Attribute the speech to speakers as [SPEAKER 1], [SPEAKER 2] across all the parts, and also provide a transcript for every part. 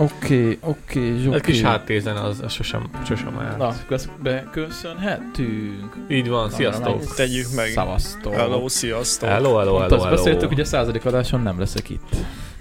[SPEAKER 1] Oké, oké,
[SPEAKER 2] Okay.
[SPEAKER 1] oké.
[SPEAKER 2] A kis hát- háttézen az, az sosem, sosem árt.
[SPEAKER 1] Na, akkor ezt beköszönhetünk.
[SPEAKER 2] Így van, sziasztok!
[SPEAKER 3] Ezt tegyük meg.
[SPEAKER 1] Szavaztok.
[SPEAKER 3] Hello, sziasztok. Hát
[SPEAKER 2] Hello, hello,
[SPEAKER 1] Pont
[SPEAKER 2] hello,
[SPEAKER 1] azt beszéltük,
[SPEAKER 2] hello.
[SPEAKER 1] hogy a századik adáson nem leszek itt.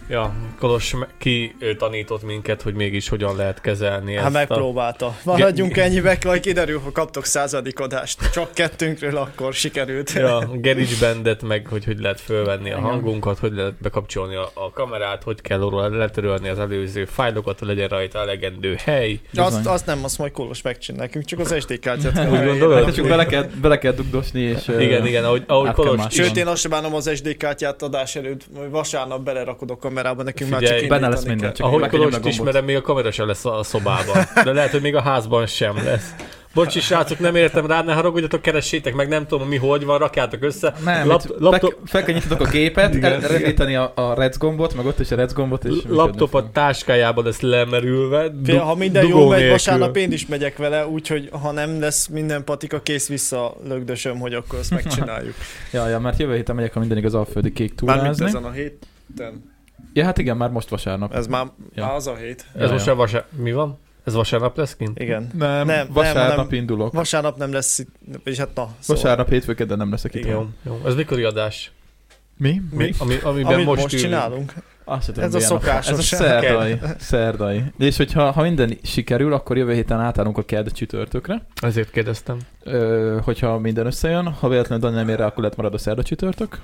[SPEAKER 2] Ja, Kolos me- ki ő tanított minket, hogy mégis hogyan lehet kezelni
[SPEAKER 3] Hát
[SPEAKER 2] ezt a...
[SPEAKER 3] megpróbálta. Maradjunk ennyibe, majd kiderül, ha kaptok századik adást. Csak kettőnkről akkor sikerült.
[SPEAKER 2] Ja, GarageBandet, meg hogy hogy lehet fölvenni a hangunkat, hogy lehet bekapcsolni a, a kamerát, hogy kell arról letörölni az előző fájlokat, hogy legyen rajta elegendő hely.
[SPEAKER 3] Azt,
[SPEAKER 1] bizony.
[SPEAKER 3] azt nem, azt majd Kolos megcsinál nekünk, csak az SD kártyát kell
[SPEAKER 2] Úgy
[SPEAKER 3] elérni.
[SPEAKER 2] gondolod?
[SPEAKER 1] Hát csak bele kell, bele kell dugdosni, és... ö,
[SPEAKER 2] Igen, igen, ahogy, ahogy
[SPEAKER 1] át kell
[SPEAKER 2] Kolos...
[SPEAKER 1] mászni.
[SPEAKER 2] Sőt,
[SPEAKER 3] Sőt, én azt sem bánom az SD kártyát adás előtt, majd vasárnap belerakod a kamerába, nekünk már
[SPEAKER 2] Figyelj,
[SPEAKER 3] csak
[SPEAKER 1] benne lesz
[SPEAKER 3] indítani
[SPEAKER 1] minden,
[SPEAKER 3] kell.
[SPEAKER 1] csak
[SPEAKER 2] ahogy
[SPEAKER 1] meg kell nyomni a
[SPEAKER 2] Kolost
[SPEAKER 1] gombot.
[SPEAKER 2] ismerem, még a kamera sem lesz a a szobában. De lehet, hogy még a házban sem lesz. Bocsi, srácok, nem értem rá, ne haragudjatok, keressétek meg, nem tudom mi hogy van, rakjátok össze.
[SPEAKER 1] Nem,
[SPEAKER 2] Lap-
[SPEAKER 1] Lap,
[SPEAKER 2] laptop-
[SPEAKER 1] laptop... felkenyítetek a gépet,
[SPEAKER 2] Igen.
[SPEAKER 1] elrendíteni a, a rec gombot, meg ott is a rec gombot, és... működni
[SPEAKER 2] laptopot
[SPEAKER 1] fog.
[SPEAKER 2] táskájában lesz lemerülve. du-
[SPEAKER 3] Fél, ha minden
[SPEAKER 2] dugó
[SPEAKER 3] jó megy,
[SPEAKER 2] nélkül.
[SPEAKER 3] vasárnap én is megyek vele, úgyhogy ha nem lesz minden patika, kész vissza lögdösöm, hogy akkor ezt megcsináljuk.
[SPEAKER 1] Ja, ja, mert jövő héten megyek, ha minden igaz, alföldi kék
[SPEAKER 3] Mármint
[SPEAKER 1] túrázni.
[SPEAKER 3] ezen a héten.
[SPEAKER 1] Ja, hát igen, már most vasárnap.
[SPEAKER 3] Ez már,
[SPEAKER 1] Ja.
[SPEAKER 3] már az a hét.
[SPEAKER 2] Ez
[SPEAKER 1] Ja,
[SPEAKER 2] most
[SPEAKER 1] ja.
[SPEAKER 2] a vasárnap... Mi van? Ez vasárnap lesz kint?
[SPEAKER 3] Igen.
[SPEAKER 1] Nem,
[SPEAKER 3] nem,
[SPEAKER 1] vasárnap
[SPEAKER 3] nem, nem.
[SPEAKER 1] indulok.
[SPEAKER 3] Vasárnap nem lesz itt, vagyis hát na. Szóval.
[SPEAKER 1] Vasárnap hétfőked, de nem leszek itt.
[SPEAKER 3] Igen.
[SPEAKER 2] Jó, jó. Ez mikori adás?
[SPEAKER 1] Mi?
[SPEAKER 2] Mi, ami, amiben
[SPEAKER 3] Amit
[SPEAKER 2] most,
[SPEAKER 3] most,
[SPEAKER 2] ülünk.
[SPEAKER 3] csinálunk.
[SPEAKER 1] Azt sem tudom,
[SPEAKER 3] Ez a
[SPEAKER 1] milyen nap van.
[SPEAKER 3] szokásos
[SPEAKER 1] Ez a
[SPEAKER 3] kedd.
[SPEAKER 1] szerdai. szerdai. És hogyha ha minden sikerül, akkor jövő héten átállunk a kedd csütörtökre.
[SPEAKER 2] Ezért kérdeztem.
[SPEAKER 1] Ö, hogyha minden összejön, ha véletlenül Dani nem ér rá, akkor lehet marad a szerda csütörtök.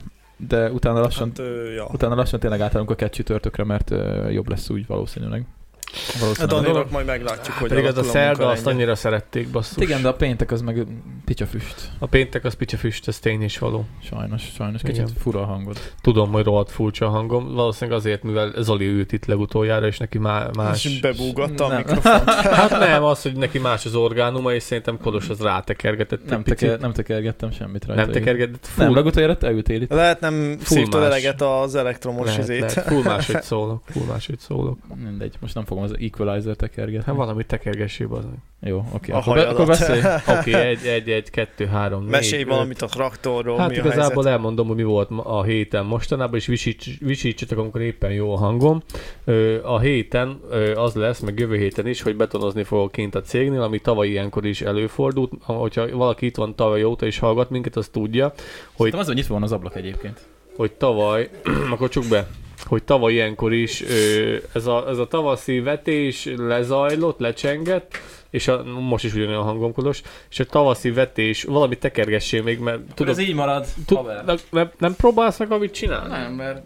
[SPEAKER 1] De utána lassan,
[SPEAKER 3] Hát, ö, ja.
[SPEAKER 1] utána lassan tényleg átállunk a kedd csütörtökre, mert ö, jobb lesz úgy valószínűleg.
[SPEAKER 3] Hát
[SPEAKER 1] Valószínűleg.
[SPEAKER 3] Daninak majd meglátjuk, hogy
[SPEAKER 2] Hát Pedig az a
[SPEAKER 3] alakul
[SPEAKER 2] szerda,
[SPEAKER 3] munkarendje.
[SPEAKER 2] azt annyira szerették, basszus.
[SPEAKER 1] Hát igen, de a péntek az meg picsa füst.
[SPEAKER 2] A péntek az picsa füst, ez tény és való.
[SPEAKER 1] Sajnos, sajnos. Kicsit
[SPEAKER 2] Igen.
[SPEAKER 1] fura a hangod.
[SPEAKER 2] Tudom, hogy rohadt furcsa a hangom. Valószínűleg azért, mivel Zoli ült itt legutoljára, és neki má-
[SPEAKER 3] És
[SPEAKER 2] más...
[SPEAKER 3] bebúgatta a
[SPEAKER 1] Nem.
[SPEAKER 3] mikrofont.
[SPEAKER 2] Hát nem, az, hogy neki más az orgánuma, és szerintem Kolos az rátekergetett.
[SPEAKER 1] Nem,
[SPEAKER 2] egy picit.
[SPEAKER 1] teker, nem tekergettem semmit rajta.
[SPEAKER 2] nem tekergetett. Full,
[SPEAKER 1] Nem, legutoljára te ültél itt.
[SPEAKER 3] Lehet nem
[SPEAKER 2] Full
[SPEAKER 3] szívtad
[SPEAKER 2] más.
[SPEAKER 3] eleget az elektromos
[SPEAKER 2] lehet,
[SPEAKER 3] izét.
[SPEAKER 2] lehet. Full máshogy szólok. Full máshogy szólok.
[SPEAKER 1] Mindegy, most nem fogom az equalizer tekergetni.
[SPEAKER 2] Hát valami tekergessé, az.
[SPEAKER 1] Jó, oké.
[SPEAKER 3] A
[SPEAKER 1] Akkor, be,
[SPEAKER 3] hajadat.
[SPEAKER 1] akkor beszélj.
[SPEAKER 2] Oké, okay, egy, egy, egy, kettő, három, négy,
[SPEAKER 3] Mesélj
[SPEAKER 2] öt.
[SPEAKER 3] valamit a traktorról,
[SPEAKER 2] Hát
[SPEAKER 3] mi a helyzet.
[SPEAKER 2] igazából elmondom, hogy mi volt ma- a héten mostanában, és visíts, visítsatok, amikor éppen jó a hangom. Ö, A héten ö, az lesz, meg jövő héten is, hogy betonozni fogok kint a cégnél, ami tavaly ilyenkor is előfordult. Ha- Hogyha valaki itt van tavaly óta és hallgat minket, az tudja,
[SPEAKER 1] Szerintem az, hogy nyitva van az ablak egyébként.
[SPEAKER 2] hogy tavaly, akkor csuk be, hogy tavaly ilyenkor is ö, ez, a, ez a tavaszi vetés lezajlott, lecsengett, és a, most is ugyanolyan hangomkodos, és a tavaszi vetés, valami tekergessél még, mert tudod,
[SPEAKER 1] így marad,
[SPEAKER 2] tud, nem, nem, nem próbálsz meg, amit csinál?
[SPEAKER 1] Nem, mert...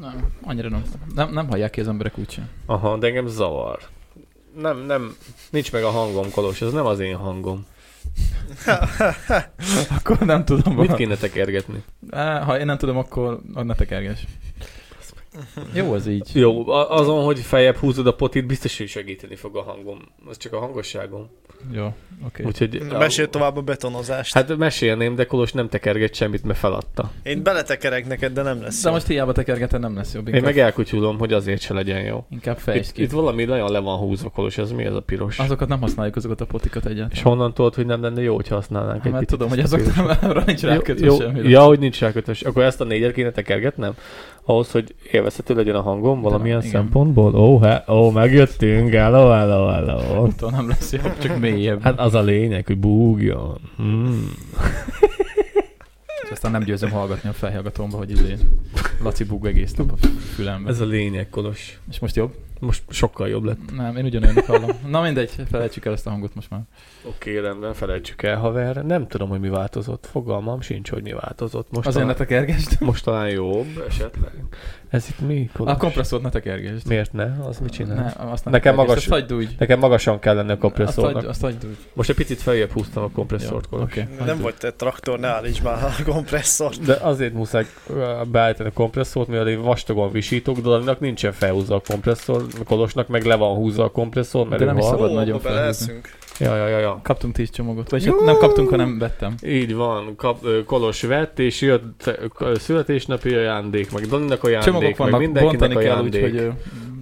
[SPEAKER 1] Nem, annyira nem. Nem, nem hallják ki az emberek úgy sem.
[SPEAKER 2] Aha, de engem zavar. Nem, nem, nincs meg a hangom, Kolos, ez nem az én hangom.
[SPEAKER 1] Akkor nem tudom.
[SPEAKER 2] Mit
[SPEAKER 1] vala-
[SPEAKER 2] kéne tekergetni?
[SPEAKER 1] Á, Ha én nem tudom, akkor ah, ne tekerges. Jó az így.
[SPEAKER 2] Jó, a- azon, hogy feljebb húzod a potit, biztos, hogy segíteni fog a hangom. Az csak a hangosságom.
[SPEAKER 1] Jó, oké.
[SPEAKER 2] Úgyhogy...
[SPEAKER 3] Na, Mesélj Mm, tovább a betonozást. Hát,
[SPEAKER 2] Hát mesélném, de Kolos nem tekerget semmit, mert feladta.
[SPEAKER 3] Én beletekerek neked, de nem lesz
[SPEAKER 1] De
[SPEAKER 3] jó.
[SPEAKER 1] most hiába tekergeten nem lesz jobb.
[SPEAKER 2] Én
[SPEAKER 1] Inkább,
[SPEAKER 2] meg elkutyulom, hogy azért se legyen jó.
[SPEAKER 1] inkább
[SPEAKER 2] Itt,
[SPEAKER 1] fejtsd ki.
[SPEAKER 2] itt valami nagyon le van húzva, Kolos, ez mi ez a piros?
[SPEAKER 1] Azokat nem használjuk, azokat a potikat egyáltalán.
[SPEAKER 2] És honnan tudod, hogy nem lenne jó, hogyha használnánk
[SPEAKER 1] Hát, mert
[SPEAKER 2] picit
[SPEAKER 1] tudom, hogy
[SPEAKER 2] ezt a
[SPEAKER 1] azok
[SPEAKER 2] piros?
[SPEAKER 1] nem, arra nincs rákötve
[SPEAKER 2] jó,
[SPEAKER 1] semmire.
[SPEAKER 2] Ja, hogy nincs rákötős. Akkor ezt a négyet kéne tekergetnem? Ahhoz, hogy élvezhető legyen a hangom valamilyen
[SPEAKER 1] igen.
[SPEAKER 2] szempontból? Ó, he, ó, megjöttünk, hello, hello, hello.
[SPEAKER 1] Attól nem lesz jobb, csak mélyebb.
[SPEAKER 2] Hát az a lényeg, hogy búgjon. Mm.
[SPEAKER 1] És aztán nem győzöm hallgatni a fejhallgatómba, hogy izé Laci bug egész nap a fülembe.
[SPEAKER 2] Ez a lényeg, Kolos.
[SPEAKER 1] És most jobb?
[SPEAKER 2] Most sokkal jobb lett.
[SPEAKER 1] Nem, én ugyanolyan hallom. Na mindegy, felejtsük el ezt a hangot most már.
[SPEAKER 2] Oké, rendben, felejtsük el haver. Nem tudom, hogy mi változott. Fogalmam sincs, hogy mi változott. Most,
[SPEAKER 1] Azért ne
[SPEAKER 2] talán,
[SPEAKER 1] tekergesd.
[SPEAKER 2] most talán jobb, esetleg. Ez itt mi, Kolos?
[SPEAKER 1] A kompresszort ne tekergesd.
[SPEAKER 2] Miért ne? Az mit csinál?
[SPEAKER 1] Ne, azt ne
[SPEAKER 2] Nekem
[SPEAKER 1] tekergesd,
[SPEAKER 2] magas-
[SPEAKER 1] Azt hagyd úgy.
[SPEAKER 2] Nekem magasan kellene a
[SPEAKER 1] Azt hagyd,
[SPEAKER 2] kompresszornak.
[SPEAKER 1] azt hagyd úgy.
[SPEAKER 2] Most egy picit feljebb húztam a kompresszort,
[SPEAKER 1] Jó,
[SPEAKER 2] Kolos.
[SPEAKER 1] oké.
[SPEAKER 3] Nem vagy te traktor, ne állíts már a kompresszort.
[SPEAKER 2] De azért muszáj ö, beállítani a kompresszort, mivel én vastagon visítok, de annak nincsen felhúzva a kompresszor, a Kolosnak meg le van húzva a kompresszor, mert
[SPEAKER 1] De nem
[SPEAKER 2] ő
[SPEAKER 1] is
[SPEAKER 2] hal.
[SPEAKER 1] Szabad
[SPEAKER 3] Ó,
[SPEAKER 1] nagyon
[SPEAKER 3] abba
[SPEAKER 1] felhúzni.
[SPEAKER 3] beleszünk.
[SPEAKER 2] Ja, ja, ja, ja.
[SPEAKER 1] Kaptunk 10 csomagot, vagy hát nem kaptunk, hanem vettem.
[SPEAKER 2] Így van, kap, ö, Kolos vett, és jött ö, születésnapi ajándék, meg Daninak
[SPEAKER 1] Csomagok
[SPEAKER 2] ajándék, meg
[SPEAKER 1] vannak,
[SPEAKER 2] mindenkinek
[SPEAKER 1] bontani kell,
[SPEAKER 2] ajándék.
[SPEAKER 1] úgyhogy ö,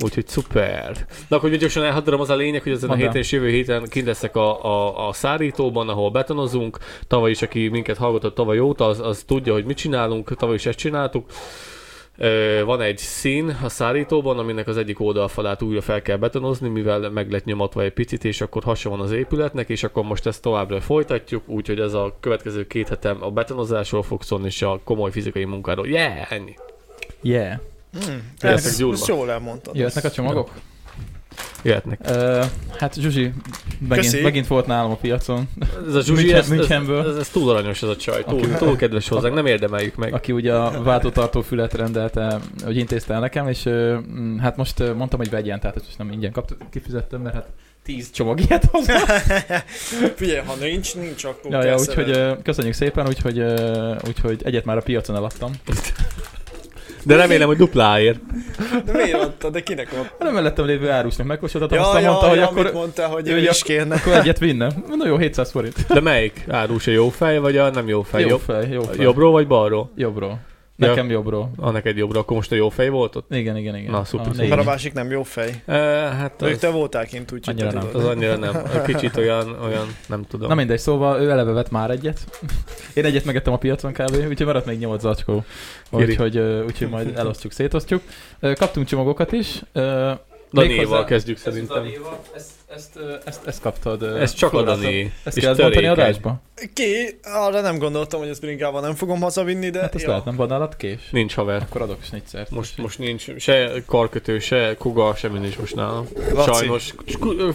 [SPEAKER 2] Úgyhogy szuper. Na akkor gyorsan elhadarom, az a lényeg, hogy ezen a
[SPEAKER 1] Mondd el.
[SPEAKER 2] héten és jövő héten kint leszek a, a, a szárítóban, ahol betonozunk. Tavaly is, aki minket hallgatott tavaly óta, az, az tudja, hogy mit csinálunk. Tavaly is ezt csináltuk. Ö, Van egy szín a szárítóban, aminek az egyik oldalfalát újra fel kell betonozni, mivel meg lett nyomatva egy picit, és akkor hasa van az épületnek, és akkor most ezt továbbra folytatjuk, úgyhogy ez a következő két hetem a betonozásról fog szólni, és a komoly fizikai munkáról. Yeah, ennyi.
[SPEAKER 1] yeah.
[SPEAKER 3] Hmm,
[SPEAKER 2] Jöttek
[SPEAKER 3] ez,
[SPEAKER 2] gyúrva.
[SPEAKER 3] ezt jól elmondtad.
[SPEAKER 1] Jöhetnek a csomagok?
[SPEAKER 2] Jöhetnek.
[SPEAKER 1] Ö, hát Zsuzsi, megint,
[SPEAKER 3] Köszi.
[SPEAKER 1] megint volt nálam a piacon,
[SPEAKER 2] Ez a Zsuzsi,
[SPEAKER 1] München-
[SPEAKER 2] ez, ez,
[SPEAKER 1] Münchenből.
[SPEAKER 2] ez, ez, túl aranyos ez a csaj, túl,
[SPEAKER 1] Aki-
[SPEAKER 2] túl kedves hozzánk, nem érdemeljük meg.
[SPEAKER 1] aki ugye a váltótartó fület rendelte, hogy intézte el nekem, és ö, m, hát most ö, mondtam, hogy vegyen, tehát ezt most nem ingyen kaptam, kifizettem, mert hát 10 csomag ilyet hozzá.
[SPEAKER 3] Figyelj, ha nincs, nincs, akkor
[SPEAKER 1] Ja,
[SPEAKER 3] kell
[SPEAKER 1] ja,
[SPEAKER 3] szerelni.
[SPEAKER 1] úgyhogy ö, köszönjük szépen, úgyhogy, ö, úgyhogy egyet már a piacon eladtam.
[SPEAKER 2] De remélem, hogy dupláért.
[SPEAKER 3] De miért adta? De kinek adta?
[SPEAKER 1] A Hát mellettem lévő árusnak megkóstoltatom,
[SPEAKER 3] Ja,
[SPEAKER 1] aztán
[SPEAKER 3] ja,
[SPEAKER 1] mondta,
[SPEAKER 3] ja,
[SPEAKER 1] hogy
[SPEAKER 3] amit
[SPEAKER 1] akkor,
[SPEAKER 3] mondta, hogy
[SPEAKER 1] ő
[SPEAKER 3] ő
[SPEAKER 1] gyak-
[SPEAKER 3] is kérne.
[SPEAKER 1] akkor egyet vinne. Na jó, 700 forint.
[SPEAKER 2] De melyik árus a jó fej, vagy a nem jó fej?
[SPEAKER 1] Jó
[SPEAKER 2] Hát Jobb,
[SPEAKER 1] fej, jó fej.
[SPEAKER 2] jobbról vagy balról?
[SPEAKER 1] Jobbról.
[SPEAKER 2] Ja.
[SPEAKER 1] Nekem jobbról.
[SPEAKER 2] Ah, neked jobbra, akkor most a jó fej volt ott?
[SPEAKER 1] Igen, igen, igen.
[SPEAKER 2] Na, szuper,
[SPEAKER 1] A
[SPEAKER 2] szuper.
[SPEAKER 1] négy.
[SPEAKER 3] Mert a másik nem jó fej.
[SPEAKER 2] E, hát
[SPEAKER 3] Mondjuk
[SPEAKER 2] az,
[SPEAKER 3] te voltál kint, úgyhogy te
[SPEAKER 1] Annyira nem.
[SPEAKER 2] az
[SPEAKER 3] tudod.
[SPEAKER 2] annyira nem. Kicsit olyan, olyan, nem tudom.
[SPEAKER 1] Na mindegy, szóval ő eleve vett már egyet. Én egyet megettem a piacon kb. Úgyhogy maradt még 8 zacskó.
[SPEAKER 2] Kiri.
[SPEAKER 1] Úgyhogy, ö, úgyhogy majd elosztjuk, szétosztjuk. Ö, Kaptunk csomagokat is. Ö,
[SPEAKER 2] Daniéval
[SPEAKER 1] méghozzá-
[SPEAKER 2] kezdjük
[SPEAKER 1] ez a
[SPEAKER 2] szerintem.
[SPEAKER 1] Daniéval, ezt, ezt, ö, ezt, ezt kaptad. ö,
[SPEAKER 2] Ez csak a
[SPEAKER 1] Florától.
[SPEAKER 2] Dani.
[SPEAKER 1] Ezt
[SPEAKER 2] és
[SPEAKER 1] kell mondani
[SPEAKER 2] törékeny.
[SPEAKER 1] adásba?
[SPEAKER 3] Ki? Arra nem gondoltam, hogy ezt bringával nem fogom hazavinni, de
[SPEAKER 1] Hát ezt
[SPEAKER 3] jó.
[SPEAKER 1] lehet, nem van nálad kés?
[SPEAKER 2] Nincs haver.
[SPEAKER 1] Akkor adok snitzert.
[SPEAKER 2] Most, most nincs se karkötő, se kuga, semmi nincs most nálam.
[SPEAKER 3] Laci.
[SPEAKER 2] Sajnos.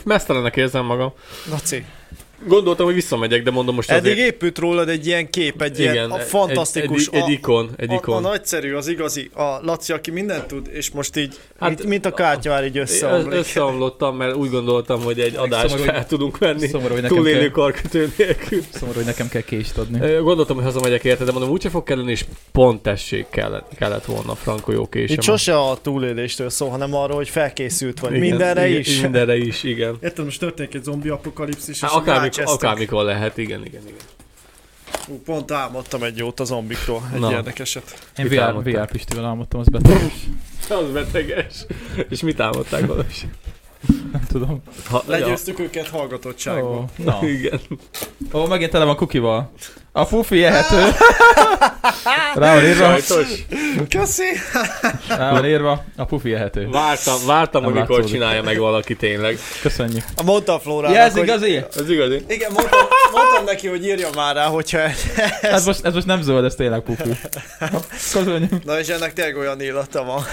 [SPEAKER 2] Mesztelenek érzem magam.
[SPEAKER 3] Laci,
[SPEAKER 2] Gondoltam, hogy visszamegyek, de mondom most
[SPEAKER 3] eddig
[SPEAKER 2] azért...
[SPEAKER 3] épült rólad egy ilyen kép, egy ilyen a
[SPEAKER 2] egy-
[SPEAKER 3] fantasztikus,
[SPEAKER 2] Egy, egy, egy
[SPEAKER 3] a,
[SPEAKER 2] ikon, egy
[SPEAKER 3] a, a
[SPEAKER 2] ikon.
[SPEAKER 3] nagyszerű, az igazi, a Laci, aki mindent tud, és most így,
[SPEAKER 2] Hát-
[SPEAKER 3] hát, mint, mint a kártyavár így
[SPEAKER 2] Ö-
[SPEAKER 3] összeomlik.
[SPEAKER 2] Összeomlottam, mert úgy gondoltam, Szóval hogy szóval egy adást
[SPEAKER 1] szomorú,
[SPEAKER 2] fel tudunk menni.
[SPEAKER 1] Szomorú, hogy nekem
[SPEAKER 2] Túlélő
[SPEAKER 1] kell,
[SPEAKER 2] karkötő nélkül.
[SPEAKER 1] szomorú, hogy nekem kell kést adni.
[SPEAKER 2] Ö, Gondoltam, hogy hazamegyek érte, de mondom, úgyse fog kelleni, és pont tessék kellett, kellett volna Franco jó késem.
[SPEAKER 3] Itt sose a túléléstől szó, hanem arról, hogy felkészült vagy. Mindenre
[SPEAKER 2] igen,
[SPEAKER 3] is.
[SPEAKER 2] Mindenre is, igen.
[SPEAKER 3] Érted, most történik egy zombi apokalipszis,
[SPEAKER 2] Hát
[SPEAKER 3] és
[SPEAKER 2] akármikor,
[SPEAKER 3] rácsesztek.
[SPEAKER 2] akármikor lehet, igen, igen, igen.
[SPEAKER 3] Ú, Pont álmodtam egy jót a zombikról, egy
[SPEAKER 2] Na.
[SPEAKER 3] érdekeset.
[SPEAKER 1] Én
[SPEAKER 2] Mit
[SPEAKER 1] VR,
[SPEAKER 2] álmodtál?
[SPEAKER 1] VR Pistivel álmodtam, az beteges.
[SPEAKER 2] Az beteges. És mit álmodták valós?
[SPEAKER 1] Nem tudom.
[SPEAKER 2] Ha, ja,
[SPEAKER 3] Legyőztük őket hallgatottságban.
[SPEAKER 1] Ó, na.
[SPEAKER 2] igen.
[SPEAKER 1] Ó, megint tele van kukival. A pufi ehető. Rá van írva.
[SPEAKER 2] Sajtos.
[SPEAKER 3] Köszi!
[SPEAKER 1] Rá van írva. A pufi ehető.
[SPEAKER 2] Vártam, vártam,
[SPEAKER 1] Nem
[SPEAKER 2] hogy mikor
[SPEAKER 1] látszódik.
[SPEAKER 2] csinálja meg valaki tényleg.
[SPEAKER 1] Köszönjük.
[SPEAKER 3] Mondta a Flórának,
[SPEAKER 1] Ja, ez
[SPEAKER 3] hogy...
[SPEAKER 1] igazi?
[SPEAKER 2] Az igazi.
[SPEAKER 3] Igen, mondtam, mondtam neki, hogy írja már rá, hogyha...
[SPEAKER 1] Ez most, ez most nem zöld, ez tényleg pufi. Köszönjük.
[SPEAKER 3] Na és ennek tényleg olyan illata van.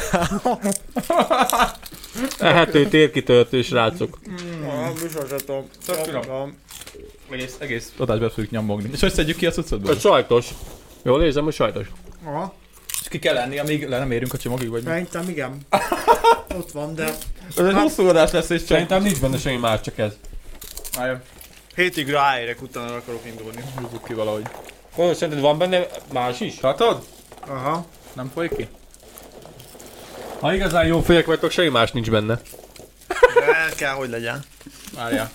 [SPEAKER 2] Ehető térkitöltő hát, srácok.
[SPEAKER 3] Mm. Biztosatom.
[SPEAKER 1] Tök finom. Egész, egész adásba fogjuk nyomogni. És hogy szedjük ki a cuccodból?
[SPEAKER 2] Ez sajtos. Jól érzem, hogy sajtos.
[SPEAKER 3] Aha,
[SPEAKER 1] És ki kell lenni, amíg le nem érünk a csomagig, vagy mi?
[SPEAKER 3] szerintem igen. Ott van, de...
[SPEAKER 1] Ez egy hosszú adás lesz, és csak...
[SPEAKER 2] nincs benne semmi más, csak ez.
[SPEAKER 1] Álljon,
[SPEAKER 3] Hétig ráérek, utána akarok indulni.
[SPEAKER 1] húzzuk ki valahogy.
[SPEAKER 2] Kolos, szerinted van benne más is?
[SPEAKER 1] Tartod?
[SPEAKER 3] Aha.
[SPEAKER 1] Nem folyik ki?
[SPEAKER 2] Ha igazán jó fejek vagytok, semmi más nincs benne.
[SPEAKER 3] De el kell, hogy legyen.
[SPEAKER 1] Várjál.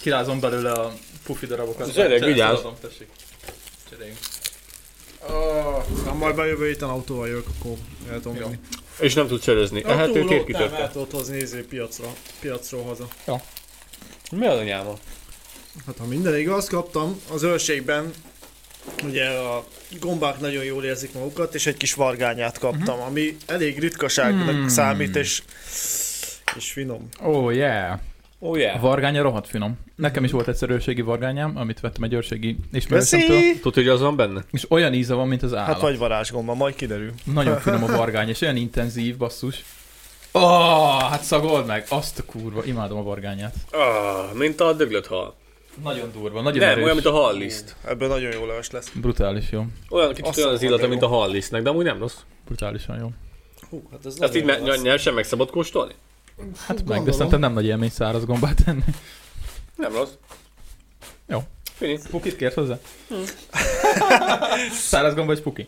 [SPEAKER 1] Kirázom belőle a pufi darabokat.
[SPEAKER 2] Az öreg,
[SPEAKER 1] Cserélj,
[SPEAKER 2] vigyázz.
[SPEAKER 1] feladom, tessék. Cseréljünk.
[SPEAKER 3] Na majd bejövő héten autóval jövök, akkor el tudom
[SPEAKER 1] Jó.
[SPEAKER 3] vinni.
[SPEAKER 2] És nem tud csörözni. Ehető
[SPEAKER 3] nem el
[SPEAKER 2] térkitöltő.
[SPEAKER 3] tudod hozni néző piacra, piacról haza.
[SPEAKER 2] Mi az anyáma?
[SPEAKER 3] Hát ha minden igaz, kaptam az őrségben, ugye a gombák nagyon jól érzik magukat, és egy kis vargányát kaptam, ami elég ritkaságnak
[SPEAKER 1] Hmm.
[SPEAKER 3] számít, és, és finom.
[SPEAKER 1] Oh yeah.
[SPEAKER 2] Ó,
[SPEAKER 1] A
[SPEAKER 2] yeah.
[SPEAKER 1] vargánya rohadt finom. Nekem is volt egyszer őrségi vargányám, amit vettem egy őrségi ismerősömtől.
[SPEAKER 3] Köszi!
[SPEAKER 2] Tudod, hogy az van benne?
[SPEAKER 1] És olyan íze van, mint az állat.
[SPEAKER 3] Hát vagy varázsgomba, majd kiderül.
[SPEAKER 1] Nagyon finom a vargány, és olyan intenzív, basszus. Oh, hát szagold meg, azt a kurva, imádom a vargányát.
[SPEAKER 2] Ah, mint a döglött hal.
[SPEAKER 1] Nagyon durva, nagyon
[SPEAKER 2] Nem,
[SPEAKER 1] erős.
[SPEAKER 2] olyan, mint a halliszt.
[SPEAKER 3] Ebből nagyon jó leves lesz.
[SPEAKER 1] Brutális jó,
[SPEAKER 2] Olyan kicsit
[SPEAKER 3] Azt
[SPEAKER 2] olyan az
[SPEAKER 3] mondom,
[SPEAKER 2] illata,
[SPEAKER 3] de
[SPEAKER 2] mint a
[SPEAKER 3] jó.
[SPEAKER 2] hallisztnek, de amúgy nem rossz.
[SPEAKER 1] brutálisan jó.
[SPEAKER 3] Hú, hát ez
[SPEAKER 2] Ezt így
[SPEAKER 3] nagyon jó
[SPEAKER 2] me-
[SPEAKER 3] lesz.
[SPEAKER 2] nyersen meg szabad kóstolni?
[SPEAKER 1] Hát meg, de
[SPEAKER 3] gondolom.
[SPEAKER 1] szerintem nem nagy élmény száraz gombát tenni.
[SPEAKER 2] Nem rossz.
[SPEAKER 1] Jó.
[SPEAKER 2] Fini.
[SPEAKER 1] Pukit kért hozzá? száraz gomba vagy puki?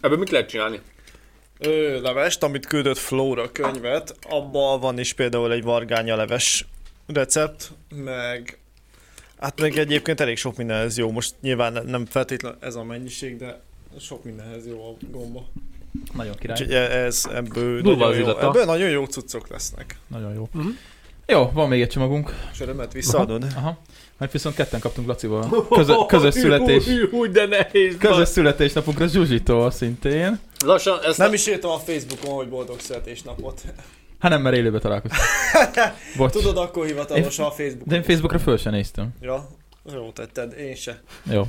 [SPEAKER 2] Ebből mit lehet csinálni?
[SPEAKER 3] Ö, levest, amit küldött Flóra könyvet, abban van is például egy vargánya leves recept, meg hát meg egyébként elég sok mindenhez jó. Most nyilván ne- nem feltétlenül ez a mennyiség, de sok mindenhez jó a gomba.
[SPEAKER 1] Nagyon király.
[SPEAKER 3] Úgyhogy e- ez ebből
[SPEAKER 2] Durva
[SPEAKER 3] nagyon,
[SPEAKER 2] az
[SPEAKER 3] jó,
[SPEAKER 2] illata.
[SPEAKER 3] ebből nagyon jó cuccok lesznek.
[SPEAKER 1] Nagyon jó.
[SPEAKER 2] Mhm.
[SPEAKER 1] Jó, van még egy csomagunk.
[SPEAKER 3] És örömet visszaadod.
[SPEAKER 1] Aha. Mert viszont ketten kaptunk Lacival közö- közös születés.
[SPEAKER 2] Hú, hú, de nehéz.
[SPEAKER 1] Közös
[SPEAKER 2] bazd.
[SPEAKER 1] születésnapunkra Zsuzsitól szintén.
[SPEAKER 2] Lassan, ezt
[SPEAKER 3] Nem is írtam a Facebookon, hogy boldog születésnapot.
[SPEAKER 1] Hát nem, mert élőbe találkoztunk. Bocs.
[SPEAKER 3] Tudod, akkor hivatalos a Facebookon.
[SPEAKER 1] De én Facebookra föl sem néztem.
[SPEAKER 3] Ja, jó tetted, én se.
[SPEAKER 1] Jó.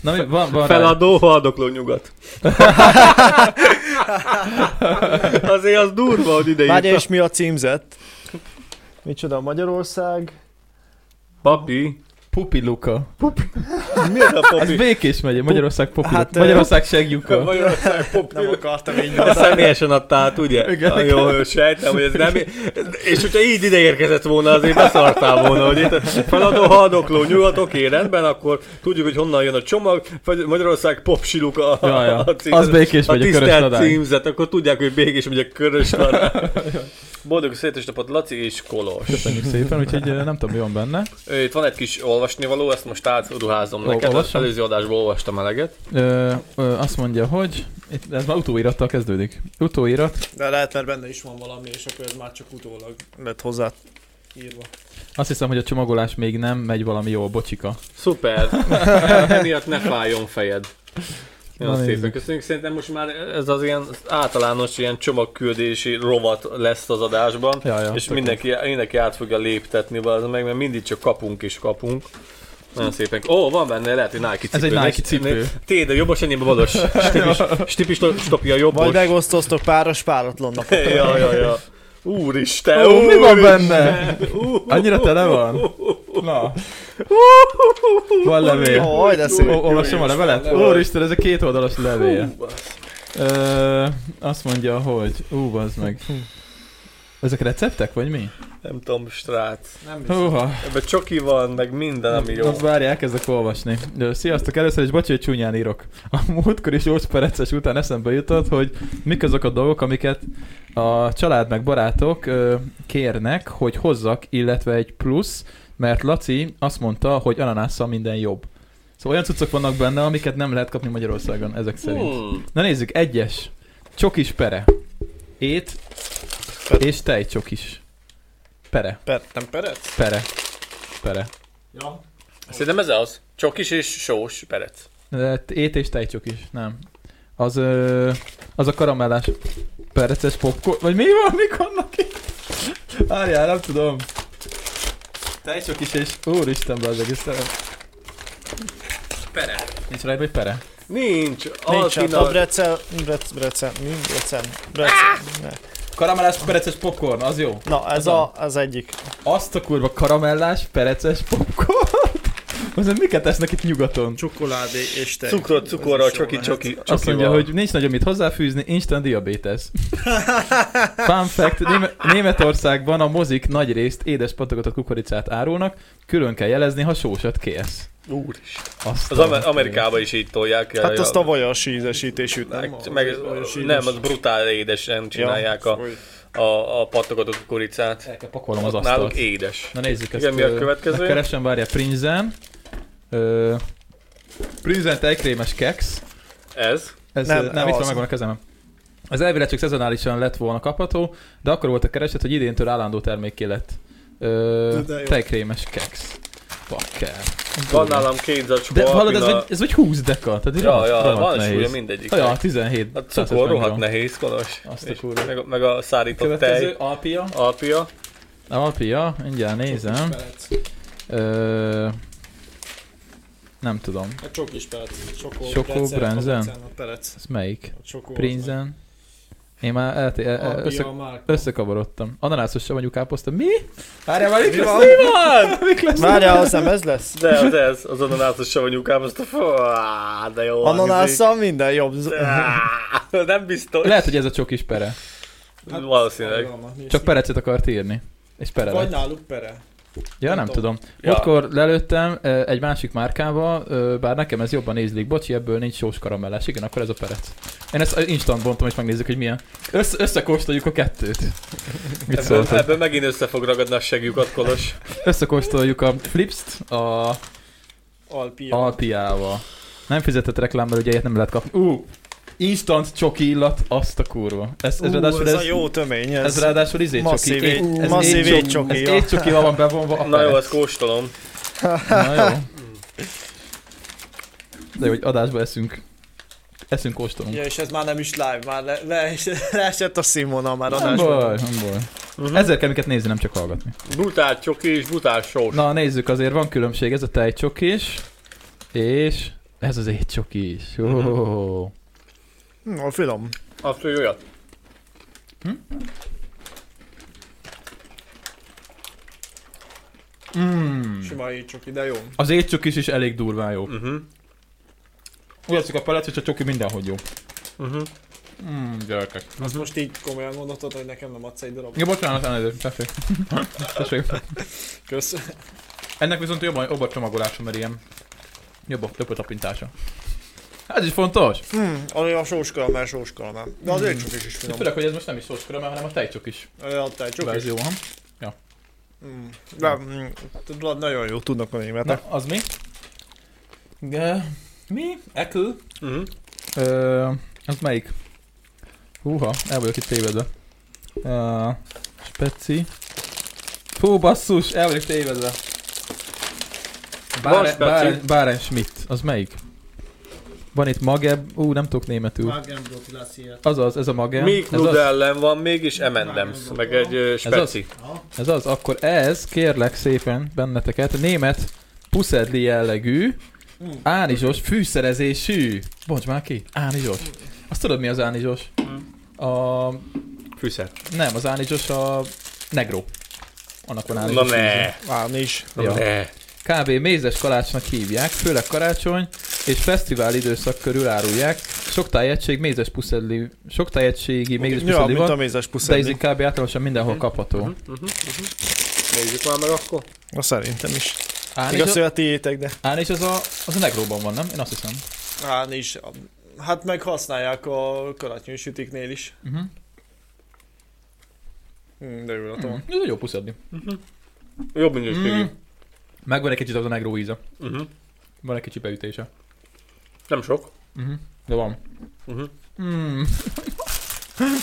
[SPEAKER 1] Na, mi, van, van rá-
[SPEAKER 2] Feladó, haldokló nyugat. Azért az durva, hogy ide
[SPEAKER 3] Várja,
[SPEAKER 2] írta.
[SPEAKER 3] és mi a címzett? Micsoda Magyarország?
[SPEAKER 2] Papi.
[SPEAKER 1] Pupi Luka.
[SPEAKER 2] Mi az a
[SPEAKER 1] Ez Békés megye, Magyarország Pupi
[SPEAKER 3] Hát,
[SPEAKER 1] Luka. Magyarország segjuka.
[SPEAKER 2] Magyarország Papi.
[SPEAKER 3] Nem akartam így
[SPEAKER 2] A személyesen adta át, ugye?
[SPEAKER 1] Igen.
[SPEAKER 2] Igen. Jó, sejtem, hogy ez nem... És hogyha így ide érkezett volna, azért beszartál volna, hogy itt feladó, haldokló, nyugat, oké, rendben, akkor tudjuk, hogy honnan jön a csomag, Fagy- Magyarország popsiluk a,
[SPEAKER 1] Ja, ja.
[SPEAKER 2] a cím-
[SPEAKER 1] Az Békés
[SPEAKER 2] a
[SPEAKER 1] megye, Körös
[SPEAKER 2] tisztelt
[SPEAKER 1] Nadál.
[SPEAKER 2] címzet, akkor tudják, hogy Békés megy a körös Nadál. Boldog szétesnapot Laci és Kolos.
[SPEAKER 1] Köszönjük szépen, úgyhogy eh, nem tudom, mi van benne.
[SPEAKER 2] Ö, Itt van egy kis olvasnivaló, ezt most átruházom
[SPEAKER 1] Ó,
[SPEAKER 2] neked. Az
[SPEAKER 1] olvassam?
[SPEAKER 2] előző adásból olvastam eleget.
[SPEAKER 1] Ö, ö, azt mondja, hogy... Itt, ez már utóirattal kezdődik. Utóirat.
[SPEAKER 3] De lehet, mert benne is van valami, és akkor ez már csak utólag lett hozzá írva.
[SPEAKER 1] Azt hiszem, hogy a csomagolás még nem megy valami jól, bocsika.
[SPEAKER 2] Szuper! Emiatt ne fájjon fejed.
[SPEAKER 1] Na,
[SPEAKER 2] Nagyon szépen
[SPEAKER 1] nézzük.
[SPEAKER 2] köszönjük. Szerintem most már ez az ilyen általános ilyen csomagküldési rovat lesz az adásban.
[SPEAKER 1] Ja, ja,
[SPEAKER 2] és
[SPEAKER 1] tök
[SPEAKER 2] mindenki, mindenki át fogja léptetni az meg, mert mindig csak kapunk és kapunk. Nagyon szépen. Ó, van benne, lehet, hogy Nike cipő.
[SPEAKER 1] Ez egy Nike cipő.
[SPEAKER 2] Té, de jobbos, enyém a balos. Stipis, stipis, stopja jobbos.
[SPEAKER 3] Majd megosztoztok páros páratlan napot.
[SPEAKER 2] Ja, ja, ja. Úristen,
[SPEAKER 1] Ó, mi van
[SPEAKER 2] úristen.
[SPEAKER 1] benne?
[SPEAKER 2] Ú,
[SPEAKER 1] Annyira tele van? Na. Van levél.
[SPEAKER 3] Jaj, de szép.
[SPEAKER 1] Ó, Olvasom a levelet? Úristen, ez a két oldalas levél. Ö, azt mondja, hogy... Ú, az meg. Ezek receptek, vagy mi?
[SPEAKER 2] Nem tudom, strác.
[SPEAKER 3] Nem
[SPEAKER 1] Húha.
[SPEAKER 2] Ebben csoki van, meg minden, ami jó.
[SPEAKER 1] Na, várj, elkezdek olvasni. Ö, Sziasztok, először is bocsi, hogy csúnyán írok. A múltkor is 8 perces után eszembe jutott, hogy mik azok a dolgok, amiket a család meg barátok ö, kérnek, hogy hozzak, illetve egy plusz, mert Laci azt mondta, hogy ananásszal minden jobb. Szóval olyan cuccok vannak benne, amiket nem lehet kapni Magyarországon, ezek szerint.
[SPEAKER 2] Hmm.
[SPEAKER 1] Na nézzük, egyes. Csokis pere. Ét és tejcsokis. Pere,
[SPEAKER 3] Per, nem perec?
[SPEAKER 1] pere, pere.
[SPEAKER 3] Ja.
[SPEAKER 2] Hm. Szerintem ez az. Csokis és sós perec.
[SPEAKER 1] De ét és tejcsok is, nem. Az, ö, az a karamellás pereces popcorn, vagy mi van, mik vannak itt? Várjál, nem tudom. Tejcsok is és úristen be az egész terem.
[SPEAKER 2] Pere.
[SPEAKER 1] Nincs rajta, hogy pere?
[SPEAKER 2] Nincs.
[SPEAKER 3] Nincs hát
[SPEAKER 2] Alpina-
[SPEAKER 1] hát
[SPEAKER 3] a brecel, brec, brecel, mi? Brecel, brecel. ne.
[SPEAKER 1] Karamellás pereces popcorn, az jó.
[SPEAKER 3] Na, ez
[SPEAKER 1] a-
[SPEAKER 3] a, az egyik.
[SPEAKER 1] Azt a kurva karamellás pereces popcorn. Azon miket esznek itt nyugaton?
[SPEAKER 3] Csokoládé és te.
[SPEAKER 2] Cukrot, cukorral, csoki,
[SPEAKER 3] Hát
[SPEAKER 2] csoki, csoki.
[SPEAKER 1] Hát Azt mondja, hogy nincs nagyon mit hozzáfűzni, instant diabetes. Fun fact, Ném- Németországban a mozik nagy részt édes patogatott kukoricát árulnak, külön kell jelezni, ha sósat kérsz.
[SPEAKER 2] Úristen.
[SPEAKER 1] Azt
[SPEAKER 2] Az Amer- Amerikában is így tolják.
[SPEAKER 3] Hát azt a
[SPEAKER 2] a...
[SPEAKER 3] vajas ízesítés üt, nem?
[SPEAKER 2] Meg, meg, nem, az brutál édesen csinálják a, a, a pattogatott kukoricát.
[SPEAKER 1] El kell pakolnom az
[SPEAKER 2] Náluk
[SPEAKER 1] asztalt.
[SPEAKER 2] édes.
[SPEAKER 1] Na nézzük ezt.
[SPEAKER 2] Igen, mi a
[SPEAKER 1] ö,
[SPEAKER 2] következő?
[SPEAKER 1] Megkeresem, várja, Prinzen. Ö, Prinzen tejkrémes keks.
[SPEAKER 2] Ez?
[SPEAKER 1] Ez,
[SPEAKER 3] Nem,
[SPEAKER 1] nem, nem itt
[SPEAKER 3] az.
[SPEAKER 1] van, megvan a kezemem. Az elvileg csak szezonálisan lett volna kapható, de akkor volt a kereset, hogy idéntől állandó termékké lett. Ö,
[SPEAKER 3] De jó.
[SPEAKER 1] tejkrémes keksz. Bakker.
[SPEAKER 2] Van nálam két zacskó
[SPEAKER 1] De hallod, ez,
[SPEAKER 2] alpina.
[SPEAKER 1] vagy, ez vagy 20 deka, tehát így
[SPEAKER 2] Ja,
[SPEAKER 1] rohadt-
[SPEAKER 2] ja,
[SPEAKER 1] rohadt
[SPEAKER 2] van
[SPEAKER 1] nehéz.
[SPEAKER 2] súlya mindegyik.
[SPEAKER 1] Ja, 17.
[SPEAKER 2] A cukor rohadt
[SPEAKER 1] 150 g.
[SPEAKER 2] nehéz, kolos.
[SPEAKER 1] Azt a
[SPEAKER 2] És
[SPEAKER 1] kurva.
[SPEAKER 2] meg, a- meg a szárított
[SPEAKER 1] Következő,
[SPEAKER 2] tej.
[SPEAKER 1] alpia.
[SPEAKER 2] Alpia.
[SPEAKER 1] Alpia, mindjárt nézem. Ö, nem tudom.
[SPEAKER 3] A
[SPEAKER 4] Hát
[SPEAKER 3] csokis perec. Csokó,
[SPEAKER 1] Csokó
[SPEAKER 3] brecel,
[SPEAKER 1] brenzen?
[SPEAKER 3] kapacán, A perec.
[SPEAKER 1] Ez melyik?
[SPEAKER 3] A csokó. az meg.
[SPEAKER 1] Prinzen. Én már el, el, el,
[SPEAKER 3] Alpia
[SPEAKER 1] össze,
[SPEAKER 3] a márka.
[SPEAKER 1] összekavarodtam. Ananászosra mondjuk káposzta. Mi? Várjál, már mik
[SPEAKER 3] Mi
[SPEAKER 1] lesz?
[SPEAKER 3] van?
[SPEAKER 1] Mi van? Mik lesz?
[SPEAKER 3] Várjál, az nem ez lesz?
[SPEAKER 2] De az ez, az ananászos savanyúkám, azt a fú, á, de jó. hangzik.
[SPEAKER 3] Ananásszal minden jobb.
[SPEAKER 2] Á, Nem biztos. Hát
[SPEAKER 1] Lehet, hogy ez a csokis pere.
[SPEAKER 4] Hát,
[SPEAKER 2] Valószínűleg.
[SPEAKER 1] Csak perecet akart írni. És pere
[SPEAKER 3] Vagy
[SPEAKER 1] lett.
[SPEAKER 3] náluk pere.
[SPEAKER 1] Ja, nem
[SPEAKER 4] Nem
[SPEAKER 1] tudom.
[SPEAKER 4] tudom.
[SPEAKER 1] Ja.
[SPEAKER 5] Ja.
[SPEAKER 1] Ottkor lelőttem ö, egy másik márkával, ö, bár nekem ez jobban ízlik. Bocsi, ebből nincs sós karamelles. Igen, akkor ez a perec. Én ezt ö, instant bontom, és megnézzük, hogy milyen. Össze- összekóstoljuk a kettőt. Mit
[SPEAKER 2] Ebből,
[SPEAKER 1] szóltad?
[SPEAKER 2] ebből Hát, megint össze fog ragadni a segjukat, Kolos.
[SPEAKER 1] Összekóstoljuk a Flipst a
[SPEAKER 4] Alpia.
[SPEAKER 1] Alpiával. Nem fizetett reklámmal, ugye ilyet nem lehet kapni. Ú, instant csoki illat, azt a kurva. Ez, ez,
[SPEAKER 4] Ú,
[SPEAKER 1] ráadásul
[SPEAKER 4] ez,
[SPEAKER 1] ez,
[SPEAKER 4] a jó tömény. Ez,
[SPEAKER 1] ez ráadásul izé
[SPEAKER 4] masszív
[SPEAKER 1] csoki.
[SPEAKER 4] égy-
[SPEAKER 1] ez égy-
[SPEAKER 4] masszív égycsoki,
[SPEAKER 1] Ez
[SPEAKER 4] ja.
[SPEAKER 1] egy csokival van bevonva a
[SPEAKER 2] Na jó,
[SPEAKER 1] perec.
[SPEAKER 2] ezt kóstolom.
[SPEAKER 1] Na jó. De jó, hogy adásba eszünk. Eszünk, kóstolunk.
[SPEAKER 4] Ja, és ez már nem is live, már le, le, leesett a színvonal már
[SPEAKER 1] nem
[SPEAKER 4] adásban.
[SPEAKER 1] baj, nem baj.
[SPEAKER 2] Mhm.
[SPEAKER 1] Ezért kell minket nézni, nem csak hallgatni.
[SPEAKER 2] Brutál csoki és brutál sós.
[SPEAKER 1] Na nézzük, azért van különbség, ez a tejcsoki is, és ez az étcsoki is. Oh.
[SPEAKER 4] Na, Hm, finom.
[SPEAKER 2] Azt hogy olyat.
[SPEAKER 1] Mm.
[SPEAKER 4] Sima így csoki, de jó.
[SPEAKER 1] Az étcsokis is elég durván jó.
[SPEAKER 2] Uh-huh.
[SPEAKER 1] Úgy látszik a palec, hogy a csoki mindenhogy jó.
[SPEAKER 4] Mhm.
[SPEAKER 2] Uh-huh.
[SPEAKER 1] Mm, gyerekek.
[SPEAKER 4] Azt most így komolyan gondoltad, hogy nekem nem adsz egy darab.
[SPEAKER 1] Ja, bocsánat, elnézést, tessék. tessék.
[SPEAKER 4] Kösz.
[SPEAKER 1] Ennek viszont jobb, a- jobb a csomagolása, mert ilyen jobb a, jobb a tapintása. Ez is fontos.
[SPEAKER 4] Hmm, arra a sós kalamár, sós kalamár. De az ő csokis is finom.
[SPEAKER 1] Főleg, hogy ez most nem is szós körömmel, hanem a tejcsokis
[SPEAKER 4] Adtál csokis?
[SPEAKER 1] verzió van.
[SPEAKER 4] Mm. De, mm, tudod, nagyon jó tudnak a
[SPEAKER 1] Na,
[SPEAKER 2] Hát
[SPEAKER 4] németek.
[SPEAKER 1] az mi? De, mi? Ekül?
[SPEAKER 2] Uh-huh.
[SPEAKER 1] Ö, az melyik? Húha, el vagyok itt tévedve. Ö, speci. Fú, basszus, el vagyok tévedve.
[SPEAKER 2] Van
[SPEAKER 1] Báren,
[SPEAKER 2] speci.
[SPEAKER 1] Báren, Báren Schmidt, az melyik? Van itt Mageb, ú, nem tudok németül.
[SPEAKER 3] Magenbrot glacier.
[SPEAKER 1] Azaz, ez a Mageb.
[SPEAKER 2] Még
[SPEAKER 1] Ez az,
[SPEAKER 2] Nudellen van, mégis M&M's, meg egy ö, speci.
[SPEAKER 3] Ja.
[SPEAKER 1] ez az, akkor ez, kérlek szépen benneteket, német puszedli jellegű, ánizsos fűszerezésű. Bonts már ki, ánizsos. Azt tudod mi az ánizsos? A
[SPEAKER 2] Fűszer.
[SPEAKER 1] Nem, az Ánizsos a Negro. Annak van
[SPEAKER 2] Na
[SPEAKER 1] Ánizsos. íze.
[SPEAKER 2] ne,
[SPEAKER 4] Válni is.
[SPEAKER 2] na
[SPEAKER 1] Ja.
[SPEAKER 2] ne.
[SPEAKER 1] Kb. mézes kalácsnak hívják, főleg karácsony és fesztivál időszak körül árulják. Sok tájegység mézes puszedli, sok tájegységi mézes
[SPEAKER 4] Ja,
[SPEAKER 1] puszedli
[SPEAKER 4] mint a
[SPEAKER 1] van,
[SPEAKER 4] mézes
[SPEAKER 1] de ez
[SPEAKER 4] puszedli.
[SPEAKER 1] így kb. általánosan mindenhol kapható.
[SPEAKER 2] Mhm, mhm, mhm. Nézzük már meg akkor.
[SPEAKER 4] Na szerintem is. Igaz,
[SPEAKER 1] Ánizsos,
[SPEAKER 4] hogy a tiétek, de...
[SPEAKER 1] Ánizsos az a, az a Negróban van, nem? Én azt hiszem.
[SPEAKER 4] Állni is. Hát meg használják a karácsonyi sütiknél is.
[SPEAKER 1] Uh-huh.
[SPEAKER 4] Hm, De jó
[SPEAKER 1] Mm.
[SPEAKER 4] latom.
[SPEAKER 1] Ez egy jó puszedli.
[SPEAKER 2] Mhm. Jobb minőségű.
[SPEAKER 1] Mm. Megvan egy kicsit az a Negró íze.
[SPEAKER 2] Mhm.
[SPEAKER 1] Van egy kicsi beütése.
[SPEAKER 2] Nem sok.
[SPEAKER 1] Uh-huh. De van.
[SPEAKER 2] Mhm.
[SPEAKER 1] Mm.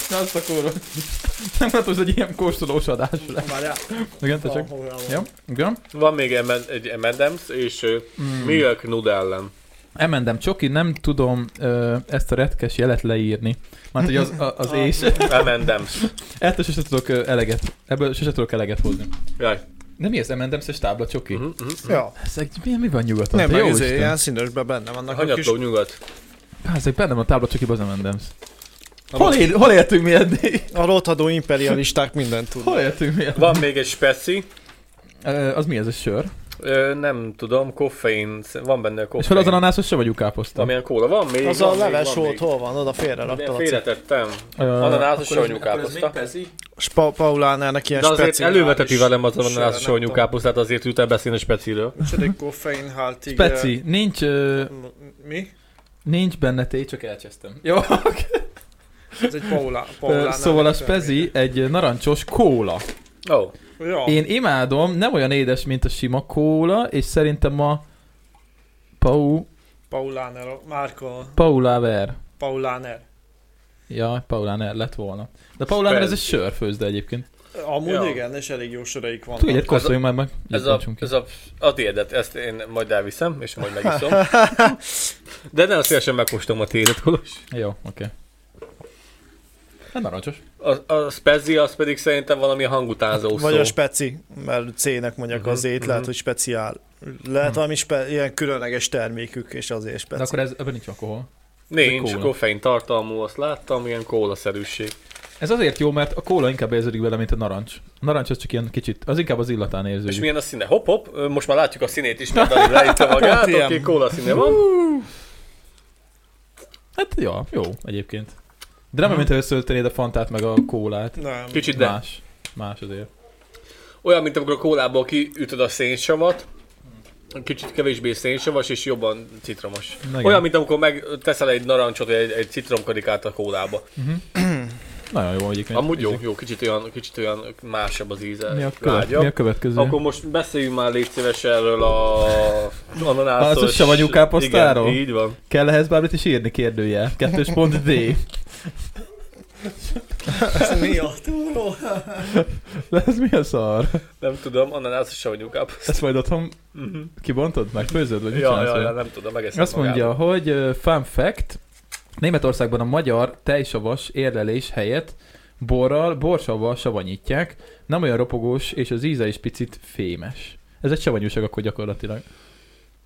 [SPEAKER 1] Azt a kurva. Nem látod, hogy ilyen kóstolós adás lesz.
[SPEAKER 4] Várjál,
[SPEAKER 1] Igen, te csak.
[SPEAKER 4] valahol el van.
[SPEAKER 1] Ja, igen.
[SPEAKER 2] Van még M- egy M&M's és ö,
[SPEAKER 1] Mhm.
[SPEAKER 4] Mhm.
[SPEAKER 2] Milk Nudellen.
[SPEAKER 1] Emendem Csoki, nem tudom ö, ezt a retkes jelet leírni. Mert hogy az, a, az és.
[SPEAKER 2] M&M's.
[SPEAKER 1] Ettől sose tudok ö, eleget, ebből sose tudok eleget hozni.
[SPEAKER 2] Jaj.
[SPEAKER 1] De mi az M&M's-es tábla Csoki?
[SPEAKER 2] Mhm, mhm.
[SPEAKER 4] Ja.
[SPEAKER 1] Ezek, mi, mi van nyugaton?
[SPEAKER 4] Nem,
[SPEAKER 1] Te Hát,
[SPEAKER 4] meg
[SPEAKER 1] jó
[SPEAKER 4] izé,
[SPEAKER 1] Isten.
[SPEAKER 4] ilyen színesben benne vannak a kis...
[SPEAKER 2] Hanyatló nyugat.
[SPEAKER 1] Pá, Ezek benne van a tábla Csokiba az M&M's. Hol, él, hol éltünk mi eddig?
[SPEAKER 4] A rothadó imperialisták mindent tudnak.
[SPEAKER 1] Hol éltünk mi eddig?
[SPEAKER 2] Van még egy speci,
[SPEAKER 1] Ö, az mi ez a sör?
[SPEAKER 2] Ö, nem tudom, koffein, van benne
[SPEAKER 1] És hol
[SPEAKER 2] koffein.
[SPEAKER 1] az ananászos se vagyunk káposzta?
[SPEAKER 2] Amilyen kóla, van még,
[SPEAKER 4] Az
[SPEAKER 2] van
[SPEAKER 4] a
[SPEAKER 2] még,
[SPEAKER 4] leves
[SPEAKER 2] van
[SPEAKER 4] volt,
[SPEAKER 2] még.
[SPEAKER 4] hol van? Oda félre
[SPEAKER 2] De
[SPEAKER 4] raktad a cég.
[SPEAKER 2] Félretettem.
[SPEAKER 1] Ö,
[SPEAKER 2] Ananászos
[SPEAKER 1] akkor ez-
[SPEAKER 2] savanyú
[SPEAKER 1] akkor ez még
[SPEAKER 2] káposzta.
[SPEAKER 1] pezi?
[SPEAKER 4] Spa- Paulánának ilyen
[SPEAKER 2] De azért
[SPEAKER 4] speciális-
[SPEAKER 2] előveteti velem az ananászos
[SPEAKER 4] sör,
[SPEAKER 2] savanyú
[SPEAKER 4] nem tudom.
[SPEAKER 2] káposztát, azért jut el beszélni a speciről.
[SPEAKER 4] Micsoda koffein halt így,
[SPEAKER 1] Speci, nincs, ö,
[SPEAKER 4] eh, m- Mi?
[SPEAKER 1] nincs benne té, csak elcsesztem. Jó,
[SPEAKER 4] Ez egy Paula.
[SPEAKER 1] Ö,
[SPEAKER 4] Paulán
[SPEAKER 1] Szóval a spezi egy narancsos kóla.
[SPEAKER 2] Ó, oh,
[SPEAKER 4] Ja.
[SPEAKER 1] Én imádom, nem olyan édes, mint a sima kóla, és szerintem a Pau...
[SPEAKER 4] Paulánero. Márka
[SPEAKER 1] Paulaver.
[SPEAKER 4] Paulaner.
[SPEAKER 1] Ja, Paulaner lett volna. De Paulaner ez egy
[SPEAKER 2] Spezi.
[SPEAKER 1] sörfőzde egyébként.
[SPEAKER 4] Amúgy
[SPEAKER 2] Ja.
[SPEAKER 4] igen, és elég jó soraik vannak.
[SPEAKER 1] Tudj, egyet
[SPEAKER 2] Ez a-
[SPEAKER 1] kóstoljunk már meg.
[SPEAKER 2] ez,
[SPEAKER 1] Így
[SPEAKER 2] a,
[SPEAKER 1] tartsunk ki.
[SPEAKER 2] ez a, a tiédet, ezt én majd elviszem, és majd megiszom. De nem szívesen megkóstolom a tiédet, Kolos.
[SPEAKER 1] Jó, oké. Hát narancsos.
[SPEAKER 2] A, a spezi az pedig szerintem valami hangutánzó szó.
[SPEAKER 4] Vagy a speci, mert C-nek mondják
[SPEAKER 2] Mhm,
[SPEAKER 4] az ét, lehet,
[SPEAKER 2] mhm.
[SPEAKER 4] hogy speciál. Lehet valami spe- ilyen különleges termékük, és azért
[SPEAKER 1] De
[SPEAKER 4] speci.
[SPEAKER 1] akkor ez, ebben nincs alkohol.
[SPEAKER 2] Nincs,
[SPEAKER 1] kóla.
[SPEAKER 2] koffein tartalmú, azt láttam, ilyen kólaszerűség.
[SPEAKER 1] Ez azért jó, mert a kóla inkább érződik vele, mint a narancs. A narancs az csak ilyen kicsit, az inkább az illatán érződik.
[SPEAKER 2] És milyen a színe? Hop, hop, ö, most már látjuk a színét is, mert Dani leírta magát,
[SPEAKER 4] Ilyen.
[SPEAKER 2] oké, kóla színe van.
[SPEAKER 1] Hát jó, jó egyébként.
[SPEAKER 2] Mhm.
[SPEAKER 1] De nem, mint ha összeöltenéd a fantát meg a kólát.
[SPEAKER 4] Nem.
[SPEAKER 2] Kicsit de.
[SPEAKER 1] Más. Más azért.
[SPEAKER 2] Olyan, mint amikor a kólából kiütöd a szénsavat, kicsit kevésbé szénsavas és jobban citromos.
[SPEAKER 1] Igen.
[SPEAKER 2] Olyan, mint amikor megteszel egy narancsot vagy egy, egy citromkarikát a kólába.
[SPEAKER 1] Nagyon jó egyébként.
[SPEAKER 2] Amúgy jó, jó, kicsit olyan, kicsit olyan másabb az íze.
[SPEAKER 1] Mi a, követ, mi a következő?
[SPEAKER 2] Akkor most beszéljünk már légy szíves erről a ananászos...
[SPEAKER 1] Az a savanyú káposztáról?
[SPEAKER 2] Igen, így van.
[SPEAKER 1] Kell ehhez bármit is írni kérdője. Kettős pont D.
[SPEAKER 4] Ez mi a túló?
[SPEAKER 1] De ez mi a szar?
[SPEAKER 2] Nem tudom, ananászos savanyú káposztá.
[SPEAKER 1] Ezt majd otthon kibontod meg? Főzöd? Vagy mit
[SPEAKER 2] Ja,
[SPEAKER 1] csinálsz
[SPEAKER 2] ja,
[SPEAKER 1] vele?
[SPEAKER 2] ja, nem tudom, megeszem
[SPEAKER 1] Azt mondja,
[SPEAKER 2] magát.
[SPEAKER 1] hogy ö, fun fact, Németországban a magyar tejsavas érlelés helyett borral, borsavval savanyítják, nem olyan ropogós, és az íze is picit fémes. Ez egy savanyúság akkor gyakorlatilag.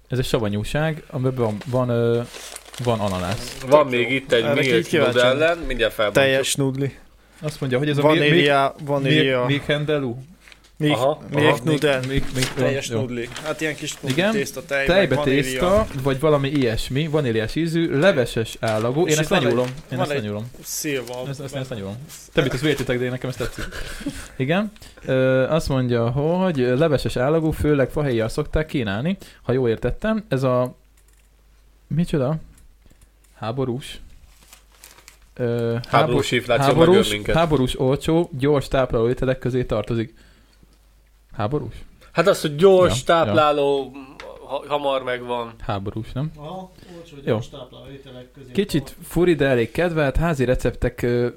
[SPEAKER 1] Ez egy savanyúság, amiben van, van, ö, van ananász.
[SPEAKER 2] Van még itt egy
[SPEAKER 4] Erre így
[SPEAKER 2] Milk
[SPEAKER 4] kíváncsi
[SPEAKER 2] Noodle ellen, mindjárt felbontjuk.
[SPEAKER 4] Teljes nudli.
[SPEAKER 1] Azt mondja, hogy ez a
[SPEAKER 4] Vanília, vanília.
[SPEAKER 1] még hendelú?
[SPEAKER 2] Aha, aha.
[SPEAKER 4] Még nudel. Teljes
[SPEAKER 1] nudl.
[SPEAKER 4] nudli. Hát ilyen kis nudli
[SPEAKER 1] Igen,
[SPEAKER 4] tészta, tej,
[SPEAKER 1] Tejbe
[SPEAKER 4] meg vanília.
[SPEAKER 1] tészta, vagy valami ilyesmi, vaníliás ízű, leveses állagú.
[SPEAKER 4] És
[SPEAKER 1] Én ezt
[SPEAKER 4] itt van
[SPEAKER 1] lenyúlom. Én
[SPEAKER 4] van
[SPEAKER 1] ezt
[SPEAKER 4] egy-
[SPEAKER 1] lenyúlom.
[SPEAKER 4] Szilva.
[SPEAKER 1] Ezt, ezt, ezt nagyon Te mit, ezt vértitek, de én nekem ezt tetszik. Igen. Ö, azt mondja, hogy leveses állagú, főleg fahéjjal szokták kínálni. Ha jól értettem, ez a... Micsoda? Háborús. Ö,
[SPEAKER 2] Háborús infláció megöl
[SPEAKER 1] háborús,
[SPEAKER 2] minket.
[SPEAKER 1] háborús, olcsó, gyors tápláló ételek közé tartozik. Háborús?
[SPEAKER 2] Hát az, hogy gyors,
[SPEAKER 1] Ja,
[SPEAKER 2] tápláló, ha- hamar megvan.
[SPEAKER 1] Háborús, nem?
[SPEAKER 4] Aha, olcsó,
[SPEAKER 1] Jó.
[SPEAKER 4] gyors tápláló ételek közé.
[SPEAKER 1] Kicsit furi, de elég kedvelt. Házi receptek ö,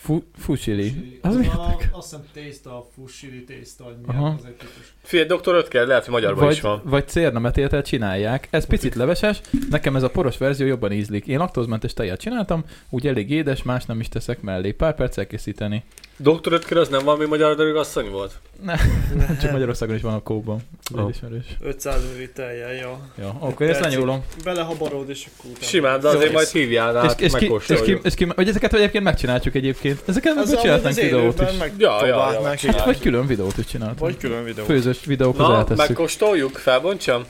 [SPEAKER 1] fu, fusili. Az mi?
[SPEAKER 4] a, azt hiszem tészta, a fussili tészta, vagy milyen,
[SPEAKER 1] Aha.
[SPEAKER 4] az egy típus.
[SPEAKER 2] Figyelj, Dr. Ötker, lehet, hogy magyarban
[SPEAKER 1] vagy,
[SPEAKER 2] is van.
[SPEAKER 1] Vagy cérnametétel csinálják. Ez picit leveses, nekem ez a poros verzió jobban ízlik. Én laktózmentes tejet csináltam, úgy elég édes, más nem is teszek mellé. Pár perc elkészíteni.
[SPEAKER 2] Dr. Ötker az nem valami magyar dörögasszony volt?
[SPEAKER 1] Csak Magyarországon is van a kóban. Ez
[SPEAKER 2] Ó.
[SPEAKER 1] oh. ismerős.
[SPEAKER 4] 500 ml tejjel, ja.
[SPEAKER 1] Ja, oké, ezt
[SPEAKER 4] Percig.
[SPEAKER 1] lenyúlom.
[SPEAKER 4] Belehabarod, és akkor utána.
[SPEAKER 2] Simán, de azért
[SPEAKER 4] Kész.
[SPEAKER 2] majd hívjál rá,
[SPEAKER 1] és, és, ki, és, ki,
[SPEAKER 2] megkóstoljuk.
[SPEAKER 1] és ki, hogy ezeket egyébként megcsináljuk egyébként. Ezeket
[SPEAKER 4] Az
[SPEAKER 1] meg
[SPEAKER 4] amúgy
[SPEAKER 1] csináltánk
[SPEAKER 4] az
[SPEAKER 1] videót
[SPEAKER 4] élőben
[SPEAKER 1] is.
[SPEAKER 4] Meg...
[SPEAKER 2] Ja, ja, ja,
[SPEAKER 4] Próbálnánk
[SPEAKER 2] meg
[SPEAKER 4] így.
[SPEAKER 1] Hát, vagy
[SPEAKER 2] csináljuk.
[SPEAKER 1] külön videót is csináltunk.
[SPEAKER 4] Vagy külön videó.
[SPEAKER 1] Főzős videókhoz
[SPEAKER 2] Na,
[SPEAKER 1] eltesszük.
[SPEAKER 2] megkóstoljuk? Felbontsam?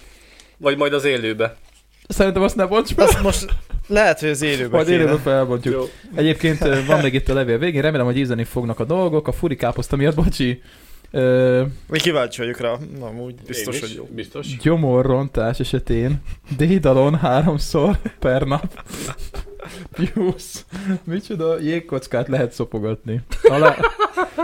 [SPEAKER 2] Vagy majd az élőbe?
[SPEAKER 1] Szerintem azt ne bonts meg.
[SPEAKER 4] Azt most lehet, hogy az élőben
[SPEAKER 1] Majd
[SPEAKER 4] kéne.
[SPEAKER 1] élőben felbontjuk.
[SPEAKER 2] Jó.
[SPEAKER 1] Egyébként ö, van még itt a levél végén, remélem, hogy ízleni fognak a dolgok. A furikáposzta miatt, bocsi, ö,
[SPEAKER 4] Mi kíváncsi vagyok rá. Na, úgy biztos,
[SPEAKER 2] Én is.
[SPEAKER 4] hogy jó.
[SPEAKER 2] Biztos.
[SPEAKER 1] gyomorrontás esetén dédalon háromszor per nap. Jusz, micsoda jégkockát lehet szopogatni. Alá,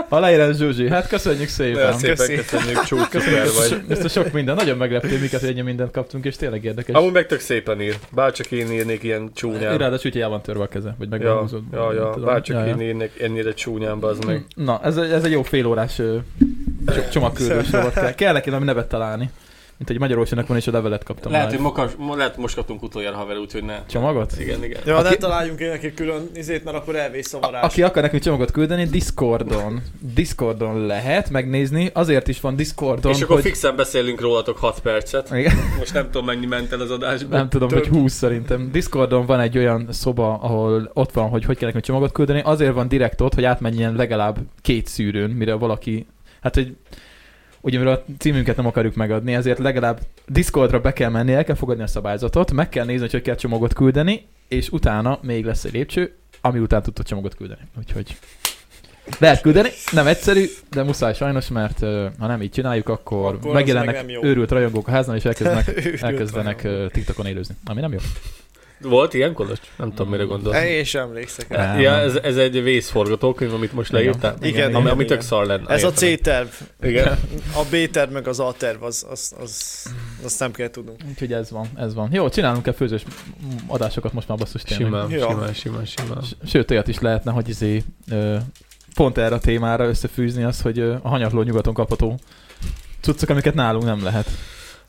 [SPEAKER 1] aláírás Zsuzsi, hát köszönjük
[SPEAKER 2] Nagyon
[SPEAKER 1] szépen.
[SPEAKER 2] szépen
[SPEAKER 4] Köszi.
[SPEAKER 2] köszönjük, csúcs, szuper vagy.
[SPEAKER 1] Ezt a sok minden, nagyon megleptél, miket ennyi mindent kaptunk, és tényleg érdekes.
[SPEAKER 2] Amúgy meg tök szépen ír. Bárcsak én írnék ilyen csúnyán.
[SPEAKER 1] Ráadásul úgy, hogy el van törve a keze, vagy meg van
[SPEAKER 2] Ja,
[SPEAKER 1] húzódva,
[SPEAKER 2] ja,
[SPEAKER 1] nem
[SPEAKER 2] ja, Hm.
[SPEAKER 1] tudom.
[SPEAKER 2] bárcsak én írnék ennyire csúnyán, bazd meg.
[SPEAKER 1] Na, ez, egy- ez egy jó félórás ö, cso- csomagküldős rovat kell. Kell neki valami nevet találni. Mint egy Magyarországnak van, és a levelet kaptam.
[SPEAKER 2] Lehet,
[SPEAKER 1] már.
[SPEAKER 2] hogy mokas, mo- lehet most kaptunk utoljára haver, úgyhogy ne.
[SPEAKER 1] Csomagot?
[SPEAKER 2] Igen, igen.
[SPEAKER 4] Ja, hát
[SPEAKER 1] Aki-
[SPEAKER 4] ne találjunk én neki külön izét, mert akkor elvész a
[SPEAKER 1] A-
[SPEAKER 4] varázs.
[SPEAKER 1] aki akar nekünk csomagot küldeni, Discordon. Discordon lehet megnézni, azért is van Discordon,
[SPEAKER 2] És akkor
[SPEAKER 1] hogy...
[SPEAKER 2] fixen beszélünk rólatok 6 percet.
[SPEAKER 1] Igen,
[SPEAKER 2] Most nem tudom, mennyi ment el az adásban.
[SPEAKER 1] nem tudom,
[SPEAKER 2] Több.
[SPEAKER 1] hogy 20 szerintem. Discordon van egy olyan szoba, ahol ott van, hogy hogy kell nekünk csomagot küldeni, azért van direkt ott, hogy átmenjen legalább két szűrőn, mire valaki... Hát, hogy ugye mivel a címünket nem akarjuk megadni, ezért legalább Discordra be kell menni, el kell fogadni a szabályzatot, meg kell nézni, hogy hogy kell csomagot küldeni, és utána még lesz egy lépcső, ami után tudtok csomagot küldeni. Úgyhogy lehet küldeni, nem egyszerű, de muszáj sajnos, mert ö, ha nem így csináljuk, akkor,
[SPEAKER 4] Akkor az
[SPEAKER 1] akkor megjelennek
[SPEAKER 4] meg nem jó.
[SPEAKER 1] őrült rajongók a háznál, és elkezdenek,
[SPEAKER 4] Őrült
[SPEAKER 1] elkezdenek
[SPEAKER 4] rajongók.
[SPEAKER 1] ö, TikTokon élőzni, ami nem jó.
[SPEAKER 2] Volt ilyen kolos? Nem tudom, mire gondolsz.
[SPEAKER 4] E, Én sem emlékszek rá.
[SPEAKER 1] Nem.
[SPEAKER 2] Ja, ez, ez egy vészforgatókönyv, amit most
[SPEAKER 1] Igen.
[SPEAKER 2] leírtál.
[SPEAKER 1] Igen,
[SPEAKER 4] igen,
[SPEAKER 2] Ami, ami
[SPEAKER 4] igen.
[SPEAKER 2] tök szar lenne.
[SPEAKER 4] Ez a
[SPEAKER 2] Értem.
[SPEAKER 4] C-terv.
[SPEAKER 2] Igen.
[SPEAKER 4] A B-terv meg az A-terv, az, az, az, azt nem kell tudnunk.
[SPEAKER 1] Úgyhogy ez van, ez van. Jó, csinálunk-e főzős adásokat most már basszus tényleg.
[SPEAKER 2] Simán,
[SPEAKER 4] Ja.
[SPEAKER 2] simán, simán, simán.
[SPEAKER 1] S- Sőt, olyat is lehetne, hogy izé, ö, pont erre a témára összefűzni az, hogy ö, a hanyatló nyugaton kapható cuccok, amiket nálunk nem lehet.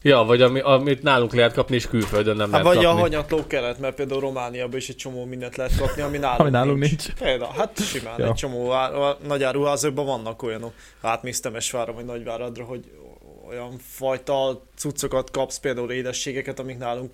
[SPEAKER 2] Ja, vagy ami, amit nálunk lehet kapni, és külföldön nem
[SPEAKER 4] Hát
[SPEAKER 2] lehet
[SPEAKER 4] vagy
[SPEAKER 2] kapni.
[SPEAKER 4] a hanyatló kelet, mert például Romániában is egy csomó mindent lehet kapni, ami nálunk,
[SPEAKER 1] Ami nálunk nincs.
[SPEAKER 4] Például, hát simán,
[SPEAKER 1] Ja.
[SPEAKER 4] egy csomó vár, a nagy áruházakban vannak olyanok. Átmésztem Esvára vagy Nagyváradra, hogy
[SPEAKER 3] olyan fajta cuccokat kapsz, például édességeket, amik nálunk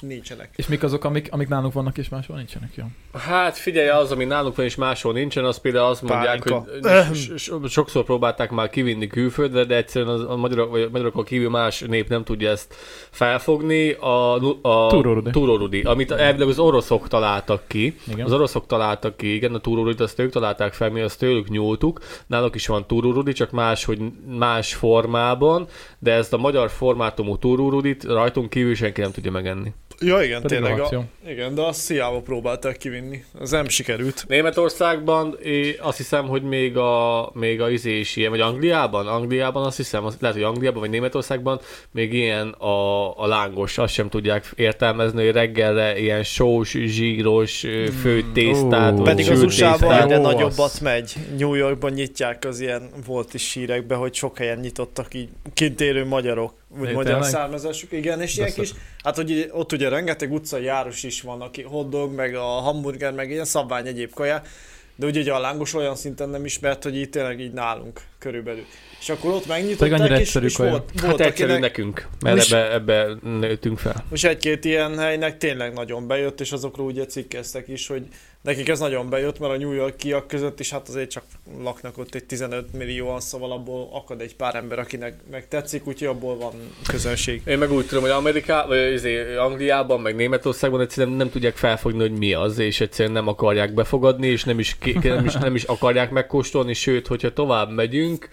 [SPEAKER 3] nincsenek.
[SPEAKER 1] És mik azok, amik, amik nálunk vannak és máshol nincsenek? Jó.
[SPEAKER 2] Hát figyelj, az, ami nálunk van és máshol nincsen, az például azt mondják,
[SPEAKER 3] Pálinka.
[SPEAKER 2] hogy so- so- sokszor próbálták már kivinni külföldre, de egyszerűen az, a magyarok, vagy a magyarokon kívül más nép nem tudja ezt felfogni. A, nu- a
[SPEAKER 1] Túrórudi.
[SPEAKER 2] túrórudi, amit elvileg az oroszok találtak ki.
[SPEAKER 1] Igen.
[SPEAKER 2] Az oroszok találtak ki, igen, a túrórudit azt ők találták fel, mi azt tőlük nyúltuk. Náluk is van túrórudi, csak más, hogy más formában, de ezt a magyar formátumú túrórudit rajtunk kívül senki nem tudja megenni.
[SPEAKER 3] Ja, igen,
[SPEAKER 1] Pedig
[SPEAKER 3] tényleg.
[SPEAKER 1] rohadt
[SPEAKER 3] A, igen, de azt hiába próbálták kivinni. Az nem sikerült.
[SPEAKER 2] Németországban é, azt hiszem, hogy még a, még a izé is ilyen, vagy Angliában, Angliában azt hiszem, az, lehet, hogy Angliában vagy Németországban még ilyen a, a lángos, azt sem tudják értelmezni, hogy reggelre ilyen sós, zsíros, ö, főtt tésztát,
[SPEAKER 1] ó.
[SPEAKER 2] vagy
[SPEAKER 3] Pedig az
[SPEAKER 2] sült
[SPEAKER 3] USA-ban
[SPEAKER 2] tésztát.
[SPEAKER 3] egyre
[SPEAKER 1] Jó,
[SPEAKER 3] nagyobbat
[SPEAKER 1] az.
[SPEAKER 3] megy. New Yorkban nyitják az ilyen, volt is hírekben, hogy sok helyen nyitottak így kint élő magyarok, vagy
[SPEAKER 1] Né,
[SPEAKER 3] magyar
[SPEAKER 1] tényleg?
[SPEAKER 3] származásuk, igen, és
[SPEAKER 1] De
[SPEAKER 3] ilyen kis, hát hogy így- ott ugye rengeteg utcai járus is van, aki hotdog, meg a hamburger, meg ilyen szabvány egyéb kaják, de ugye, ugye a lángos olyan szinten nem ismert, hogy itt tényleg így nálunk körülbelül. És akkor ott megnyitották,
[SPEAKER 1] annyira
[SPEAKER 3] és,
[SPEAKER 1] egyszerű
[SPEAKER 3] és
[SPEAKER 1] kaja.
[SPEAKER 3] volt,
[SPEAKER 2] Hát
[SPEAKER 3] volt
[SPEAKER 2] egyszerű
[SPEAKER 3] akinek,
[SPEAKER 2] nekünk, mert
[SPEAKER 3] Most-
[SPEAKER 2] ebbe, ebbe nőttünk fel.
[SPEAKER 3] most egy-két ilyen helynek tényleg nagyon bejött, és azokról ugye cikkeztek is, hogy nekik ez nagyon bejött, mert a New Yorkiak között is hát azért csak laknak ott egy 15 millióan, szóval abból akad egy pár ember, akinek meg tetszik, úgyhogy abból van közönség.
[SPEAKER 2] Én meg úgy tudom, hogy Ameriká, vagy izé, Angliában, meg Németországban egyszerűen nem tudják felfogni, hogy mi az, és egyszerűen nem akarják befogadni, és nem is, ki, nem is, nem is akarják megkóstolni, sőt, hogyha tovább megyünk,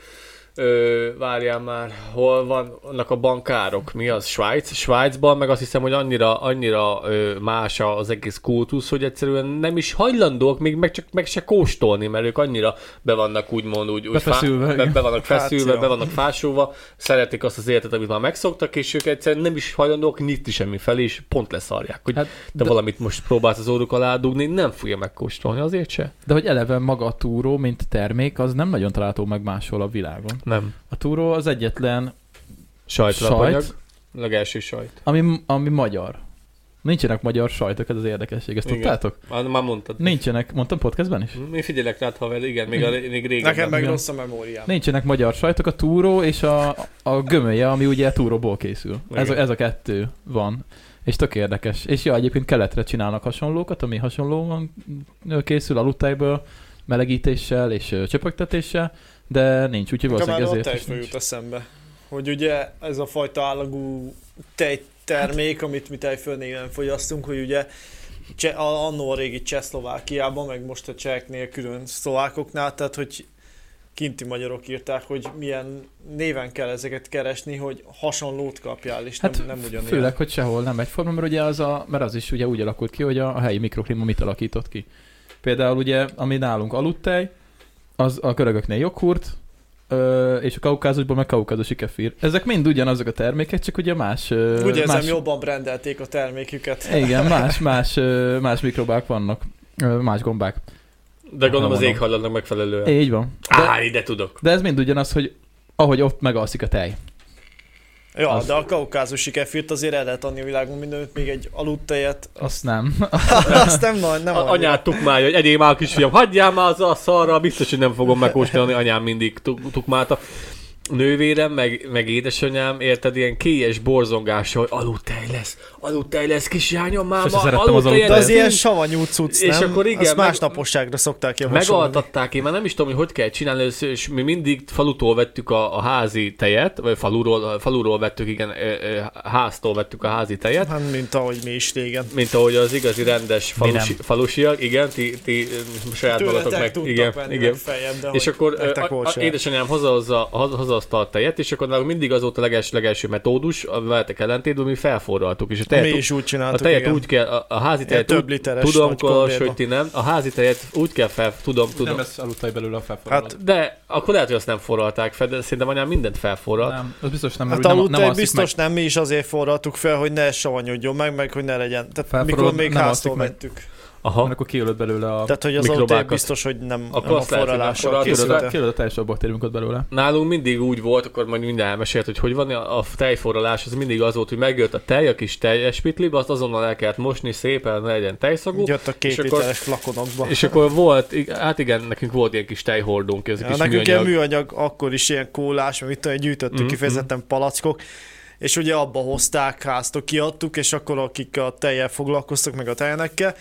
[SPEAKER 2] Ö, várjál már, hol van annak a bankárok, mi az, Svájc? Svájcban meg azt hiszem, hogy annyira, annyira ö, más az egész kultusz, hogy egyszerűen nem is hajlandóak még meg, csak, meg se kóstolni, mert ők annyira be vannak úgymond úgy, úgy
[SPEAKER 1] Befeszülve,
[SPEAKER 2] fá- be,
[SPEAKER 1] igen.
[SPEAKER 2] be vannak feszülve,
[SPEAKER 3] Fáció.
[SPEAKER 2] be vannak fásulva, szeretik azt az életet, amit már megszoktak, és ők egyszerűen nem is hajlandók nyitni semmi felé, és pont leszarják, hogy hát,
[SPEAKER 1] Hát,
[SPEAKER 2] de,
[SPEAKER 1] de-
[SPEAKER 2] de valamit most próbálsz az óruk alá dugni, nem fogja megkóstolni, azért se?
[SPEAKER 1] De hogy eleve maga a túró, mint termék, az nem nagyon található meg máshol a világon.
[SPEAKER 2] Nem.
[SPEAKER 1] A túró az egyetlen,
[SPEAKER 2] Sajtlapanyag.
[SPEAKER 1] Sajt.
[SPEAKER 2] Legelső sajt.
[SPEAKER 1] ami, ami magyar. Nincsenek magyar sajtok, ez az érdekesség, ezt
[SPEAKER 2] Igen.
[SPEAKER 1] tudtátok?
[SPEAKER 2] Már, már mondtad.
[SPEAKER 1] Nincsenek, mondtam podcastben is?
[SPEAKER 2] Én figyelek rád, haver, igen, még, a, még régen.
[SPEAKER 3] Nekem meg
[SPEAKER 1] igen.
[SPEAKER 3] rossz a memóriám.
[SPEAKER 1] Nincsenek magyar sajtok, a túró és a, a gömölye, ami ugye túróból készül.
[SPEAKER 2] Igen.
[SPEAKER 1] Ez a, ez a kettő van. És tök érdekes. És ja, egyébként keletre csinálnak hasonlókat, ami hasonlóan ö, készül alutájból, melegítéssel és ö, csöpögtetéssel, de nincs, úgyhogy
[SPEAKER 3] Nekem már
[SPEAKER 1] valószínűleg
[SPEAKER 3] a
[SPEAKER 1] ezért is
[SPEAKER 3] tejfő
[SPEAKER 1] nincs.
[SPEAKER 3] jut eszembe, hogy ugye ez a fajta állagú tejtermék, amit mi tejföl néven fogyasztunk, hogy ugye Cse- a- annó a régi Csehszlovákiában, meg most a cseheknél külön szlovákoknál, tehát hogy kinti magyarok írták, hogy milyen néven kell ezeket keresni, hogy hasonlót kapjál, és
[SPEAKER 1] Hát
[SPEAKER 3] nem, nem ugyanilyen.
[SPEAKER 1] Főleg, hogy sehol nem egyforma, mert ugye az, a, mert az is ugye úgy alakult ki, hogy a, a helyi mikroklíma mit alakított ki. Például ugye, ami nálunk aludtej, az a görögöknél joghurt, ö, és a kaukázusban meg kaukázusi kefir. Ezek mind ugyanazok a termékek, csak ugye más... ö,
[SPEAKER 3] Úgy érzem,
[SPEAKER 1] más,
[SPEAKER 3] jobban rendelték a terméküket.
[SPEAKER 1] Igen, más, más, ö, más mikrobák vannak, ö, más gombák.
[SPEAKER 2] De gondolom az
[SPEAKER 1] Mondom.
[SPEAKER 2] éghajlatnak megfelelően.
[SPEAKER 1] Így van. De,
[SPEAKER 2] Á, ide tudok.
[SPEAKER 1] de ez mind ugyanaz, hogy ahogy ott megalszik a tej.
[SPEAKER 3] Ja,
[SPEAKER 1] Az-
[SPEAKER 3] de a kaukázusi kefirt azért el lehet adni a világon mindenütt, még egy aludtejet,
[SPEAKER 1] Azt nem.
[SPEAKER 3] azt nem nagy, nem
[SPEAKER 2] A,
[SPEAKER 3] annyira.
[SPEAKER 2] anyát tukmálja, hogy egyéb már kisfiam, hagyjál már az a szarra, biztos, hogy nem fogom megkóstolni, anyám mindig tuk- tukmálta. Nővérem, meg, meg édesanyám, érted, ilyen kélyes borzongás, hogy aludtej lesz, aludtej lesz, kislányom, már
[SPEAKER 1] Sose
[SPEAKER 2] ma
[SPEAKER 1] szerettem az
[SPEAKER 2] aludtej
[SPEAKER 3] De az
[SPEAKER 1] aludtejet.
[SPEAKER 2] lesz.
[SPEAKER 3] ilyen savanyú cucc,
[SPEAKER 2] És
[SPEAKER 3] nem?
[SPEAKER 2] akkor igen,
[SPEAKER 3] Azt
[SPEAKER 2] meg-
[SPEAKER 3] más naposságra szokták javasolni.
[SPEAKER 2] Megaltatták, én már nem is tudom, hogy hogy kell csinálni, és- és mi mindig falutól vettük a, a házi tejet, vagy faluról, faluról vettük, igen, ö, ö, háztól vettük a házi tejet,
[SPEAKER 3] Hát, mint ahogy mi is régen.
[SPEAKER 2] mint ahogy az igazi rendes
[SPEAKER 1] Mi nem.
[SPEAKER 2] falusi, falusiak, igen, ti, ti ö, saját magatok meg,
[SPEAKER 3] tudtak hát
[SPEAKER 2] igen,
[SPEAKER 3] menni
[SPEAKER 2] igen.
[SPEAKER 3] legfeljebb, de
[SPEAKER 2] És
[SPEAKER 3] hogy
[SPEAKER 2] akkor ö,
[SPEAKER 3] nektek
[SPEAKER 2] a,
[SPEAKER 3] volt
[SPEAKER 2] a,
[SPEAKER 3] saját.
[SPEAKER 2] édesanyám hazahozza, haza- hazahozta a tejet, és akkor nálunk mindig az volt a leges, legelső metódus, a veletek ellentétben mi felforraltuk, és a tejet
[SPEAKER 3] mi is úgy
[SPEAKER 2] a
[SPEAKER 3] csináltuk,
[SPEAKER 2] tejet
[SPEAKER 3] igen.
[SPEAKER 2] úgy kell, a, a házi tejet
[SPEAKER 3] több
[SPEAKER 2] úgy,
[SPEAKER 3] literes
[SPEAKER 2] tudom,
[SPEAKER 3] nagy
[SPEAKER 2] Kolos,
[SPEAKER 3] konvérba.
[SPEAKER 2] hogy ti nem, a házi tejet úgy kell fel, tudom, tudom.
[SPEAKER 1] ez aludtej belőle a felforraló.
[SPEAKER 3] Hát,
[SPEAKER 2] De akkor lehet, hogy azt nem forralták fel, de szerintem anyám mindent felforralt.
[SPEAKER 1] nem, az biztos nem,
[SPEAKER 3] hát
[SPEAKER 1] mert úgy
[SPEAKER 3] aludtej
[SPEAKER 1] nem, nem alszik meg.
[SPEAKER 3] biztos nem, mi is azért forraltuk fel, hogy ne savanyodjon meg, meg, hogy ne legyen. Tehát
[SPEAKER 1] Felforralod,
[SPEAKER 3] mikor még
[SPEAKER 1] nem
[SPEAKER 3] háztól
[SPEAKER 1] alszik meg.
[SPEAKER 3] mentük.
[SPEAKER 1] mert
[SPEAKER 2] Aha.
[SPEAKER 1] akkor kiölöd belőle a...
[SPEAKER 3] Tehát, hogy az
[SPEAKER 2] mikrobákat.
[SPEAKER 3] OT biztos, hogy nem nem
[SPEAKER 2] Akkor
[SPEAKER 3] a
[SPEAKER 2] azt lehet, hogy
[SPEAKER 3] forralással
[SPEAKER 2] akkor
[SPEAKER 1] Kiölöd,
[SPEAKER 3] készült.
[SPEAKER 1] kiölöd a teljes baktériumokat belőle.
[SPEAKER 2] Nálunk mindig úgy volt, akkor majd minden elmesélt, hogy hogy van a tejforralás, az mindig az volt, hogy megjött a tej, a kis teljes pitliba, azt azonnal el kellett mosni szépen, ne legyen tejszagú.
[SPEAKER 3] Jött a két
[SPEAKER 2] És akkor-
[SPEAKER 3] literes flakonokba.
[SPEAKER 2] És akkor volt, ig- hát igen, nekünk volt ilyen kis tejhordónk, ez a
[SPEAKER 3] Ja,
[SPEAKER 2] kis
[SPEAKER 3] nekünk ilyen
[SPEAKER 2] műanyag.
[SPEAKER 3] műanyag, akkor is ilyen kólás, mert mit tudom, gyűjtöttük
[SPEAKER 2] Mhm,
[SPEAKER 3] kifejezetten palackok, és ugye abba hozták, háztok, kiadtuk, és akkor akik a tejjel foglalkoztak, meg a tejenekkel,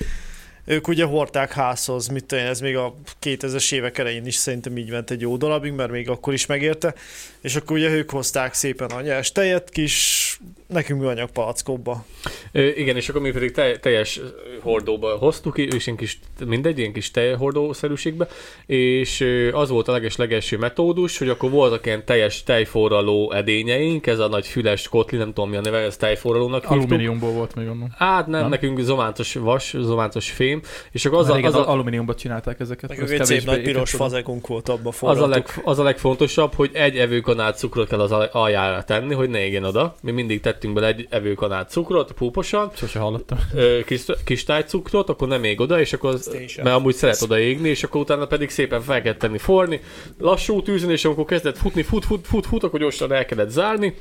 [SPEAKER 3] ők ugye hordták házhoz, mit tudom, én, ez még a 2000-es évek elején is szerintem így ment egy jó darabig, mert még akkor is megérte, és akkor ugye ők hozták szépen a nyers tejet kis, nekünk műanyag palackokba.
[SPEAKER 2] Ö, igen, és akkor mi pedig te, teljes hordóba hoztuk, és ilyen kis, mindegy, ilyen kis tejhordószerűségbe, és ö, az volt a leges legelső metódus, hogy akkor voltak ilyen teljes tejforraló edényeink, ez a nagy füles kotli, nem tudom mi a neve, ez tejforralónak hívtuk.
[SPEAKER 1] Alumíniumból volt még annó.
[SPEAKER 2] Hát nem,
[SPEAKER 1] Nem?
[SPEAKER 2] nem, nekünk zomántos vas, zomántos fém, és akkor
[SPEAKER 1] Az
[SPEAKER 2] az a,
[SPEAKER 1] régen
[SPEAKER 2] az a,
[SPEAKER 1] alumíniumban csinálták ezeket.
[SPEAKER 3] Nekünk
[SPEAKER 1] az
[SPEAKER 3] egy szép
[SPEAKER 1] kevésbé
[SPEAKER 3] nagy piros
[SPEAKER 1] égetődött.
[SPEAKER 3] fazekunk volt, abba
[SPEAKER 2] az, a
[SPEAKER 3] forradtuk.
[SPEAKER 2] leg, az a legfontosabb, hogy egy evőkanál cukrot kell az alj- aljára tenni, hogy ne égjen oda. Mi mindig tettünk bele egy evőkanál cukrot, púposan,
[SPEAKER 1] Sose hallottam.
[SPEAKER 2] ö, kis, kis tájcukrot, akkor nem ég oda, és akkor az,
[SPEAKER 3] Azt én sem.
[SPEAKER 2] mert amúgy szeret oda égni, és akkor utána pedig szépen fel kellett tenni forni, lassú tűzön, és amikor kezdett futni, fut, fut, fut, fut, akkor gyorsan el kellett zárni,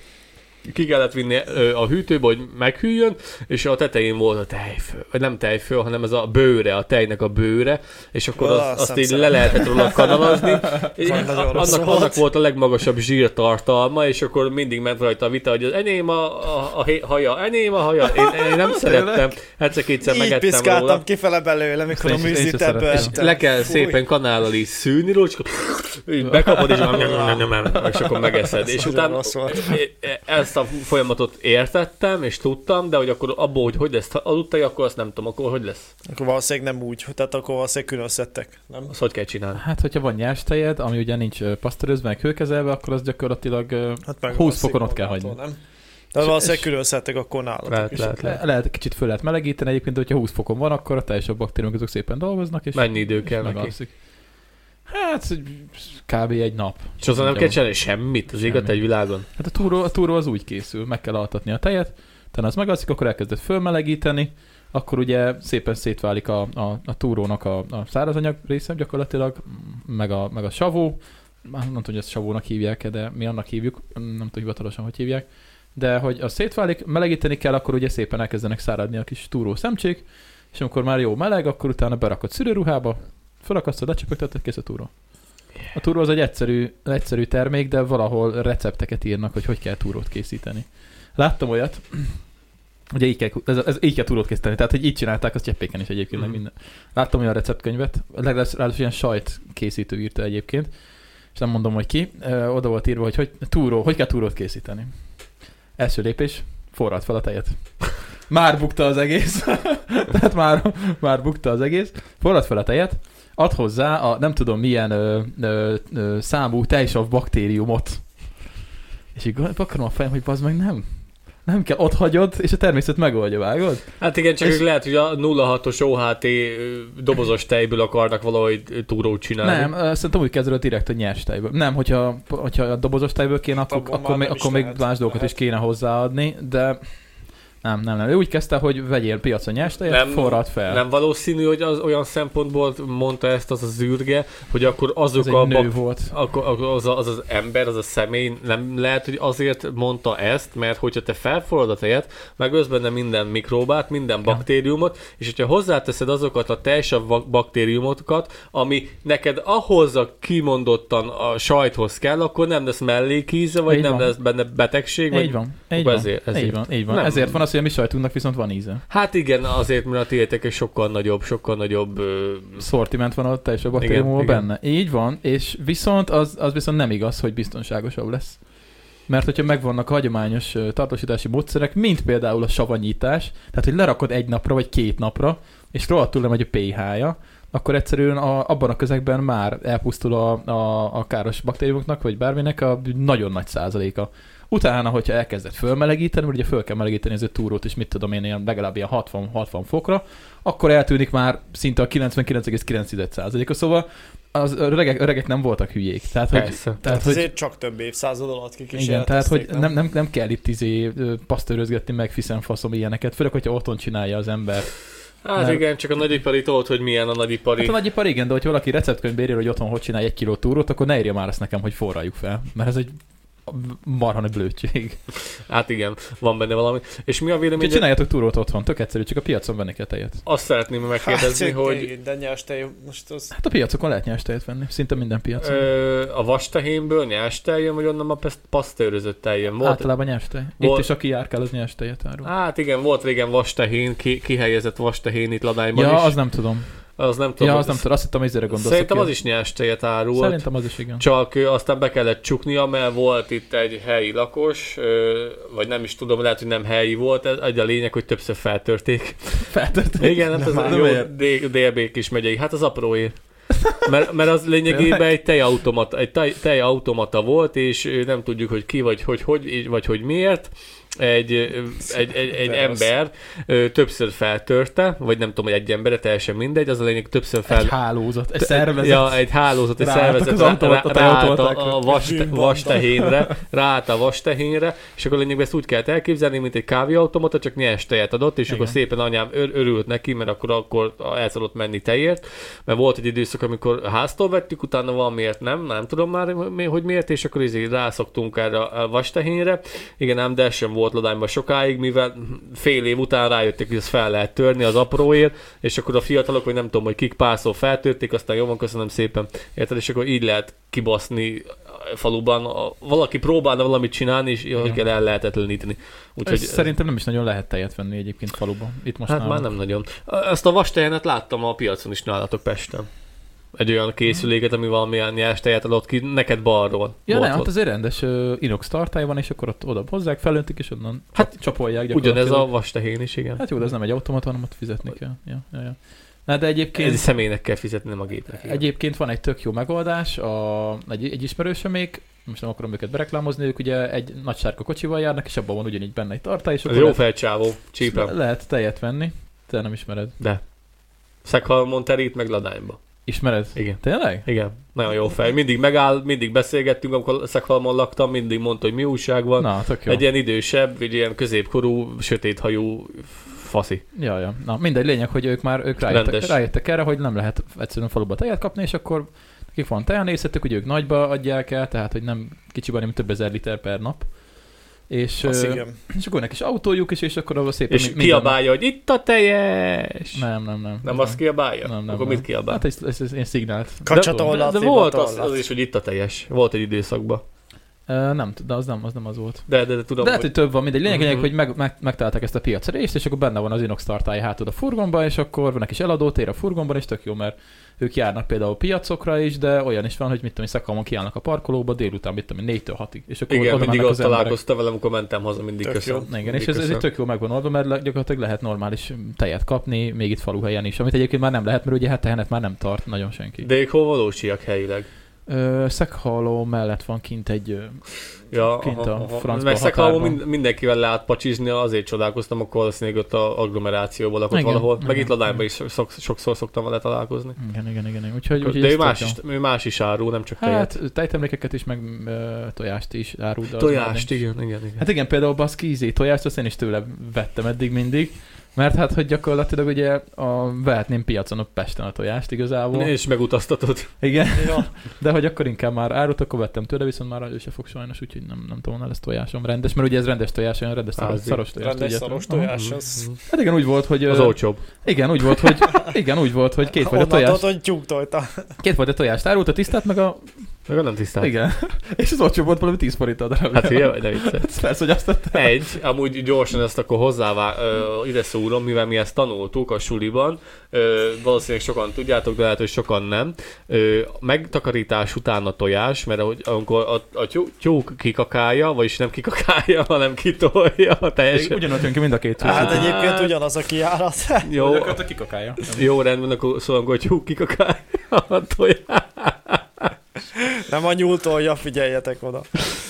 [SPEAKER 2] ki kellett vinni ö, a hűtőbe, hogy meghűljön, és a tetején volt a tejfő, vagy nem tejfő, hanem ez a bőre, a tejnek a bőre, és akkor
[SPEAKER 3] Ó,
[SPEAKER 2] az, azt így
[SPEAKER 3] szemszem.
[SPEAKER 2] le lehetett róla kanalazni. Így,
[SPEAKER 3] Nagyon
[SPEAKER 2] a-
[SPEAKER 3] rossz
[SPEAKER 2] annak,
[SPEAKER 3] volt.
[SPEAKER 2] annak volt a legmagasabb zsírtartalma, és akkor mindig ment rajta a vita, hogy az enyém a, a, a hé- haja, enyém a haja, én, én nem szerettem, egyszer-kétszer
[SPEAKER 3] Így
[SPEAKER 2] Hát megettem róla.
[SPEAKER 3] piszkáltam kifele belőle, mikor
[SPEAKER 1] Én
[SPEAKER 3] a
[SPEAKER 1] is- én is
[SPEAKER 3] műzlit ebből
[SPEAKER 1] szeretem.
[SPEAKER 3] ettem.
[SPEAKER 2] Le kell
[SPEAKER 3] Fúj.
[SPEAKER 2] szépen kanállal így szűrni, rócska, így bekapod, és már nem, nem, nem, nem, nem, és akkor megeszed. És
[SPEAKER 3] nagyon
[SPEAKER 2] utána e,
[SPEAKER 3] rossz volt.
[SPEAKER 2] ezt a folyamatot értettem, és tudtam, de hogy akkor abból, hogy hogy lesz aludtai, akkor azt nem tudom, akkor hogy lesz,
[SPEAKER 3] Akkor valószínűleg nem úgy, tehát akkor valószínűleg külön szedtek. Nem?
[SPEAKER 2] azt hogy kell csinálni.
[SPEAKER 1] Hát, hogyha van nyers tejed, ami ugye nincs ö, pasztőrözve, meg hőkezelve, akkor az gyakorlatilag ö,
[SPEAKER 3] Hát meg
[SPEAKER 1] 20
[SPEAKER 3] a
[SPEAKER 1] fokon ott kell
[SPEAKER 3] szigorútól,
[SPEAKER 1] hagyni.
[SPEAKER 3] Nem? De
[SPEAKER 1] És-
[SPEAKER 3] valószínűleg
[SPEAKER 1] és-
[SPEAKER 3] külön szedtek akkor nálatok
[SPEAKER 2] Lehet,
[SPEAKER 3] is.
[SPEAKER 2] lehet, lehet.
[SPEAKER 1] le- lehet, kicsit föl lehet melegíteni, egyébként, hogyha 20 fokon van, akkor a teljesebb baktériumok azok szépen dolgoznak, és
[SPEAKER 2] Mennyi idő
[SPEAKER 1] és
[SPEAKER 2] kell neki?
[SPEAKER 1] megalszik. Hát, egy- kb. egy nap.
[SPEAKER 2] És azon nem kell csinálni semmit az égat
[SPEAKER 1] Semmi.
[SPEAKER 2] egy világon.
[SPEAKER 1] Hát a túró, a túró az úgy készül, meg kell altatni a tejet, utána az megalszik, akkor elkezded fölmelegíteni, akkor ugye szépen szétválik a, a, a túrónak a, a szárazanyag része gyakorlatilag, m- meg a, meg a savó, már nem tudom, hogy ezt savónak hívják de mi annak hívjuk, nem tudom hivatalosan, hogy hívják, de hogy az szétválik, melegíteni kell, akkor ugye szépen elkezdenek száradni a kis túró szemcsék, és amikor már jó meleg, akkor utána berakod szülőruhába, felakasztod, lecsöpögteted, kész a túró. A túró az egy egyszerű, egyszerű termék, de valahol recepteket írnak, hogy hogy kell túrót készíteni. Láttam olyat, ugye így kell, ez, ez így kell túrót készíteni, tehát hogy így csinálták, azt cseppéken is egyébként, meg
[SPEAKER 2] Mhm.
[SPEAKER 1] minden. Láttam olyan receptkönyvet, legalábbis ráadásul ilyen sajt készítő írta egyébként, és nem mondom, hogy ki, ö, oda volt írva, hogy, hogy túró, hogy kell túrót készíteni. Első lépés, forrad fel a tejet. Már bukta az egész. Tehát már, már bukta az egész. Forrad fel a tejet, ad hozzá a nem tudom milyen ö, ö, ö, számú tejsav baktériumot. És így gond- akarom a fejem, hogy bazd meg nem. Nem kell, ott hagyod, és a természet megoldja, vágod?
[SPEAKER 2] Hát igen, csak
[SPEAKER 1] És-
[SPEAKER 2] ők lehet, hogy a 06-os OHT ö, dobozos tejből akarnak valahogy túrót csinálni.
[SPEAKER 1] Nem, ö, szerintem úgy kezdődött direkt a nyers tejből. Nem, hogyha, hogyha a dobozos tejből kéne, akkor,
[SPEAKER 3] Abban
[SPEAKER 1] akkor,
[SPEAKER 3] már
[SPEAKER 1] még,
[SPEAKER 3] nem is
[SPEAKER 1] akkor még
[SPEAKER 3] lehet.
[SPEAKER 1] más dolgokat is
[SPEAKER 3] Lehet.
[SPEAKER 1] kéne hozzáadni, de nem, nem, nem. Ő úgy kezdte, hogy vegyél piacon nyers tejet,
[SPEAKER 2] Nem,
[SPEAKER 1] forrad fel.
[SPEAKER 2] Nem valószínű, hogy az olyan szempontból mondta ezt az az űrge, hogy akkor azok
[SPEAKER 1] Ez egy
[SPEAKER 2] a
[SPEAKER 1] nő
[SPEAKER 2] bak-
[SPEAKER 1] volt.
[SPEAKER 2] akkor akkor az, a- az az ember, az a személy nem lehet, hogy azért mondta ezt, mert hogyha te felforrad a tejet, megölsz benne minden mikróbát, minden baktériumot, és hogyha hozzáteszed azokat a teljesebb vak- baktériumokat, ami neked ahhoz a kimondottan a sajthoz kell, akkor nem lesz mellékíze, vagy
[SPEAKER 1] Így
[SPEAKER 2] nem
[SPEAKER 1] van.
[SPEAKER 2] lesz benne betegség,
[SPEAKER 1] Így
[SPEAKER 2] vagy
[SPEAKER 1] van, így
[SPEAKER 2] akkor
[SPEAKER 1] van,
[SPEAKER 2] ezért-
[SPEAKER 1] így
[SPEAKER 2] ezért.
[SPEAKER 1] van, így van.
[SPEAKER 2] Nem.
[SPEAKER 1] Ezért van az, hogy a mi sajtunknak viszont van íze.
[SPEAKER 2] Hát igen, azért, mert a tiétek egy sokkal nagyobb, sokkal nagyobb ö,
[SPEAKER 1] Szortiment van ott, teljes a baktériumban
[SPEAKER 2] Igen,
[SPEAKER 1] benne. Így van, és viszont az, az viszont nem igaz, hogy biztonságosabb lesz. Mert hogyha megvannak a hagyományos ö, tartósítási módszerek, mint például a savanyítás, tehát hogy lerakod egy napra vagy két napra, és rohadtul nem hogy a pH-ja, akkor egyszerűen a, abban a közegben már elpusztul a, a, a káros baktériumoknak, vagy bárminek a nagyon nagy százaléka. Utána, hogyha elkezded fölmelegíteni, mert ugye föl kell melegíteni az ő túrót is, mit tudom én, ilyen, legalább ilyen 60-60 fokra, akkor eltűnik már szinte a 99,9%-a, szóval az öregek, öregek nem voltak hülyék. Tehát, hogy,
[SPEAKER 2] Persze.
[SPEAKER 1] tehát,
[SPEAKER 3] Hát
[SPEAKER 1] hogy
[SPEAKER 3] azért csak több évszázad alatt kikísérletezték.
[SPEAKER 1] igen, tehát hogy nem, nem, nem kell itt izé ö, pasztőrözgetni meg fiszen faszom ilyeneket, főleg, hogyha otthon csinálja az ember.
[SPEAKER 2] Hát
[SPEAKER 1] Mert-
[SPEAKER 2] igen, csak a nagyipari tolt, hogy milyen a nagyipari.
[SPEAKER 1] Hát a nagyipar igen, de hogyha valaki receptkönyvbe írja, hogy otthon hogy csinálj egy kiló túrót, akkor ne írja már ezt nekem, hogy forraljuk fel, mert ez egy marha nagy blödség.
[SPEAKER 2] Hát igen, van benne valami. És mi a
[SPEAKER 1] Úgyhogy
[SPEAKER 2] véleményed?
[SPEAKER 1] csináljatok túrót otthon, tök egyszerű, csak a piacon venni kell tejet.
[SPEAKER 2] Azt szeretném megkérdezni,
[SPEAKER 4] Hát,
[SPEAKER 2] hogy
[SPEAKER 4] igen, De nyers tej, most az...
[SPEAKER 1] Hát a piacokon lehet nyers tejet venni, szinte minden piacon. Ö,
[SPEAKER 2] ö, a vastehénből nyers tej jön, vagy onnan a pesz- pasztőrözött tej jön? Volt,
[SPEAKER 1] Általában nyers tej. Itt
[SPEAKER 2] volt-
[SPEAKER 1] is aki járkál, az nyers tejet árul.
[SPEAKER 2] hát igen, volt régen vastehén, ki, kihelyezett vastehén itt Ladányban
[SPEAKER 1] Ja,
[SPEAKER 2] is.
[SPEAKER 1] az nem tudom.
[SPEAKER 2] az nem tudom.
[SPEAKER 1] Ja,
[SPEAKER 2] hogy
[SPEAKER 1] az nem
[SPEAKER 2] ez-
[SPEAKER 1] tudom. Azt hittem, ezért gondolsz.
[SPEAKER 2] Szerintem
[SPEAKER 1] aki-
[SPEAKER 2] az is nyers tejet árult.
[SPEAKER 1] Szerintem az is igen.
[SPEAKER 2] Csak ö, aztán be kellett csuknia, mert volt itt egy helyi lakos, ö, vagy nem is tudom, lehet, hogy nem helyi volt, ez egy a lényeg, hogy többször feltörték.
[SPEAKER 1] Feltörték.
[SPEAKER 2] Igen, hát az
[SPEAKER 1] már
[SPEAKER 2] a
[SPEAKER 1] nem
[SPEAKER 2] jó
[SPEAKER 1] ér.
[SPEAKER 2] D- DB kis megyei, hát az apróért. Mert, mert az lényegében egy tejautomata, egy tej, tejautomata volt, és ö, nem tudjuk, hogy ki, vagy hogy, hogy így- vagy hogy miért. Egy, ö, egy, egy, egy
[SPEAKER 4] De rossz.
[SPEAKER 2] ember ö, többször feltörte, vagy nem tudom, hogy egy ember, de teljesen mindegy, az a lényeg többször fel,
[SPEAKER 1] Egy hálózat, egy szervezet.
[SPEAKER 2] Ja, egy hálózat, egy
[SPEAKER 1] Ráálltak
[SPEAKER 2] szervezet
[SPEAKER 1] az
[SPEAKER 2] rá- rá-
[SPEAKER 1] automatára,
[SPEAKER 2] ráállt
[SPEAKER 1] eltolták
[SPEAKER 2] a, a vas,
[SPEAKER 4] Bűnbanda.
[SPEAKER 2] vastehénre, ráállt a vastehénre, és akkor lényegben ezt úgy kellett elképzelni, mint egy kávéautomata, csak nyers tejet adott, és
[SPEAKER 1] Igen.
[SPEAKER 2] akkor szépen anyám ör- örült neki, mert akkor, akkor el szokott menni tejért, mert volt egy időszak, amikor háztól vettük, utána valamiért nem, nem tudom már, mi- hogy miért, és akkor így rászoktunk erre a vastehénre. Igen, ám, de ez sem volt ladányban sokáig, mivel fél év után rájöttek, hogy ezt fel lehet törni az apróért, és akkor a fiatalok, vagy nem tudom, hogy kik pászol feltörték, aztán jó van, köszönöm szépen. Érted? És akkor így lehet kibaszni a faluban. A- Valaki próbálna valamit csinálni, és hogy kell el lehetetleníteni.
[SPEAKER 1] Úgyhogy
[SPEAKER 2] Úgyhogy
[SPEAKER 1] szerintem nem is nagyon lehet tejet venni egyébként faluban. Itt most
[SPEAKER 2] hát már nem nagyon. Ezt a vastehenet láttam a piacon is nálatok Pesten. Egy
[SPEAKER 1] Mhm.
[SPEAKER 2] olyan készüléket, ami valamilyen nyers tejet adott ki neked balról.
[SPEAKER 1] Ja,
[SPEAKER 2] Volt
[SPEAKER 1] nem,
[SPEAKER 2] ott.
[SPEAKER 1] hát azért rendes ö, inox tartály van, és akkor ott oda hozzák, felöntik, és onnan
[SPEAKER 2] Hát,
[SPEAKER 1] hát, csapolják
[SPEAKER 2] Ugyanez a
[SPEAKER 1] gyakorlatilag.
[SPEAKER 2] vastehén is, igen.
[SPEAKER 1] Hát jó, de ez nem egy automata, hanem ott fizetni kell. Ja, ja, ja. Na, de egyébként...
[SPEAKER 2] Ez személynek kell fizetni, nem a gépnek. igen.
[SPEAKER 1] Egyébként van egy tök jó megoldás, a, egy, egy ismerősöm még, most nem akarom őket bereklámozni, ők ugye egy nagy sárga kocsival járnak, és abban van ugyanígy benne egy tartály, és
[SPEAKER 2] Ez jó
[SPEAKER 1] lehet,
[SPEAKER 2] felcsávó, csípem.
[SPEAKER 1] lehet tejet venni. Te nem ismered.
[SPEAKER 2] Szekhalmon terít meg ladányba.
[SPEAKER 1] Ismered?
[SPEAKER 2] Igen.
[SPEAKER 1] Tényleg?
[SPEAKER 2] Igen, nagyon jó fej. Mindig megáll, mindig beszélgettünk, amikor Szekhalmon laktam, mindig mondta, hogy mi újság van.
[SPEAKER 1] Na, tök jó.
[SPEAKER 2] Egy ilyen idősebb, egy ilyen középkorú, sötéthajú faszi.
[SPEAKER 1] Ja, ja. Na, mindegy, lényeg, hogy ők már ők rájöttek,
[SPEAKER 2] Rendes.
[SPEAKER 1] rájöttek erre, hogy nem lehet egyszerűen faluba tejet kapni, és akkor nekik van tejanészetük, hogy ők nagyba adják el, tehát hogy nem kicsiben, hanem több ezer liter per nap. És,
[SPEAKER 4] Az
[SPEAKER 1] ö,
[SPEAKER 4] igen.
[SPEAKER 1] és akkor nekik is autójuk is, és akkor abban szépen
[SPEAKER 2] És
[SPEAKER 1] mi- minden nap-
[SPEAKER 2] kiabálja, hogy itt a tejes! Nem,
[SPEAKER 1] Nem, nem, nem.
[SPEAKER 2] nem azt kiabálja?
[SPEAKER 1] Nem, nem,
[SPEAKER 2] Akkor
[SPEAKER 1] nem.
[SPEAKER 2] mit kiabál?
[SPEAKER 1] Hát ez, ez, ez én szignált.
[SPEAKER 4] Kacsatollat,
[SPEAKER 2] de, de volt az, az, is, hogy itt a teljes. Volt egy időszakban.
[SPEAKER 1] Uh, nem, tud- de az nem, az nem az volt.
[SPEAKER 2] De, de, de tudom,
[SPEAKER 1] De hát, lehet,
[SPEAKER 2] hogy...
[SPEAKER 1] hogy több van, mindegy. Lényeg, lényeg
[SPEAKER 2] Mhm.
[SPEAKER 1] hogy meg, meg, megtalálták ezt a piac részt, és akkor benne van az inox tartály hátul a furgonban, és akkor van egy kis eladótér a furgonban, és tök jó, mert ők járnak például piacokra is, de olyan is van, hogy mit tudom, én, szakalmon kiállnak a parkolóba délután, mit tudom, én, 4-től 6-ig. És akkor
[SPEAKER 2] Igen,
[SPEAKER 1] oda
[SPEAKER 2] mindig
[SPEAKER 1] mennek
[SPEAKER 2] ott
[SPEAKER 1] az emberek.
[SPEAKER 2] találkoztam velem, amikor mentem haza, mindig
[SPEAKER 4] Tök jó.
[SPEAKER 2] köszönöm.
[SPEAKER 1] Igen,
[SPEAKER 2] Mindig
[SPEAKER 1] és ez, ez egy
[SPEAKER 2] köszönöm.
[SPEAKER 1] tök jó megvan oldva, mert le- gyakorlatilag lehet normális tejet kapni, még itt faluhelyen is, amit egyébként már nem lehet, mert ugye hát tehenet már nem tart nagyon senki.
[SPEAKER 2] De ők hol valósiak helyileg?
[SPEAKER 1] Ö, Szekhaló mellett van kint egy ö,
[SPEAKER 2] Ja,
[SPEAKER 1] Kint a francba
[SPEAKER 2] Meg Szekhalmon
[SPEAKER 1] határban.
[SPEAKER 2] mind, mindenkivel lehet pacsizni, azért csodálkoztam, akkor valószínűleg ott a agglomerációban lakott
[SPEAKER 1] Igen,
[SPEAKER 2] valahol. Meg
[SPEAKER 1] igen,
[SPEAKER 2] itt Ladányban
[SPEAKER 1] igen.
[SPEAKER 2] is sok, sokszor szoktam vele találkozni.
[SPEAKER 1] Igen, igen, igen. igen. Úgyhogy, úgyhogy
[SPEAKER 2] De
[SPEAKER 1] ez
[SPEAKER 2] ő
[SPEAKER 1] tök
[SPEAKER 2] más,
[SPEAKER 1] jó.
[SPEAKER 2] is, ő más is árul, nem csak tejet.
[SPEAKER 1] Hát tejtemlékeket is, meg ö, tojást is árul. de az már
[SPEAKER 2] Tojást,
[SPEAKER 1] nincs.
[SPEAKER 2] igen, igen, igen.
[SPEAKER 1] Hát igen, például baszki ízé tojást, azt én is tőle vettem eddig mindig. Mert hát, hogy gyakorlatilag ugye a, vehetném piacon a Pesten a tojást igazából.
[SPEAKER 2] és megutaztatod.
[SPEAKER 1] Igen,
[SPEAKER 4] Ja,
[SPEAKER 1] de hogy akkor inkább már árut, akkor vettem tőle, viszont már ő se fog sajnos, úgyhogy nem, nem tudom, nem lesz tojásom rendes, mert ugye ez rendes tojás, olyan rendes szaros,
[SPEAKER 2] Házi.
[SPEAKER 1] szaros tojást.
[SPEAKER 4] rendes
[SPEAKER 1] ugye?
[SPEAKER 4] szaros
[SPEAKER 1] Aha.
[SPEAKER 4] tojás, az...
[SPEAKER 1] Hát igen, úgy volt, hogy...
[SPEAKER 2] Az
[SPEAKER 1] ö,
[SPEAKER 2] olcsóbb.
[SPEAKER 1] igen, úgy volt, hogy, igen, úgy volt, hogy kétfajta
[SPEAKER 4] Onnan
[SPEAKER 1] tojást,
[SPEAKER 4] tudod, hogy tyúktolta.
[SPEAKER 1] kétfajta tojást árult, a tisztát meg a...
[SPEAKER 2] Meg nem tisztán.
[SPEAKER 1] Igen. És az olcsó volt valami 10 forint a darab.
[SPEAKER 2] Hát hülye vagy, de vicce.
[SPEAKER 1] Hát persze, hogy azt tette.
[SPEAKER 2] Egy, amúgy gyorsan ezt akkor hozzává ö, ide szúrom, mivel mi ezt tanultuk a suliban, ö, valószínűleg sokan tudjátok, de lehet, hogy sokan nem. Ö, megtakarítás után a tojás, mert ahogy, amikor a, a tyú- tyúk kikakája, vagyis nem kikakája, hanem kitolja a teljesen.
[SPEAKER 1] Ugyanott jön ki mind a két
[SPEAKER 2] Á,
[SPEAKER 4] Hát
[SPEAKER 1] hát,
[SPEAKER 4] egyébként ugyanaz a kiárat.
[SPEAKER 2] Jó,
[SPEAKER 1] a kikakája.
[SPEAKER 2] jó rendben, akkor szóval, amikor a tyúk kikakája a tojás.
[SPEAKER 3] Nem a nyúltolja, figyeljetek oda.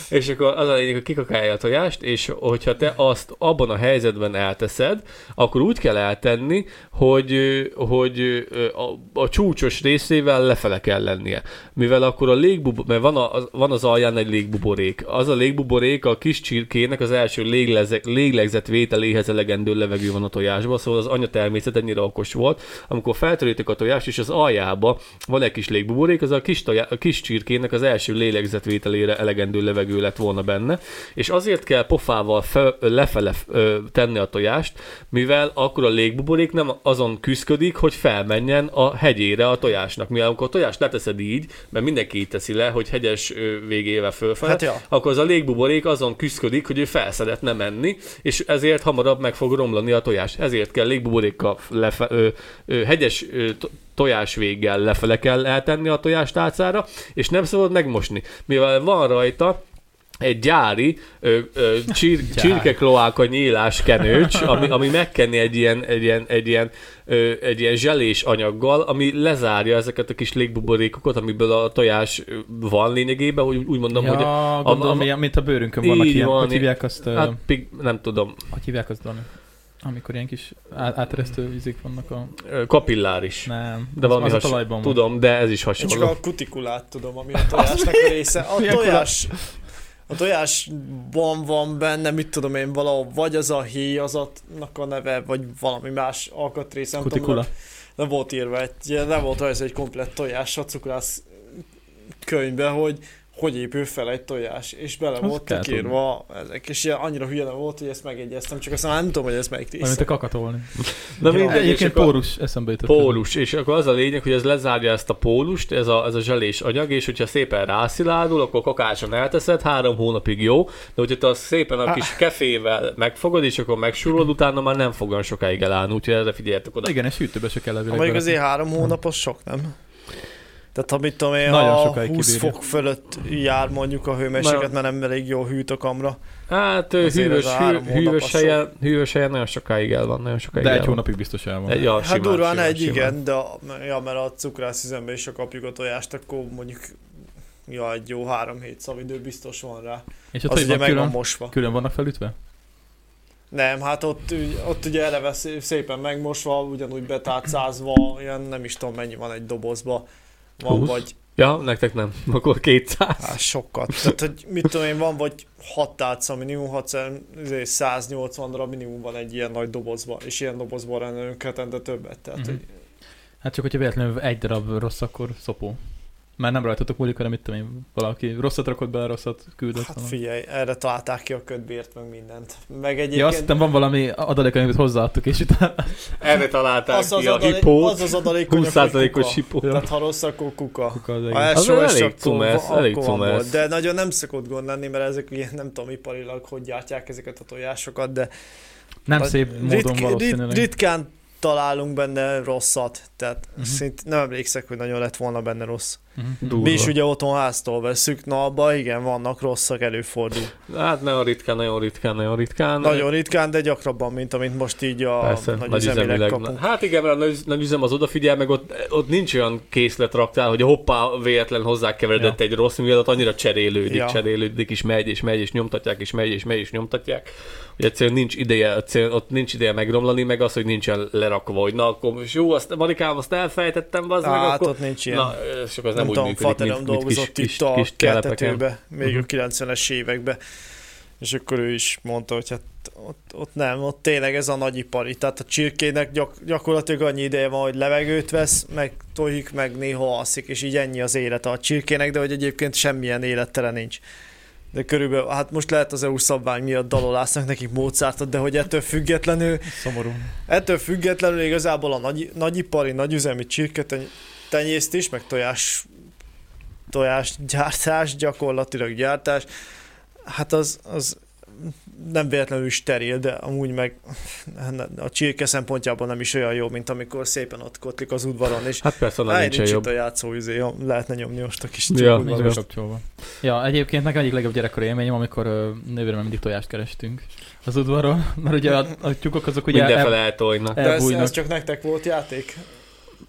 [SPEAKER 2] És akkor az a lényeg, hogy kikakálja a tojást, és hogyha te azt abban a helyzetben elteszed, akkor úgy kell eltenni, hogy, hogy a, a csúcsos részével lefele kell lennie. Mivel akkor a légbub, mert van, a, van az alján egy légbuborék. Az a légbuborék a kis csirkének az első léglezek, léglegzett vételéhez elegendő levegő van a tojásban, szóval az anya természet ennyire okos volt. Amikor feltörítik a tojást, és az aljába van egy kis légbuborék, az a kis, tojá, a kis csirkének az első lélegzetvételére elegendő levegő lett volna benne, és azért kell pofával fe, lefele ö, tenni a tojást, mivel akkor a légbuborék nem azon küzdik, hogy felmenjen a hegyére a tojásnak. Mivel amikor a tojást leteszed így, mert mindenki így teszi le, hogy hegyes ö, végével fölfele,
[SPEAKER 3] Hát ja.
[SPEAKER 2] akkor az a légbuborék azon küzdik, hogy ő fel szeretne menni, és ezért hamarabb meg fog romlani a tojás. Ezért kell légbuborékkal lefe, ö, ö, hegyes ö, to- tojás véggel lefele kell eltenni a tojástálcára, és nem szabad megmosni. Mivel van rajta egy gyári ö, ö, csir, csirkekloáka nyílás kenőcs, ami, ami megkenni egy ilyen, egy ilyen, egy ilyen, ö, egy ilyen zselés anyaggal, ami lezárja ezeket a kis légbuborékokat, amiből a tojás ö, van lényegében, hogy úgy mondom,
[SPEAKER 1] ja,
[SPEAKER 2] hogy a,
[SPEAKER 1] a, gondolom,
[SPEAKER 2] a-
[SPEAKER 1] ilyen, mint a bőrünkön vannak
[SPEAKER 2] Így
[SPEAKER 1] ilyen.
[SPEAKER 2] van,
[SPEAKER 1] hogy hívják azt,
[SPEAKER 2] hát,
[SPEAKER 1] hát,
[SPEAKER 2] pig, nem tudom,
[SPEAKER 1] hogy hívják azt, Dani? Amikor ilyen kis á- áteresztő vízik vannak a...
[SPEAKER 2] ö, kapilláris.
[SPEAKER 1] Nem,
[SPEAKER 2] De
[SPEAKER 1] az,
[SPEAKER 2] valami
[SPEAKER 1] az a
[SPEAKER 2] has...
[SPEAKER 1] talajban van.
[SPEAKER 2] Tudom, de ez is
[SPEAKER 3] Én csak
[SPEAKER 2] hasonló.
[SPEAKER 3] a kutikulát tudom, ami a tojásnak a része. A
[SPEAKER 1] Milyen
[SPEAKER 3] tojás... A tojásban van benne, mit tudom én, valahol, vagy az a héj, az annak a neve, vagy valami más alkatrész, nem
[SPEAKER 1] Kutikula.
[SPEAKER 3] tudom. Le volt írva, egy, le volt rajz egy komplett tojás a cukrász könyvbe, hogy hogy épül fel egy tojás, és bele
[SPEAKER 1] Azt
[SPEAKER 3] volt
[SPEAKER 1] kell
[SPEAKER 3] írva ezek, és ilyen annyira hülye nem volt, hogy ezt megjegyeztem, csak aztán nem tudom, hogy ez melyik
[SPEAKER 1] Valamint
[SPEAKER 3] része.
[SPEAKER 1] a kakatolni.
[SPEAKER 2] Na
[SPEAKER 3] Ja.
[SPEAKER 2] mindegy, és
[SPEAKER 1] Egyébként
[SPEAKER 2] akkor-
[SPEAKER 1] pórus eszembe jutott.
[SPEAKER 2] Pólus, és akkor az a lényeg, hogy ez lezárja ezt a pólust, ez a, ez a zselés anyag, és hogyha szépen rásziládul, akkor kakáson elteszed, három hónapig jó, de hogyha te azt szépen a
[SPEAKER 3] Ah.
[SPEAKER 2] kis kefével megfogod, és akkor megsúrod, utána már nem fog olyan sokáig elállni, úgyhogy erre figyeljetek oda.
[SPEAKER 1] Igen, és hűtőbe se kell
[SPEAKER 3] Ha
[SPEAKER 1] elvileg.
[SPEAKER 3] mondjuk azért három hónap, az sok, nem? Tehát ha mit tudom én,
[SPEAKER 1] Nagyon
[SPEAKER 3] a 20
[SPEAKER 1] sokáig kibírja.
[SPEAKER 3] fok fölött jár mondjuk a hőmérséklet, mert nem elég jól hűt a kamra.
[SPEAKER 2] Hát ő
[SPEAKER 3] Azért
[SPEAKER 2] hűvös,
[SPEAKER 3] ez a
[SPEAKER 2] hű,
[SPEAKER 3] három hónap az
[SPEAKER 2] hűvös,
[SPEAKER 3] sok.
[SPEAKER 2] helyen, hűvös helyen nagyon sokáig el van, nagyon sokáig
[SPEAKER 1] De
[SPEAKER 2] el
[SPEAKER 1] egy
[SPEAKER 2] van.
[SPEAKER 1] hónapig biztos el van.
[SPEAKER 2] Egy, ja,
[SPEAKER 3] Hát
[SPEAKER 2] simán,
[SPEAKER 3] durván
[SPEAKER 2] simán,
[SPEAKER 3] egy,
[SPEAKER 2] simán.
[SPEAKER 3] igen, de a, ja, mert a cukrászüzemben is, ha kapjuk a tojást, akkor mondjuk ja, egy jó három hét szavidő biztos van rá.
[SPEAKER 1] És
[SPEAKER 3] Ja,
[SPEAKER 1] ott
[SPEAKER 3] az
[SPEAKER 1] hogy
[SPEAKER 3] ugye
[SPEAKER 1] van
[SPEAKER 3] meg van
[SPEAKER 1] külön,
[SPEAKER 3] mosva.
[SPEAKER 1] külön vannak felütve?
[SPEAKER 3] Nem, hát ott, ügy- ott ugye eleve szé- szépen megmosva, ugyanúgy betátszázva, ilyen nem is tudom mennyi van egy dobozba. Van
[SPEAKER 2] 20?
[SPEAKER 3] vagy
[SPEAKER 2] Ja, nektek nem. Akkor 200.
[SPEAKER 3] Á, sokat. Tehát, hogy mit tudom én, van vagy 6 tálca minimum, 6 180 darab minimum van egy ilyen nagy dobozba, és ilyen dobozban rendelünk hetente többet. Tehát,
[SPEAKER 1] Mhm.
[SPEAKER 3] hogy
[SPEAKER 1] Hát csak, hogyha véletlenül egy darab rossz, akkor szopó. Már nem rajtatok múlik, hanem mit tudom én, valaki rosszat rakott bele, rosszat küldött.
[SPEAKER 3] hát
[SPEAKER 1] valami.
[SPEAKER 3] figyelj, erre találták ki a ködbért, meg mindent. Meg egyébként...
[SPEAKER 1] ja, azt hittem van valami adalék, amit hozzáadtuk, és utána...
[SPEAKER 2] Erre találták
[SPEAKER 3] az
[SPEAKER 2] ki
[SPEAKER 3] az,
[SPEAKER 2] a
[SPEAKER 3] adalék,
[SPEAKER 2] hipót.
[SPEAKER 3] az az adalékony, hogy
[SPEAKER 2] 20%-os
[SPEAKER 3] kuka.
[SPEAKER 2] hipó.
[SPEAKER 3] Tehát ha rossz, akkor kuka.
[SPEAKER 1] Az
[SPEAKER 3] Ha
[SPEAKER 1] egész.
[SPEAKER 3] első
[SPEAKER 2] elég
[SPEAKER 3] és akkor-
[SPEAKER 2] cumász,
[SPEAKER 3] akkor
[SPEAKER 2] elég
[SPEAKER 3] van
[SPEAKER 2] cumász.
[SPEAKER 3] volt. De nagyon nem szokott gond lenni, mert ezek ilyen, nem tudom iparilag, hogy gyártják ezeket a tojásokat, de
[SPEAKER 1] nem
[SPEAKER 3] A-
[SPEAKER 1] szép módon
[SPEAKER 3] rit-
[SPEAKER 1] valószínűleg.
[SPEAKER 3] rit- ritkán találunk benne rosszat, tehát
[SPEAKER 1] Mhm.
[SPEAKER 3] uh-huh. szint nem emlékszek, hogy nagyon lett volna benne rossz.
[SPEAKER 1] Mhm.
[SPEAKER 2] Durva.
[SPEAKER 3] Mi is ugye otthon háztól veszük, na abban igen, vannak rosszak, előfordul.
[SPEAKER 2] Hát nagyon ritkán, nagyon ritkán, nagyon ritkán.
[SPEAKER 3] Nagyon ritkán, de gyakrabban, mint amit most így a
[SPEAKER 2] Persze,
[SPEAKER 3] nagy,
[SPEAKER 2] nagy üzemileg.
[SPEAKER 3] kapunk.
[SPEAKER 2] Hát igen, mert a nagy, nagy üzem az odafigyel, meg ott, ott nincs olyan készlet raktál, hogy hoppá, véletlen hozzákeveredett
[SPEAKER 1] Ja.
[SPEAKER 2] ja. egy rossz, mivel ott annyira cserélődik,
[SPEAKER 3] Ja.
[SPEAKER 2] ja. cserélődik, és megy, és megy, és nyomtatják, és megy, és megy, és nyomtatják. Hogy egyszerűen nincs ideje, egyszerűen ott nincs ideje megromlani, meg az, hogy nincsen lerakva, hogy na akkor most jó, azt, Marikám, azt elfejtettem, az meg,
[SPEAKER 3] Hát
[SPEAKER 2] akkor...
[SPEAKER 3] ott nincs ilyen.
[SPEAKER 2] Na, és akkor ez nem,
[SPEAKER 3] nem
[SPEAKER 2] úgy
[SPEAKER 3] tudom,
[SPEAKER 2] működik,
[SPEAKER 3] Faterom
[SPEAKER 2] mint, mint kis,
[SPEAKER 3] dolgozott
[SPEAKER 2] kis,
[SPEAKER 3] itt a
[SPEAKER 2] kis telepeken.
[SPEAKER 3] keltetőbe, még
[SPEAKER 2] Mhm.
[SPEAKER 3] a 90-es években, és akkor ő is mondta, hogy hát ott, ott nem, ott tényleg ez a nagyipari, tehát a csirkének gyak, gyakorlatilag annyi ideje van, hogy levegőt vesz, meg tojik, meg néha alszik, és így ennyi az élete a csirkének, de hogy egyébként semmilyen élettere nincs. De körülbelül, hát most lehet az EU szabvány miatt dalolásznak nekik Mozartot, de hogy ettől függetlenül
[SPEAKER 1] Szomorú.
[SPEAKER 3] Ettől függetlenül igazából a nagy, nagyipari, nagyüzemi csirketenyésztés, meg tojás, tojásgyártás, gyakorlatilag gyártás, hát az, az nem véletlenül is steril, de amúgy meg a csirke szempontjából nem is olyan jó, mint amikor szépen ott kotlik az udvaron, és
[SPEAKER 2] Hát persze, onnan
[SPEAKER 3] Hely,
[SPEAKER 2] nincsen
[SPEAKER 3] nincs
[SPEAKER 2] jobb.
[SPEAKER 3] itt a játszó, izé, ha lehetne nyomni most a kis
[SPEAKER 2] Ja,
[SPEAKER 3] ja,
[SPEAKER 1] Így van kapcsolva. Ja, egyébként nekem egyik legjobb gyerekkori élményem, amikor ö, nővéremmel mindig tojást kerestünk az udvaron, mert ugye a, a tyúkok azok ugye
[SPEAKER 2] Mindenfele
[SPEAKER 1] el,
[SPEAKER 2] eltojnak.
[SPEAKER 3] De ez,
[SPEAKER 1] elbújnak.
[SPEAKER 3] ez, csak nektek volt játék?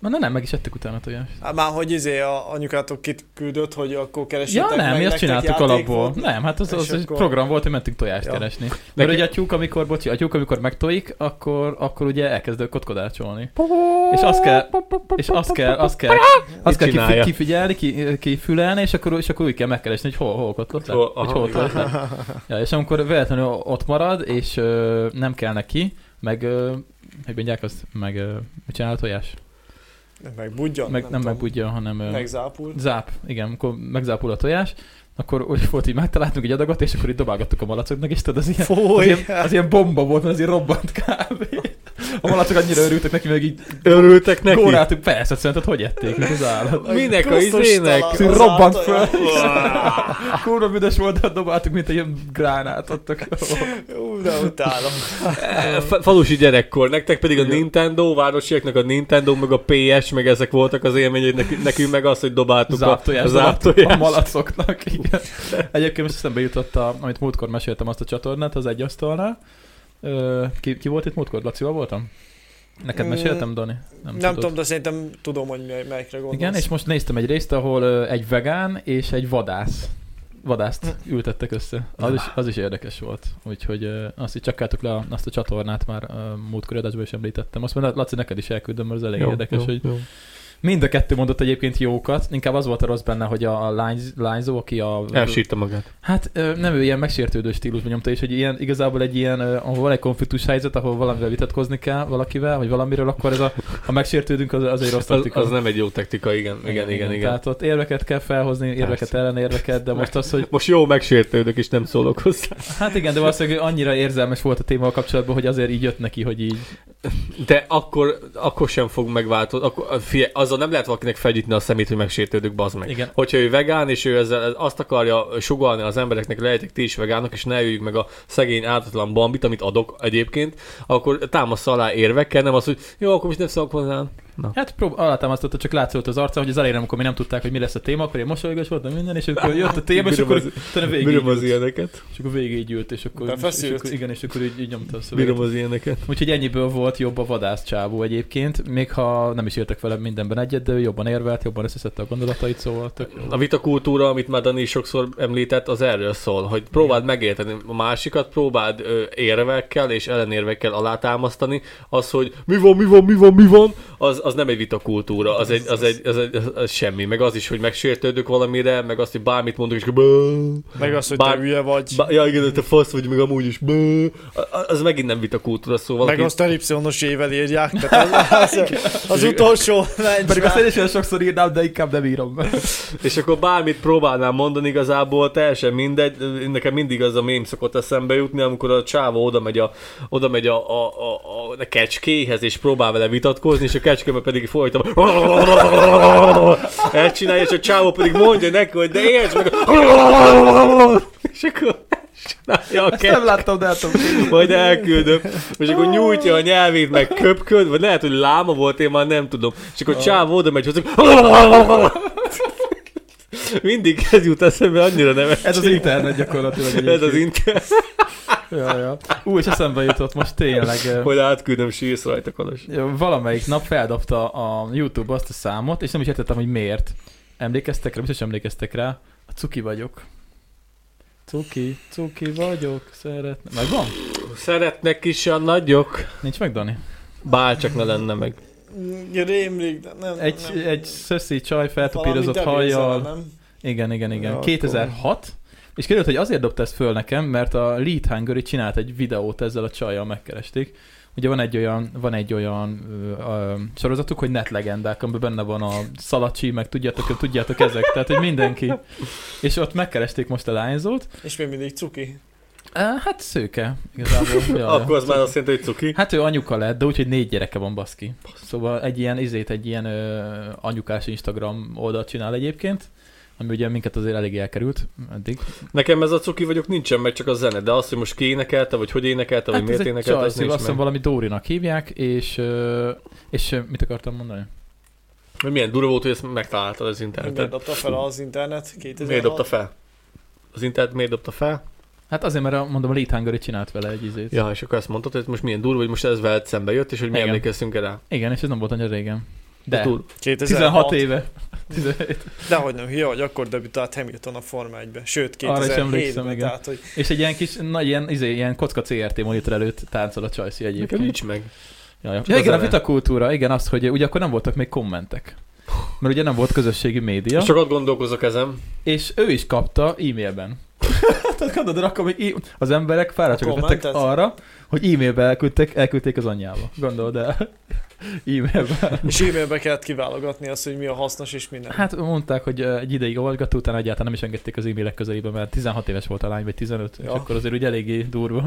[SPEAKER 1] Na nem, meg is ettek utána tojást.
[SPEAKER 3] Hát Már hogy izé a anyukátok kit küldött, hogy akkor keresétek
[SPEAKER 1] Ja nem, mi
[SPEAKER 3] meg,
[SPEAKER 1] azt
[SPEAKER 3] nektek
[SPEAKER 1] csináltuk
[SPEAKER 3] játék
[SPEAKER 1] alapból.
[SPEAKER 3] volt?
[SPEAKER 1] Nem, hát az,
[SPEAKER 3] És
[SPEAKER 1] az egy
[SPEAKER 3] akkor-
[SPEAKER 1] program volt, hogy mentünk tojást
[SPEAKER 3] Ja.
[SPEAKER 1] keresni. Mert ugye a tyúk, amikor, bocsi, a tyúk, amikor megtojik, akkor, akkor ugye elkezd kotkodácsolni. És azt kell, és azt kell, azt kell, azt kell kifi-
[SPEAKER 2] csinálja?
[SPEAKER 1] kifigyelni, ki- kifülelni, és akkor, és akkor úgy kell megkeresni, hogy hol, hol kotlott le,
[SPEAKER 2] Hol-
[SPEAKER 1] hogy
[SPEAKER 2] aha,
[SPEAKER 1] hol
[SPEAKER 2] igen.
[SPEAKER 1] tolt le. Ja, és amikor véletlenül ott marad, és ö, nem kell neki, meg, ö, hogy mondják azt, meg ö, mit csinál a tojás?
[SPEAKER 3] Meg budjon.
[SPEAKER 1] Meg, nem
[SPEAKER 3] tudom.
[SPEAKER 1] megbudja, hanem... ö,
[SPEAKER 3] Megzápult.
[SPEAKER 1] Záp, igen, amikor megzápul a tojás, akkor úgy volt, hogy megtaláltunk egy adagot, és akkor itt dobálgattuk a malacoknak, és tudod, az ilyen, az
[SPEAKER 3] Fúj!
[SPEAKER 1] ilyen, az ilyen bomba volt, mert az ilyen robbant kb. A malacok annyira örültek neki, meg így
[SPEAKER 2] Örültek neki?
[SPEAKER 1] góráltuk, persze, szerinted hogy ették, mint az állat.
[SPEAKER 2] Minek a
[SPEAKER 3] Kusztus
[SPEAKER 2] izének?
[SPEAKER 3] tala-
[SPEAKER 1] Ki
[SPEAKER 3] az
[SPEAKER 1] robbant
[SPEAKER 3] átaja.
[SPEAKER 1] Kurva büdös volt, de dobáltuk, mint egy ilyen gránát adtak.
[SPEAKER 3] Ú, de utálom.
[SPEAKER 2] E, fa- Falusi gyerekkor, nektek pedig a Nintendo, városiaknak a Nintendo, meg a PS, meg ezek voltak az élmények, nek- nekünk meg az, hogy dobáltuk a
[SPEAKER 1] Záptojás,
[SPEAKER 2] záptoját.
[SPEAKER 1] a malacoknak, igen. Egyébként most eszembe jutott, a, amit múltkor meséltem azt a csatornát, az egy asztalnál. Ö, Ki, ki volt itt múltkor? Lacival voltam? Neked
[SPEAKER 3] Mm,
[SPEAKER 1] meséltem, Dani?
[SPEAKER 3] Nem,
[SPEAKER 1] tudod.
[SPEAKER 3] tudom, de szerintem tudom, hogy mely- melyikre gondolsz.
[SPEAKER 1] Igen, és most néztem egy részt, ahol ö, egy vegán és egy vadász vadászt
[SPEAKER 3] Hm.
[SPEAKER 1] ültettek össze. Az is, az is érdekes volt. Úgyhogy ö, azt is csakáltuk le a- azt a csatornát már ö, múltkori adásban is említettem. Azt mondom, Laci, neked is elküldöm, mert az elég jó, érdekes, jó. hogy
[SPEAKER 2] jó.
[SPEAKER 1] mind a kettő mondott egyébként jókat. Inkább az volt a rossz benne, hogy a a lány, lányzó, aki a...
[SPEAKER 2] Elsírta magát.
[SPEAKER 1] Hát ö, nem ő ilyen megsértődő stílusban nyomta, és hogy ilyen, igazából egy ilyen, ö, ahol van egy konfliktus helyzet, ahol valamivel vitatkozni kell valakivel, vagy valamiről, akkor ez a, ha megsértődünk, az, az egy rossz
[SPEAKER 2] Az,
[SPEAKER 1] taktika.
[SPEAKER 2] az, nem egy jó taktika, igen, igen, igen, igen.
[SPEAKER 1] Tehát ott érveket kell felhozni, érveket
[SPEAKER 2] Persze.
[SPEAKER 1] ellen érveket, de most az, hogy
[SPEAKER 2] Most jó megsértődök, és nem szólok hozzá.
[SPEAKER 1] hát igen, de valószínűleg annyira érzelmes volt a téma kapcsolatban, hogy azért így jött neki, hogy így.
[SPEAKER 2] De akkor, akkor sem fog megváltozni. Akkor, fie, azzal nem lehet valakinek felgyitni a szemét, hogy megsértődök, bazd meg.
[SPEAKER 1] Igen.
[SPEAKER 2] Hogyha ő vegán, és ő ezzel azt akarja sugalni az embereknek, lehetek ti is vegánok, és ne üljük meg a szegény ártatlan bambit, amit adok egyébként, akkor támasz alá érvekkel, nem az, hogy jó, akkor most nem szólok hozzá.
[SPEAKER 1] Hát prób- alátámasztotta, csak látszott az arca, hogy az elején, amikor mi nem tudták, hogy mi lesz a téma, akkor én mosolygós voltam minden, és akkor jött a téma, és
[SPEAKER 2] Bírom
[SPEAKER 1] akkor
[SPEAKER 2] az-
[SPEAKER 1] utána végig
[SPEAKER 2] Bírom az
[SPEAKER 1] ült,
[SPEAKER 2] ilyeneket.
[SPEAKER 1] és akkor végig így ült, és akkor, és
[SPEAKER 3] Befeszült.
[SPEAKER 1] akkor igen, és akkor így, így nyomta a szöveget.
[SPEAKER 2] Bírom az ilyeneket.
[SPEAKER 1] Úgyhogy ennyiből volt jobb a vadász csávó egyébként, még ha nem is értek vele mindenben egyet, de ő jobban érvelt, jobban összeszedte a gondolatait, szóval tök jó.
[SPEAKER 2] A vitakultúra, amit már Dani is sokszor említett, az erről szól, hogy próbáld megérteni a másikat, próbáld ö, érvekkel és ellenérvekkel alátámasztani. Az, hogy mi van, mi van, mi van, mi van, az, az nem egy vitakultúra, az egy, az, egy, az, egy, az, az semmi. Meg az is, hogy megsértődök valamire, meg azt, hogy bármit mondok, és akkor bá,
[SPEAKER 3] Meg az, hogy
[SPEAKER 2] Bár-
[SPEAKER 3] te hülye vagy.
[SPEAKER 2] bá, ja igen, de te fasz vagy, meg amúgy is bá, A- a- az megint nem vitakultúra, szóval
[SPEAKER 3] Meg azt elipszonos ével írják. Tehát az, az, az utolsó
[SPEAKER 1] Pedig
[SPEAKER 3] lencsben.
[SPEAKER 1] azt én is olyan sokszor írnám, de inkább nem írom.
[SPEAKER 2] És akkor bármit próbálnám mondani, igazából teljesen mindegy, nekem mindig az a mém szokott eszembe jutni, amikor a csávó oda megy a, oda megy a, a, a, a, a kecskéhez, és próbál vele vitatkozni, és a kecskébe pedig folyton elcsinálja, és a csávó pedig mondja neki, hogy de értsd meg, és akkor csinálja a
[SPEAKER 1] Ezt nem
[SPEAKER 2] kecske,
[SPEAKER 1] láttam, de hát
[SPEAKER 2] majd elküldöm, és akkor nyújtja a nyelvét, meg köpköd, vagy lehet, hogy láma volt, én már nem tudom, és
[SPEAKER 1] Ah.
[SPEAKER 2] akkor a csávó oda megy hozzá, mindig ez jut eszembe, annyira nem
[SPEAKER 1] ez az internet gyakorlatilag.
[SPEAKER 2] ez az
[SPEAKER 1] internet.
[SPEAKER 2] inkább,
[SPEAKER 1] Ja, ja. Ú, és eszembe jutott most tényleg. eh, ö,
[SPEAKER 2] hogy átküldöm, sírsz rajta, Kalas.
[SPEAKER 1] Valamelyik nap feldobta a YouTube azt a számot, és nem is értettem, hogy miért. Emlékeztek rá? Biztos emlékeztek rá. A cuki vagyok. Cuki, cuki vagyok, szeretne. Megvan?
[SPEAKER 2] Szeretnek is a nagyok,
[SPEAKER 1] Nincs meg, Dani?
[SPEAKER 2] bár csak ne lenne meg.
[SPEAKER 3] Rémlik, de nem.
[SPEAKER 1] Egy,
[SPEAKER 3] nem,
[SPEAKER 1] egy szöszi csaj
[SPEAKER 3] Valami
[SPEAKER 1] feltupírozott
[SPEAKER 3] Debbie
[SPEAKER 1] hajjal.
[SPEAKER 3] Zala, nem?
[SPEAKER 1] Igen, igen, igen.
[SPEAKER 3] Ja,
[SPEAKER 1] 2006. És kiderült, hogy azért dobta ezt föl nekem, mert a Lead Hungary csinált egy videót ezzel a csajjal, megkeresték. Ugye van egy olyan, van egy olyan ö, ö, sorozatuk, hogy netlegendák, amiben benne van a Szalacsi, meg tudjátok, tudjátok ezek, tehát hogy mindenki. És ott megkeresték most a lányzót.
[SPEAKER 3] És még mindig cuki.
[SPEAKER 1] Á, Hát szőke, igazából. Jaj, jaj.
[SPEAKER 2] Akkor az már azt jelenti, hogy cuki.
[SPEAKER 1] Hát ő anyuka lett, de úgyhogy négy gyereke van, baszki. Szóval egy ilyen izét, egy ilyen ö, anyukás Instagram oldalt csinál egyébként, ami ugye minket azért elég elkerült eddig.
[SPEAKER 2] Nekem ez a cuki vagyok nincsen meg, csak a zene, de az, hogy most ki énekelte, vagy hogy énekelte, vagy miért
[SPEAKER 1] Hát ez egy
[SPEAKER 2] énekelte,
[SPEAKER 1] csaj,
[SPEAKER 2] az
[SPEAKER 1] azt
[SPEAKER 2] nincs
[SPEAKER 1] hiszem
[SPEAKER 2] meg.
[SPEAKER 1] valami Dórinak hívják, és, ö, és ö, mit akartam mondani?
[SPEAKER 2] Mert Milyen durva volt, hogy ezt megtaláltad az
[SPEAKER 3] Miért
[SPEAKER 2] interneten.
[SPEAKER 3] dobta fel az internet? 2006.
[SPEAKER 2] Miért dobta fel? Az internet miért dobta fel?
[SPEAKER 1] Hát azért, mert a, mondom, a Lead Hungary csinált vele egy izét.
[SPEAKER 2] Ja, és akkor azt mondtad, hogy most milyen durva, hogy most ez veled szembe jött, és hogy mi
[SPEAKER 1] Igen.
[SPEAKER 2] emlékeztünk rá.
[SPEAKER 1] Igen, és ez nem volt annyira régen. De.
[SPEAKER 5] Túl.
[SPEAKER 1] 16 éve. 17.
[SPEAKER 4] Dehogy nem, hülye vagy, akkor debütált Hamilton a Forma 1-be. Sőt,
[SPEAKER 1] Arra is emlékszem,
[SPEAKER 4] 2007-ben,
[SPEAKER 1] igen.
[SPEAKER 4] tehát hogy
[SPEAKER 1] És egy ilyen kis, nagy ilyen, izé, ilyen kocka CRT monitor előtt táncol a Csajci
[SPEAKER 2] Nekem
[SPEAKER 1] egyébként.
[SPEAKER 2] nincs meg.
[SPEAKER 1] Ja, ja.
[SPEAKER 2] Csak
[SPEAKER 1] ja
[SPEAKER 2] a
[SPEAKER 1] igen, a
[SPEAKER 2] zene.
[SPEAKER 1] vitakultúra, igen, az, hogy ugye akkor nem voltak még kommentek. Mert ugye nem volt közösségi média,
[SPEAKER 2] Ja. Sokat gondolkozok ezen.
[SPEAKER 1] és ő is kapta e-mailben. Tehát gondolod, akkor még í- az emberek fáradtságot
[SPEAKER 4] A
[SPEAKER 1] vettek
[SPEAKER 4] kommentet?
[SPEAKER 1] arra, hogy e-mailbe elküldtek, elküldték az anyjába. Gondold el. e-mailben.
[SPEAKER 4] és e-mailbe kellett kiválogatni azt, hogy mi a hasznos és mi nem.
[SPEAKER 1] Hát mondták, hogy ö, egy ideig olvasgató, utána egyáltalán nem is engedték az e-mailek közelébe, mert 16 éves volt a lány, vagy 15, ja. és
[SPEAKER 4] Ja.
[SPEAKER 1] akkor azért ugye eléggé durva.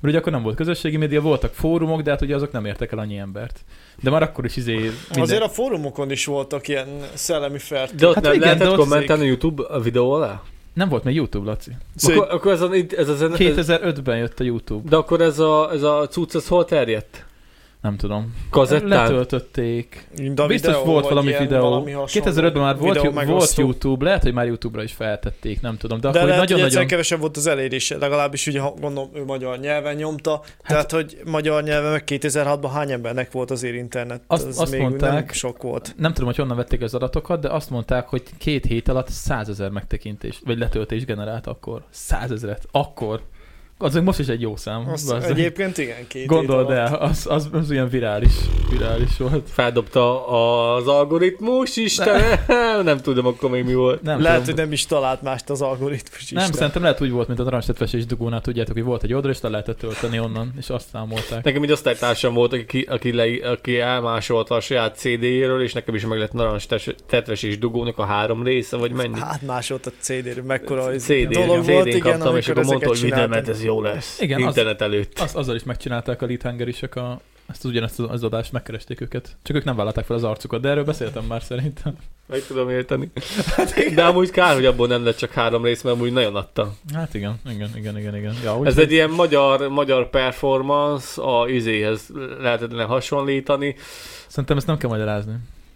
[SPEAKER 1] Mert ugye akkor nem volt közösségi média, voltak fórumok, de hát ugye azok nem értek el annyi embert. De már akkor is izé minden...
[SPEAKER 4] Azért a fórumokon is voltak ilyen szellemi fert.
[SPEAKER 2] De ott
[SPEAKER 1] Hát
[SPEAKER 2] hát nem
[SPEAKER 1] igen,
[SPEAKER 2] igen,
[SPEAKER 1] de
[SPEAKER 2] lehetett
[SPEAKER 1] ott
[SPEAKER 2] kommentelni YouTube videó alá?
[SPEAKER 1] Nem volt még YouTube, Laci.
[SPEAKER 4] Szóval
[SPEAKER 2] Akkor, akkor ez a, ez a zene, ez,
[SPEAKER 1] 2005-ben jött a YouTube.
[SPEAKER 2] de akkor ez a, ez a cucc, ez hol terjedt?
[SPEAKER 1] Nem tudom.
[SPEAKER 2] Kazettán?
[SPEAKER 1] Letöltötték.
[SPEAKER 4] mind a
[SPEAKER 1] Biztos
[SPEAKER 4] videó,
[SPEAKER 1] volt
[SPEAKER 4] vagy
[SPEAKER 1] valami
[SPEAKER 4] ilyen
[SPEAKER 1] videó.
[SPEAKER 4] valami hasonló
[SPEAKER 1] 2005-ben már volt,
[SPEAKER 4] videó
[SPEAKER 1] ju- volt
[SPEAKER 4] megosztó.
[SPEAKER 1] YouTube, lehet, hogy már YouTube-ra is feltették, nem tudom. De,
[SPEAKER 4] De
[SPEAKER 1] akkor
[SPEAKER 4] lehet, hogy egyszer
[SPEAKER 1] nagyon-nagyon...
[SPEAKER 4] kevesebb volt az elérése, legalábbis ugye ha- gondolom ő magyar nyelven nyomta, hát, tehát hogy magyar nyelven meg 2006-ban hány embernek volt azért internet,
[SPEAKER 1] Azt-
[SPEAKER 4] az
[SPEAKER 1] azt
[SPEAKER 4] még
[SPEAKER 1] mondták.
[SPEAKER 4] nem sok volt.
[SPEAKER 1] Nem tudom, hogy honnan vették az adatokat, de azt mondták, hogy két hét alatt százezer megtekintés, vagy letöltés generált akkor. Százezret. Akkor. Az még most is egy jó szám.
[SPEAKER 4] Azt
[SPEAKER 1] Bazzeg.
[SPEAKER 4] egyébként igen, két
[SPEAKER 1] Gondold
[SPEAKER 4] hét alatt.
[SPEAKER 1] el, az, az, az ilyen virális, virális volt.
[SPEAKER 2] Feldobta az algoritmus, Istenem! Nem tudom akkor még mi volt.
[SPEAKER 1] Nem
[SPEAKER 4] Lehet,
[SPEAKER 1] tudom.
[SPEAKER 4] hogy nem is talált mást az algoritmus is.
[SPEAKER 1] Nem, szerintem lehet úgy volt, mint a Transztetfesés dugónál, tudjátok, hogy volt egy oldal, és le lehetett tölteni onnan, és azt számolták.
[SPEAKER 2] Nekem egy osztálytársam volt, aki, aki, le, aki elmásolta a saját CD-jéről, és nekem is meg lett narancs tes- tetves és dugónak a három része, vagy mennyi.
[SPEAKER 4] Hát más volt a CD-ről, mekkora ez
[SPEAKER 2] CD-n,
[SPEAKER 4] dolog
[SPEAKER 2] CD-n
[SPEAKER 4] volt, igen,
[SPEAKER 2] kaptam, és
[SPEAKER 4] amikor
[SPEAKER 2] akkor mondta,
[SPEAKER 4] ezeket
[SPEAKER 2] hogy minden,
[SPEAKER 4] csináltam.
[SPEAKER 2] mert ez jó lesz.
[SPEAKER 1] Igen,
[SPEAKER 2] Igen,
[SPEAKER 1] az-
[SPEAKER 2] Internet előtt.
[SPEAKER 1] Az, azzal is megcsinálták a lead hangerisek a, ezt az, ugyanezt az, az adást, megkeresték őket. Csak ők nem vállalták fel az arcukat, de erről beszéltem már szerintem.
[SPEAKER 2] Meg tudom érteni. De amúgy kár, hogy abból nem lett csak három rész, mert amúgy nagyon adta.
[SPEAKER 1] Hát igen, igen, igen, igen, igen. Ja, úgy,
[SPEAKER 2] Ez egy ilyen magyar, magyar performance, a izéhez lehetetlen hasonlítani.
[SPEAKER 1] Szerintem ezt nem kell magyarázni,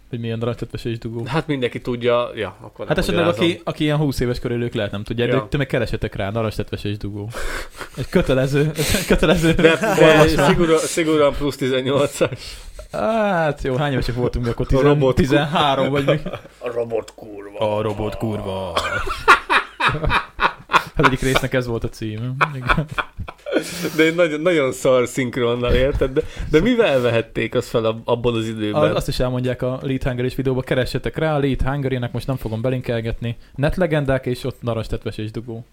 [SPEAKER 1] hogy milyen Transztetfesés dugó.
[SPEAKER 2] Hát mindenki tudja, ja, akkor nem
[SPEAKER 1] Hát esetleg
[SPEAKER 2] magyarázom.
[SPEAKER 1] aki, aki ilyen 20 éves körül ők lehet nem tudják, ja.
[SPEAKER 2] Ja.
[SPEAKER 1] de te meg keresetek rá, narancstetveses dugó. Egy kötelező, kötelező.
[SPEAKER 2] De, de szigorúan, szigorúan plusz 18-as.
[SPEAKER 1] Hát jó, hány évesek voltunk mi akkor? Tizen,
[SPEAKER 2] robot-
[SPEAKER 1] 13 vagy még?
[SPEAKER 2] A robot kurva.
[SPEAKER 1] A robot kurva. Hát egyik résznek ez volt a cím. Igen.
[SPEAKER 2] De egy nagyon, nagyon szar szinkronnal, érted? De, de mivel vehették azt fel ab- abban az
[SPEAKER 1] Az,
[SPEAKER 2] időben?
[SPEAKER 1] azt is elmondják a Lead Hungary és videóba, keressetek rá, a Lead hungary most nem fogom belinkelgetni. Netlegendák, és ott narancstetves és dugó.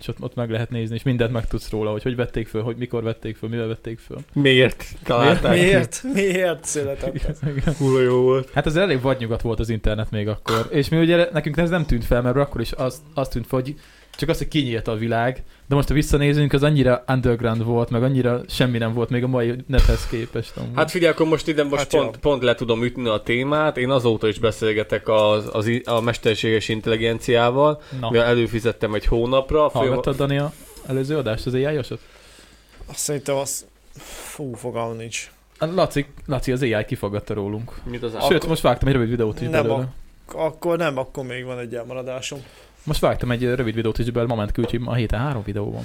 [SPEAKER 1] És ott, ott meg lehet nézni, és mindent megtudsz róla, hogy hogy vették föl, hogy mikor vették föl, mivel vették föl.
[SPEAKER 2] Miért találták?
[SPEAKER 4] Miért? Miért született ez?
[SPEAKER 1] Igen.
[SPEAKER 2] Kurva jó volt.
[SPEAKER 1] Hát ez elég vadnyugat volt az internet még akkor. És mi ugye nekünk ez nem tűnt fel, mert akkor is az, az tűnt fel, hogy csak az, hogy kinyílt a világ, de most ha visszanézünk, az annyira underground volt, meg annyira semmi nem volt még a mai nethez képest. amúgy.
[SPEAKER 2] Hát figyelj, akkor most ide most
[SPEAKER 4] Hát
[SPEAKER 2] hát
[SPEAKER 4] jó.
[SPEAKER 2] pont, pont le tudom ütni a témát. Én azóta is beszélgetek az, az, i- a mesterséges intelligenciával,
[SPEAKER 1] Na,
[SPEAKER 2] mivel előfizettem egy hónapra. Folyam-
[SPEAKER 1] hallgattad Dani a előző adást, az ai -osat?
[SPEAKER 4] Azt szerintem az... Fú, fogalmam nincs.
[SPEAKER 1] A Hát Laci, Laci az AI kifogadta rólunk.
[SPEAKER 2] Mit az
[SPEAKER 1] Sőt,
[SPEAKER 2] Sőt,
[SPEAKER 1] most vágtam egy rövid videót is
[SPEAKER 4] Nem
[SPEAKER 1] belőle.
[SPEAKER 4] a- Akkor nem, akkor még van egy elmaradásom.
[SPEAKER 1] Most vágtam egy rövid videót is belőle, moment küldjük, a héten három videó van.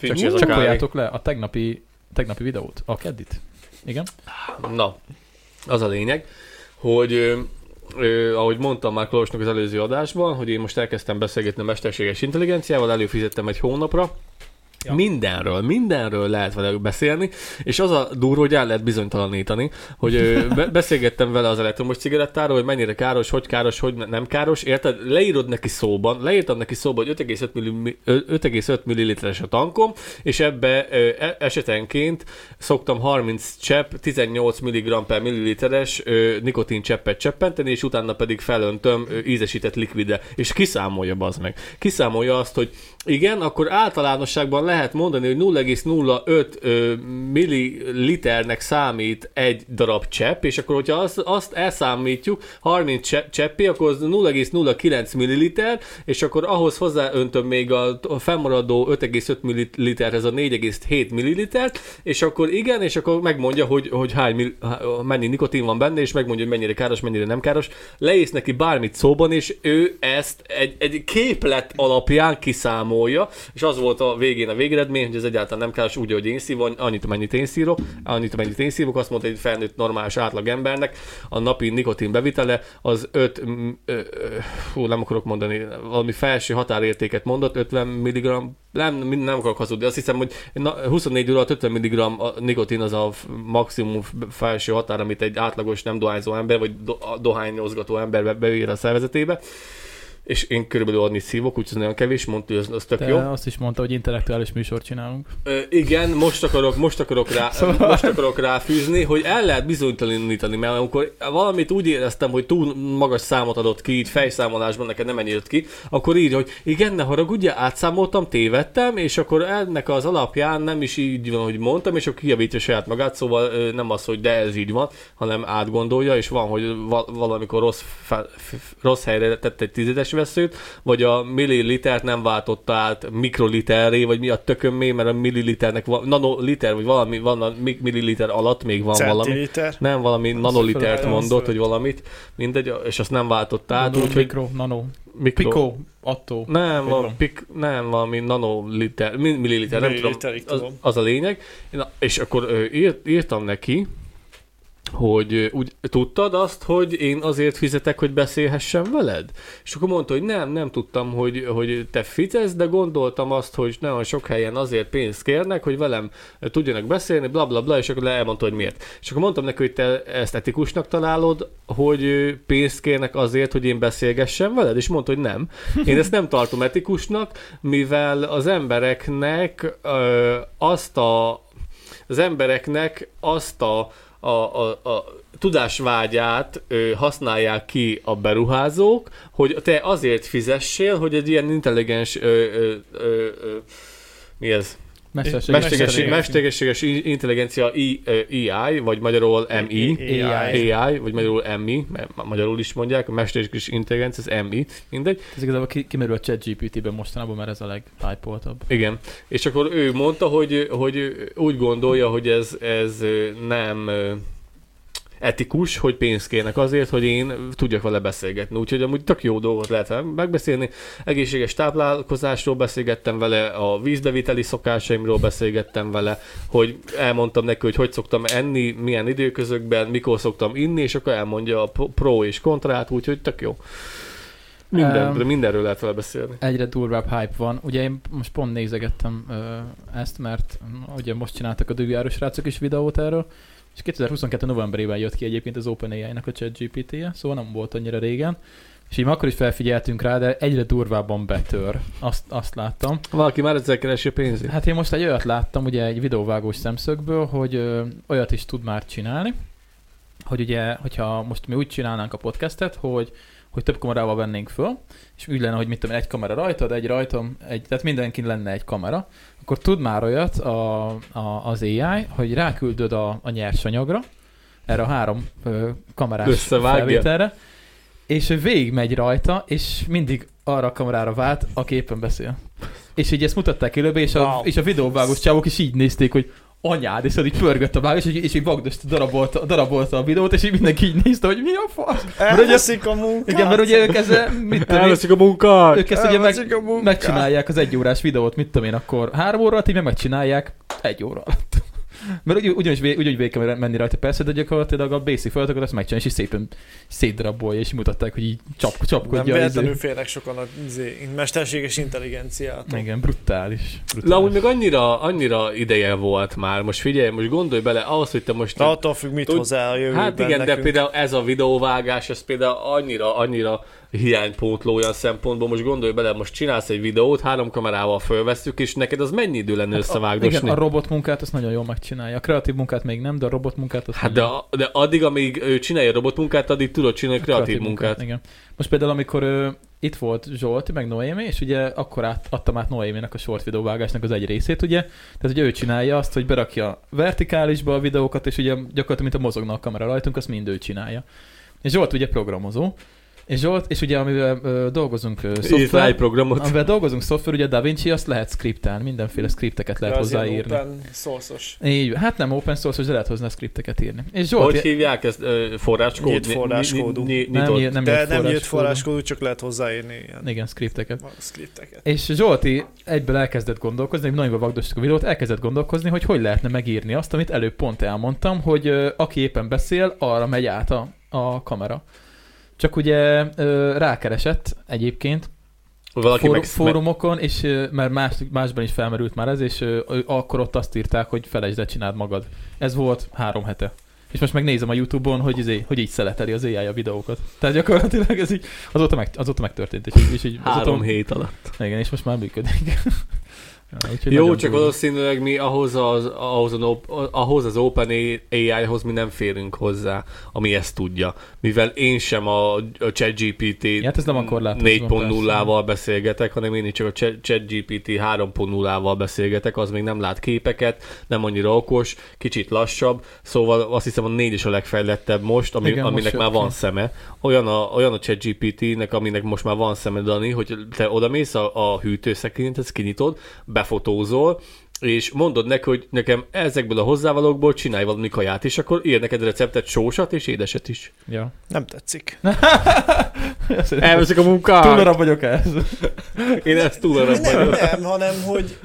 [SPEAKER 1] Csak,
[SPEAKER 2] ez a
[SPEAKER 1] csak
[SPEAKER 2] kávé.
[SPEAKER 1] le a tegnapi, tegnapi videót, a keddit. Igen?
[SPEAKER 2] Na, az a lényeg, hogy ö, ö, ahogy mondtam már Klósnak az előző adásban, hogy én most elkezdtem beszélgetni a mesterséges intelligenciával, előfizettem egy hónapra,
[SPEAKER 1] Ja.
[SPEAKER 2] Ja. Mindenről, mindenről lehet vele beszélni, és az a durva, hogy el lehet bizonytalanítani, hogy ö, be- beszélgettem vele az elektromos cigarettáról, hogy mennyire káros, hogy káros, hogy ne- nem káros, érted? Leírod neki szóban, leírtam neki szóban, hogy 5,5 milli- ö, 5,5 milliliteres a tankom, és ebbe ö, e- esetenként szoktam 30 csepp, 18 mg per milliliteres ö, nikotin cseppet cseppenteni, és utána pedig felöntöm ö, ízesített likvide, és kiszámolja bazd meg. Kiszámolja azt, hogy igen, akkor általánosságban lehet mondani, hogy 0,05 ö, milliliternek számít egy darab csepp, és akkor hogyha azt, azt elszámítjuk 30 cse- cseppé, akkor az 0,09 milliliter, és akkor ahhoz hozzáöntöm még a, a fennmaradó 5,5 milliliterhez a 4,7 millilitert, és akkor igen, és akkor megmondja, hogy, hogy hány mil, há- mennyi nikotin van benne, és megmondja, hogy mennyire káros, mennyire nem káros. Leész neki bármit szóban, és ő ezt egy, egy képlet alapján kiszámolja, és az volt a végén a végeredmény, hogy ez egyáltalán nem káros, úgy, hogy én szívom, annyit, amennyit én szírok, annyit, amennyit én szívok, azt mondta egy felnőtt normális átlag embernek, a napi nikotin bevitele az 5, hú, nem akarok mondani, valami felső határértéket mondott, 50 mg nem, nem akarok hazudni. Azt hiszem, hogy na, 24 óra 50 mg a nikotin az a maximum felső határ, amit egy átlagos nem dohányzó ember, vagy do, dohányozgató ember beír a szervezetébe. És én körülbelül annyit szívok, úgyhogy nagyon kevés, mondta, hogy az, az tök
[SPEAKER 1] Te
[SPEAKER 2] jó.
[SPEAKER 1] azt is mondta, hogy intellektuális műsort csinálunk.
[SPEAKER 2] Ö, igen, most akarok, most akarok, rá,
[SPEAKER 1] Szóval-
[SPEAKER 2] most akarok ráfűzni, hogy el lehet bizonytalanítani, mert amikor valamit úgy éreztem, hogy túl magas számot adott ki, így fejszámolásban neked nem ennyi jött ki, akkor így, hogy igen, ne haragudja, átszámoltam, tévedtem, és akkor ennek az alapján nem is így van, hogy mondtam, és akkor kijavítja saját magát, szóval ö, nem az, hogy de ez így van, hanem átgondolja, és van, hogy va- valamikor rossz, fe- f- rossz helyre tett egy tizedes veszőt, vagy a millilitert nem váltotta át mikroliterré, vagy mi a tökömé, mert a milliliternek van, nanoliter, vagy valami, van a mi- milliliter alatt még van valami.
[SPEAKER 4] Centiliter.
[SPEAKER 2] Nem, valami nanolitert
[SPEAKER 4] föl-
[SPEAKER 2] mondott,
[SPEAKER 4] föl-
[SPEAKER 2] hogy valamit, mindegy, és azt nem váltotta át,
[SPEAKER 1] Nano,
[SPEAKER 2] úgyhogy
[SPEAKER 1] mikro, nano,
[SPEAKER 2] mikro,
[SPEAKER 1] pico, attó.
[SPEAKER 2] nem,
[SPEAKER 1] Vagy
[SPEAKER 2] valami,
[SPEAKER 1] van?
[SPEAKER 2] pik, nem, valami nanoliter, mi- milliliter, nem tudom,
[SPEAKER 4] Milliliterig
[SPEAKER 2] az,
[SPEAKER 4] tudom.
[SPEAKER 2] az a lényeg. Na, és akkor ö, írt, írtam neki, hogy ö, úgy tudtad azt, hogy én azért fizetek, hogy beszélhessem veled? És akkor mondta, hogy nem, nem tudtam, hogy, hogy te fizetsz, de gondoltam azt, hogy nagyon sok helyen azért pénzt kérnek, hogy velem ö, tudjanak beszélni, bla bla bla, és akkor elmondta, hogy miért. És akkor mondtam neki, hogy te ezt etikusnak találod, hogy ö, pénzt kérnek azért, hogy én beszélgessem veled, és mondta, hogy nem. Én ezt nem tartom etikusnak, mivel az embereknek ö, azt a az embereknek azt a, a, a, a tudásvágyát ö, használják ki a beruházók, hogy te azért fizessél, hogy egy ilyen intelligens ö, ö, ö, ö, mi ez?
[SPEAKER 1] Mesterséges.
[SPEAKER 2] Mesterséges, mesterséges in- intelligencia I, ö, AI, vagy magyarul MI.
[SPEAKER 1] AI.
[SPEAKER 2] AI, vagy magyarul MI, mert ma- magyarul is mondják, a mesterséges intelligencia, az MI, mindegy.
[SPEAKER 1] Ez igazából ki, kimerül a chatgpt ben mostanában, mert ez a legtájpoltabb.
[SPEAKER 2] Igen, és akkor ő mondta, hogy, hogy úgy gondolja, hogy ez, ez nem etikus, hogy pénzt kérnek azért, hogy én tudjak vele beszélgetni. Úgyhogy amúgy tök jó dolgot lehet megbeszélni. Egészséges táplálkozásról beszélgettem vele, a vízbeviteli szokásaimról beszélgettem vele, hogy elmondtam neki, hogy hogy szoktam enni, milyen időközökben, mikor szoktam inni, és akkor elmondja a pro és kontrát, úgyhogy tök jó. Mindenről,
[SPEAKER 1] Em,
[SPEAKER 2] mindenről lehet vele beszélni.
[SPEAKER 1] Egyre durvább hype van. Ugye én most pont nézegettem ö, ezt, mert mm, ugye most csináltak a dugjáros srácok is videót erről, és 2022. novemberében jött ki egyébként az OpenAI-nak a ChatGPT-je, szóval nem volt annyira régen. És így már akkor is felfigyeltünk rá, de egyre durvábban betör. Azt, azt láttam.
[SPEAKER 2] Valaki már ezzel keresi a pénzét.
[SPEAKER 1] Hát én most egy olyat láttam, ugye egy videóvágós szemszögből, hogy ö, olyat is tud már csinálni, hogy ugye, hogyha most mi úgy csinálnánk a podcastet, hogy hogy több kamerával vennénk föl, és úgy lenne, hogy mit tudom, én, egy kamera rajtad, egy rajtam, egy, tehát mindenkin lenne egy kamera, akkor tud már olyat a, a, az AI, hogy ráküldöd a, a nyersanyagra, erre a három ö, kamerás
[SPEAKER 2] Összevágja.
[SPEAKER 1] felvételre, és ő végigmegy rajta, és mindig arra a kamerára vált, aki éppen beszél. És így ezt mutatták élőbe, és a,
[SPEAKER 4] Wow.
[SPEAKER 1] és a videóvágós csávok is így nézték, hogy anyád, és így pörgött a vágás, és, így- és így vagdost darabolta, darabolta a videót, és így mindenki így nézte, hogy mi a fasz.
[SPEAKER 4] Elveszik a munkát.
[SPEAKER 1] Igen, mert ugye ők ezzel, mit tudom én,
[SPEAKER 2] a munkát!
[SPEAKER 1] ők ezt ugye meg,
[SPEAKER 4] Elveszik a munkát.
[SPEAKER 1] megcsinálják az egy órás videót, mit tudom én, akkor három óra alatt, így meg megcsinálják egy óra alatt. Mert ugy, ugyanis vé- ugyanúgy végig kell menni rajta, persze, de gyakorlatilag a basic feladatokat azt megcsinálja, és így szépen szétdarabolja, és mutatták, hogy így csap,
[SPEAKER 4] Nem
[SPEAKER 1] csapkodja. az
[SPEAKER 4] véletlenül
[SPEAKER 1] ő.
[SPEAKER 4] félnek sokan a izé, mesterséges intelligenciát.
[SPEAKER 1] Igen, brutális. brutális.
[SPEAKER 2] Na, úgy meg annyira, annyira ideje volt már. Most figyelj, most gondolj bele, ahhoz, hogy te most...
[SPEAKER 4] De attól függ, mit
[SPEAKER 2] Tud-
[SPEAKER 4] hozzá a jövőben
[SPEAKER 2] hát igen,
[SPEAKER 4] nekünk.
[SPEAKER 2] de például ez a videóvágás, ez például annyira, annyira hiánypótló olyan szempontból. Most gondolj bele, most csinálsz egy videót, három kamerával fölveszük, és neked az mennyi idő lenne
[SPEAKER 1] Igen,
[SPEAKER 2] összevágdosni?
[SPEAKER 1] a robot munkát azt nagyon jól megcsinálja. A kreatív munkát még nem, de a robot munkát azt
[SPEAKER 2] Hát de,
[SPEAKER 1] nagyon-
[SPEAKER 2] de addig, amíg ő csinálja a robotmunkát, addig tudod csinálni a
[SPEAKER 1] Hát,
[SPEAKER 2] kreatív munkát.
[SPEAKER 1] Igen. Most például, amikor ő, itt volt Zsolti, meg Noémi, és ugye akkor át, adtam át Noéminek a short videóvágásnak az egy részét, ugye? Tehát ugye ő csinálja azt, hogy berakja vertikálisba a videókat, és ugye gyakorlatilag, mint a mozogna a kamera rajtunk, azt mind ő csinálja. És Zsolt ugye programozó, És Zsolt, és ugye amivel ö, dolgozunk ö,
[SPEAKER 6] Írt rá egy
[SPEAKER 1] szoftver,
[SPEAKER 6] programot.
[SPEAKER 1] amivel dolgozunk szoftver, ugye DaVinci azt lehet skriptálni, mindenféle skripteket lehet
[SPEAKER 3] De az ilyen
[SPEAKER 1] hozzáírni.
[SPEAKER 3] Open source-os.
[SPEAKER 1] Így, hát nem open source, de lehet hozzá skripteket írni. És Zsolt,
[SPEAKER 6] Hogy hívják ezt? Ö, Forráskód?
[SPEAKER 3] Nyílt
[SPEAKER 6] Ni- ni-
[SPEAKER 3] forráskódú.
[SPEAKER 6] ni- ni-
[SPEAKER 1] hát nem,
[SPEAKER 6] nyitott.
[SPEAKER 1] ír, nem
[SPEAKER 3] De
[SPEAKER 1] írt
[SPEAKER 3] nem jött
[SPEAKER 1] forráskódon.
[SPEAKER 3] forráskódú, csak lehet hozzáírni ilyen
[SPEAKER 1] Igen, skripteket.
[SPEAKER 3] scripteket.
[SPEAKER 1] És Zsolti egyből elkezdett gondolkozni, nagyon vagdostuk a videót, elkezdett gondolkozni, hogy hogy lehetne megírni azt, amit előbb pont elmondtam, hogy ö, aki éppen beszél, arra megy át a, a kamera. Csak ugye ö, rákeresett egyébként
[SPEAKER 6] Valaki
[SPEAKER 1] fóru-
[SPEAKER 6] meg, meg,
[SPEAKER 1] fórumokon, és ö, mert más, másban is felmerült már ez, és ö, ö, akkor ott azt írták, hogy felejtsd el, csináld magad. Ez volt három hete. És most megnézem a Youtube-on, hogy, izé, hogy így szeleteli az AI a videókat. Tehát gyakorlatilag ez így, azóta, meg, azóta megtörtént. És, így- és így,
[SPEAKER 6] három
[SPEAKER 1] azóta,
[SPEAKER 6] hét alatt.
[SPEAKER 1] igen, és most már működik. Ja, úgyhogy
[SPEAKER 2] Jó,
[SPEAKER 1] nagyon
[SPEAKER 2] csak
[SPEAKER 1] durva.
[SPEAKER 2] valószínűleg mi ahhoz az, ahhoz, az, op- ahhoz az Open AI-hoz mi nem férünk hozzá, ami ezt tudja. Mivel én sem a, a ChatGPT
[SPEAKER 1] Ja, Hát ez nem a korlátozva.
[SPEAKER 2] 4.0-val beszélgetek, hanem én is csak a Chat- ChatGPT 3.0-val beszélgetek, az még nem lát képeket, nem annyira okos, kicsit lassabb, szóval azt hiszem a 4 is a legfejlettebb most, ami,
[SPEAKER 1] Igen,
[SPEAKER 2] Igen,
[SPEAKER 1] most
[SPEAKER 2] aminek
[SPEAKER 1] jött
[SPEAKER 2] már van
[SPEAKER 1] ki.
[SPEAKER 2] szeme. Olyan a, olyan a ChatGPT-nek, aminek most már van szeme, Dani, hogy te odamész a, a hűtőszekrényt, ezt kinyitod, befotózol, és mondod neki, hogy nekem ezekből a hozzávalókból csinálj valami kaját, és akkor ír neked receptet, sósat és édeset is.
[SPEAKER 1] Ja.
[SPEAKER 3] Nem tetszik.
[SPEAKER 2] Elveszik a munkát!
[SPEAKER 1] Túlra vagyok ez.
[SPEAKER 2] Én ezt túlra
[SPEAKER 3] Nem, nem, hanem hogy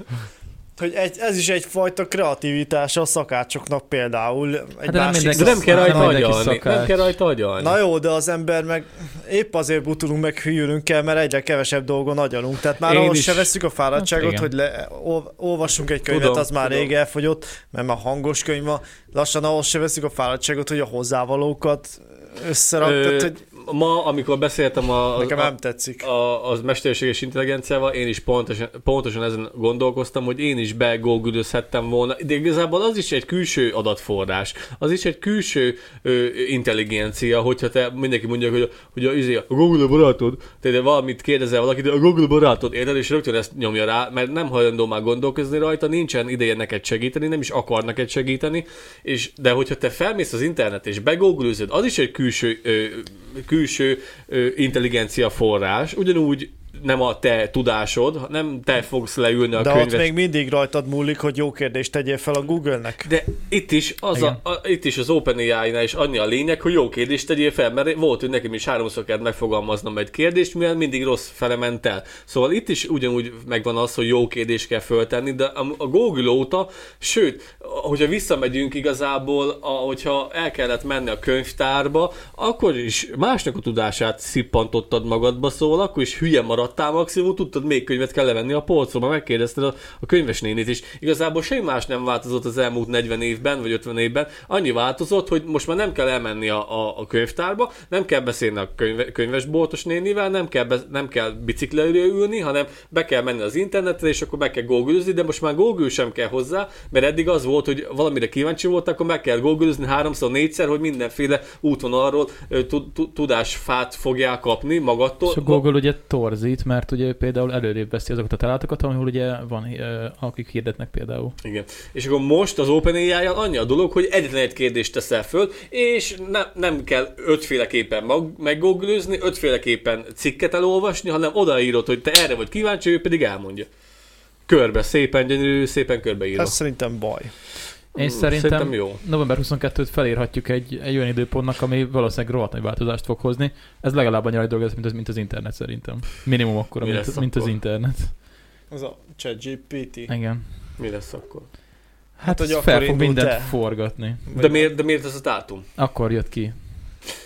[SPEAKER 3] hogy egy, ez is egyfajta kreativitás a szakácsoknak például. Egy
[SPEAKER 1] de nem
[SPEAKER 3] másik
[SPEAKER 1] mindenki-
[SPEAKER 2] Hát De nem kell
[SPEAKER 1] Nem
[SPEAKER 2] rajta
[SPEAKER 1] mindenki
[SPEAKER 2] agyalni. Nem
[SPEAKER 1] szakács.
[SPEAKER 2] kell rajta agyalni.
[SPEAKER 3] Na jó, de az ember meg épp azért butulunk, meg hülyülünk el, mert egyre kevesebb dolgon agyalunk. Tehát már
[SPEAKER 2] Én
[SPEAKER 3] ahhoz
[SPEAKER 2] is.
[SPEAKER 3] se veszük a fáradtságot,
[SPEAKER 1] Hát
[SPEAKER 3] hát,
[SPEAKER 1] igen.
[SPEAKER 3] hogy le, ol- olvassunk egy könyvet,
[SPEAKER 2] Tudom,
[SPEAKER 3] az már
[SPEAKER 2] tudom.
[SPEAKER 3] rég elfogyott, mert már hangos könyv van. Lassan ahhoz se veszük a fáradtságot, hogy a hozzávalókat összerakd.
[SPEAKER 2] Ö,
[SPEAKER 3] Tehát, hogy
[SPEAKER 2] Ma, amikor beszéltem a,
[SPEAKER 3] nekem
[SPEAKER 2] a,
[SPEAKER 3] nem tetszik.
[SPEAKER 2] a, az mesterséges intelligenciával, én is pontosan, pontosan ezen gondolkoztam, hogy én is begógülözhettem volna, de igazából az is egy külső adatforrás, az is egy külső ö, intelligencia, hogyha te mindenki mondja, hogy, a- hogy a, izé, a Google barátod, te de valamit kérdezel valakit, de a Google barátod, érted, és rögtön ezt nyomja rá, mert nem hajlandó már gondolkozni rajta, nincsen ideje neked segíteni, nem is akar neked segíteni, és, de hogyha te felmész az internet és begooglőzöd, az is egy külső, ö, külső ö, intelligencia forrás, ugyanúgy nem a te tudásod, nem te fogsz leülni a
[SPEAKER 3] De ott
[SPEAKER 2] könyvet.
[SPEAKER 3] még mindig rajtad múlik, hogy jó kérdést tegyél fel a Google-nek.
[SPEAKER 2] De itt is, az a, a, itt is az OpenAI-nál is annyi a lényeg, hogy jó kérdést tegyél fel, mert volt, hogy nekem is háromszor kellett megfogalmaznom egy kérdést, mivel mindig rossz fele ment el. Szóval itt is ugyanúgy megvan az, hogy jó kérdést kell föltenni, de a, a Google óta, sőt, a- hogyha visszamegyünk igazából, a, hogyha el kellett menni a könyvtárba, akkor is másnak a tudását szippantottad magadba, szóval akkor is hülye maradtál maximum, tudtad, még könyvet kell levenni a polcról, mert megkérdezted a, a könyves nénit is. Igazából semmi más nem változott az elmúlt 40 évben, vagy 50 évben. Annyi változott, hogy most már nem kell elmenni a, a, a könyvtárba, nem kell beszélni a könyve, könyvesboltos nénivel, nem kell, be, nem kell biciklelőre ülni, hanem be kell menni az internetre, és akkor meg kell googlezni, de most már google sem kell hozzá, mert eddig az volt, hogy valamire kíváncsi volt, akkor meg kell googlezni háromszor, négyszer, hogy mindenféle útvonalról ö, tud- tud- tudásfát fogjál kapni magadtól.
[SPEAKER 1] És a Google ugye torzít, mert ugye ő például előrébb veszi azokat a találatokat, ahol ugye van, ö, akik hirdetnek például.
[SPEAKER 2] Igen. És akkor most az openai jal annyi a dolog, hogy egyetlen egy kérdést teszel föl, és ne, nem kell ötféleképpen mag- meggooglőzni, ötféleképpen cikket elolvasni, hanem odaírod, hogy te erre vagy kíváncsi, ő pedig elmondja. Körbe, szépen gyönyörű, szépen körbeírva.
[SPEAKER 3] Ez szerintem baj.
[SPEAKER 1] Én
[SPEAKER 2] Mm,
[SPEAKER 1] szerintem,
[SPEAKER 2] szerintem jó.
[SPEAKER 1] november 22-t felírhatjuk egy, egy olyan időpontnak, ami valószínűleg rohadt nagy változást fog hozni. Ez legalább annyira nagy dolog, lesz, mint az, mint az internet szerintem. Minimum akkora,
[SPEAKER 2] Mi
[SPEAKER 1] mint,
[SPEAKER 2] lesz
[SPEAKER 1] mint az
[SPEAKER 2] akkor?
[SPEAKER 1] internet.
[SPEAKER 3] Az a ChatGPT.
[SPEAKER 1] Igen.
[SPEAKER 2] Mi lesz akkor?
[SPEAKER 1] Hát,
[SPEAKER 3] hogy
[SPEAKER 1] hát
[SPEAKER 3] akkor
[SPEAKER 1] fel fog
[SPEAKER 3] indult
[SPEAKER 1] mindent
[SPEAKER 3] el.
[SPEAKER 1] forgatni.
[SPEAKER 2] De miért, de miért ez a dátum?
[SPEAKER 1] Akkor jött ki.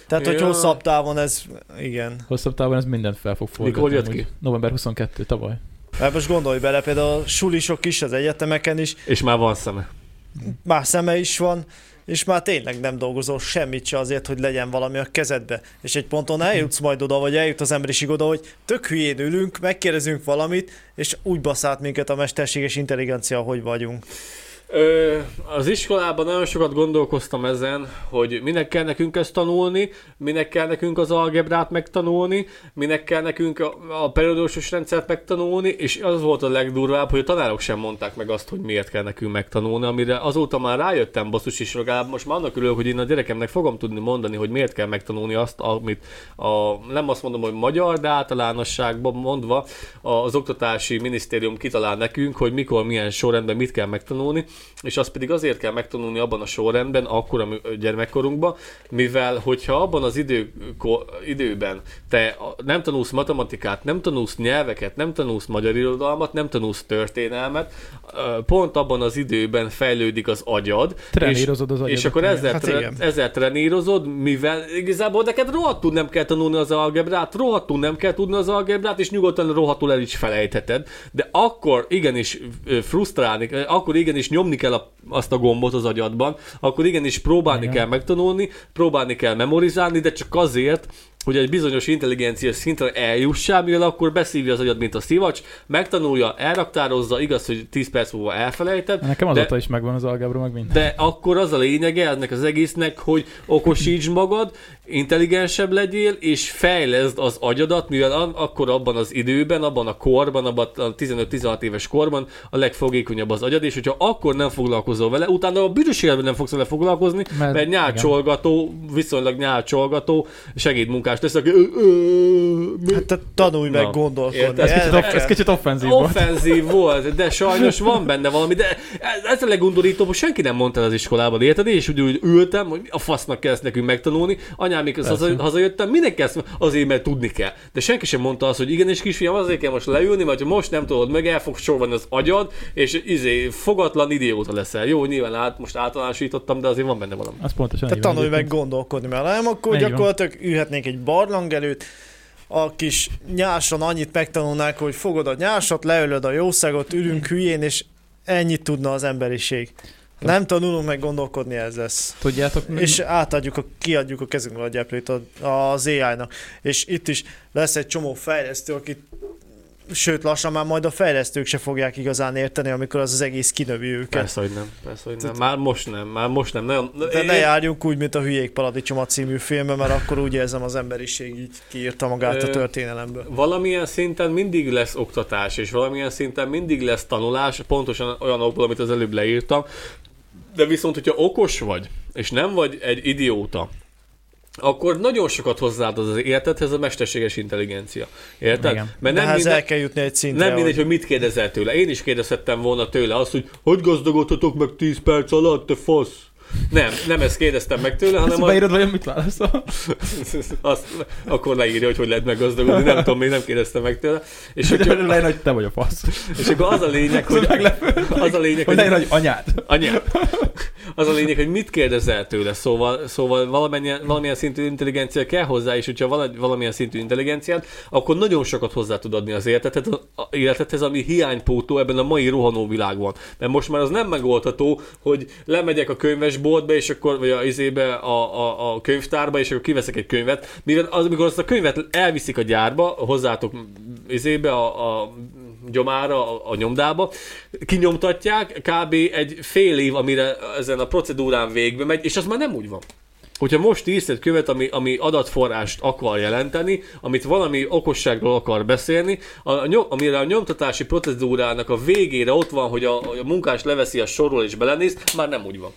[SPEAKER 3] Tehát, hogy
[SPEAKER 2] Ja.
[SPEAKER 3] hosszabb távon ez, igen.
[SPEAKER 1] Hosszabb távon ez mindent fel fog forgatni.
[SPEAKER 2] Mikor jött
[SPEAKER 1] amúgy.
[SPEAKER 2] ki?
[SPEAKER 1] November 22, tavaly.
[SPEAKER 3] Mert Hát most gondolj bele, például a sulisok is, az egyetemeken is,
[SPEAKER 2] És már van szeme.
[SPEAKER 3] már szeme is van, és már tényleg nem dolgozol semmit se azért, hogy legyen valami a kezedbe. És egy ponton eljutsz majd oda, vagy eljut az emberiség oda, hogy tök hülyén ülünk, megkérdezünk valamit, és úgy baszált minket a mesterséges intelligencia, hogy vagyunk.
[SPEAKER 2] Ö, az iskolában nagyon sokat gondolkoztam ezen, hogy minek kell nekünk ezt tanulni, minek kell nekünk az algebrát megtanulni, minek kell nekünk a, a periódusos rendszert megtanulni, és az volt a legdurvább, hogy a tanárok sem mondták meg azt, hogy miért kell nekünk megtanulni, amire azóta már rájöttem basszus is, legalább most már annak örülök, hogy én a gyerekemnek fogom tudni mondani, hogy miért kell megtanulni azt, amit a, nem azt mondom, hogy magyar, de általánosságban mondva az oktatási minisztérium kitalál nekünk, hogy mikor, milyen sorrendben mit kell megtanulni, és azt pedig azért kell megtanulni abban a sorrendben, akkor a gyermekkorunkban, mivel hogyha abban az idő, időben te nem tanulsz matematikát, nem tanulsz nyelveket, nem tanulsz magyar irodalmat, nem tanulsz történelmet, pont abban az időben fejlődik az agyad.
[SPEAKER 1] Trenírozod
[SPEAKER 2] és,
[SPEAKER 1] az agyadat.
[SPEAKER 2] És akkor ezzel, hát
[SPEAKER 3] Hát
[SPEAKER 2] tre,
[SPEAKER 3] igen.
[SPEAKER 2] ezzel trenírozod, mivel igazából neked rohadtul nem kell tanulni az algebrát, rohadtul nem kell tudni az algebrát, és nyugodtan rohadtul el is felejtheted. De akkor igenis ö, frusztrálni, ö, akkor igenis nyomni kell a, azt a gombot az agyadban, akkor igenis próbálni
[SPEAKER 1] Igen.
[SPEAKER 2] kell megtanulni, próbálni kell memorizálni, de csak azért, hogy egy bizonyos intelligencia szintre eljussál, mivel akkor beszívja az agyad, mint a szivacs, megtanulja, elraktározza, igaz, hogy 10 perc múlva elfelejted,
[SPEAKER 1] Nekem
[SPEAKER 2] de-
[SPEAKER 1] azóta is megvan az algebra, meg minden.
[SPEAKER 2] de akkor az a lényege ennek az egésznek, hogy okosíts magad, intelligensebb legyél, és fejleszd az agyadat, mivel an- akkor abban az időben, abban a korban, abban a 15-16 éves korban a legfogékonyabb az agyad, és hogyha akkor nem foglalkozol vele, utána a büdös életben nem fogsz vele foglalkozni, mert,
[SPEAKER 1] Mert-
[SPEAKER 2] mert nyálcsolgató, viszonylag nyálcsolgató segédmunkás lesz, aki... Ö, ö, mi-
[SPEAKER 3] Hát te tanulj meg
[SPEAKER 2] Na.
[SPEAKER 3] gondolkodni.
[SPEAKER 2] Érted?
[SPEAKER 1] Ez kicsit,
[SPEAKER 3] erre
[SPEAKER 1] off-
[SPEAKER 3] kell.
[SPEAKER 1] ez kicsit offenzív volt.
[SPEAKER 2] offenzív volt, de sajnos van benne valami, de ez, ez a legundorítóbb, hogy senki nem mondta el az iskolában, érted? És úgy, úgy ültem, hogy mi a fasznak kell ezt nekünk megtanulni, anyám, mikor haza, hazajöttem, minek kell ezt, azért, mert tudni kell. De senki sem mondta azt, hogy igen, és kisfiam, azért kell most leülni, mert ha most nem tudod meg, el fog sorban az agyad, és izé, fogatlan idióta leszel. Jó, nyilván át, most általánosítottam, de azért van benne valami.
[SPEAKER 1] Az pontosan
[SPEAKER 3] Te
[SPEAKER 1] így van
[SPEAKER 3] tanulj meg
[SPEAKER 1] egyébként.
[SPEAKER 3] gondolkodni, mert ha nem, akkor
[SPEAKER 1] Így van.
[SPEAKER 3] gyakorlatilag ülhetnénk egy barlang előtt, a kis nyáson annyit megtanulnák, hogy fogod a nyásat, leölöd a jószágot, ülünk hülyén, és ennyit tudna az emberiség. Nem tanulunk meg gondolkodni, ez lesz.
[SPEAKER 1] Tudjátok, mi-
[SPEAKER 3] És átadjuk, a, kiadjuk a kezünkből a gyeplőt a- az AI-nak. És itt is lesz egy csomó fejlesztő, akit sőt lassan már majd a fejlesztők se fogják igazán érteni, amikor az, az egész kinövi őket.
[SPEAKER 2] Persze, hogy nem. Persze, hogy nem. Már most nem, már most nem. Nagyon,
[SPEAKER 3] De ne járjunk úgy, mint a Hülyék Paradicsoma című filmbe, mert akkor úgy érzem az emberiség így kiírta magát
[SPEAKER 2] Ö,
[SPEAKER 3] a történelemből.
[SPEAKER 2] Valamilyen szinten mindig lesz oktatás, és valamilyen szinten mindig lesz tanulás, pontosan olyan okból, amit az előbb leírtam. De viszont, hogyha okos vagy, és nem vagy egy idióta, akkor nagyon sokat hozzáad az életedhez a mesterséges intelligencia. Érted?
[SPEAKER 1] Igen.
[SPEAKER 2] Mert
[SPEAKER 3] De
[SPEAKER 2] nem,
[SPEAKER 3] hát
[SPEAKER 2] minden,
[SPEAKER 3] el kell jutni egy szintre.
[SPEAKER 2] nem mindegy,
[SPEAKER 3] hogy...
[SPEAKER 2] hogy mit kérdezel tőle. Én is kérdezhettem volna tőle azt, hogy hogy gazdagodhatok meg 10 perc alatt, te fasz? Nem, nem ezt kérdeztem meg tőle, hanem
[SPEAKER 1] Ezt
[SPEAKER 2] a-
[SPEAKER 1] beírod, vajon mit válaszol?
[SPEAKER 2] azt, akkor leírja, hogy hogy lehet meggazdagodni, nem tudom, még nem kérdeztem meg tőle. És,
[SPEAKER 1] Hogy
[SPEAKER 2] akkor,
[SPEAKER 1] lejön, hogy te vagy a fasz.
[SPEAKER 2] és akkor az a lényeg, hogy az a lényeg,
[SPEAKER 1] Hogy
[SPEAKER 2] hogy
[SPEAKER 1] lejön, hogy anyád.
[SPEAKER 2] Anya, az a lényeg, hogy mit kérdezel tőle, szóval, szóval valamennyien, valamilyen szintű intelligencia kell hozzá, és hogyha van egy valamilyen szintű intelligenciát, akkor nagyon sokat hozzá tud adni az életedhez, a- életedhez, ami hiánypótó ebben a mai rohanó világban. Mert most már az nem megoldható, hogy lemegyek a könyvesboltba, és akkor, vagy a izébe, a, a, a könyvtárba, és akkor kiveszek egy könyvet, mivel az, amikor azt a könyvet elviszik a gyárba, hozzátok izébe, a, a gyomára, a, a nyomdába, kinyomtatják, kb. egy fél év, amire ezen a procedúrán végbe megy, és az már nem úgy van. Hogyha most írsz egy követ, ami, ami adatforrást akar jelenteni, amit valami okosságról akar beszélni, a, a nyom, amire a nyomtatási procedúrának a végére ott van, hogy a, a munkás leveszi a sorról és belenéz, már nem úgy van.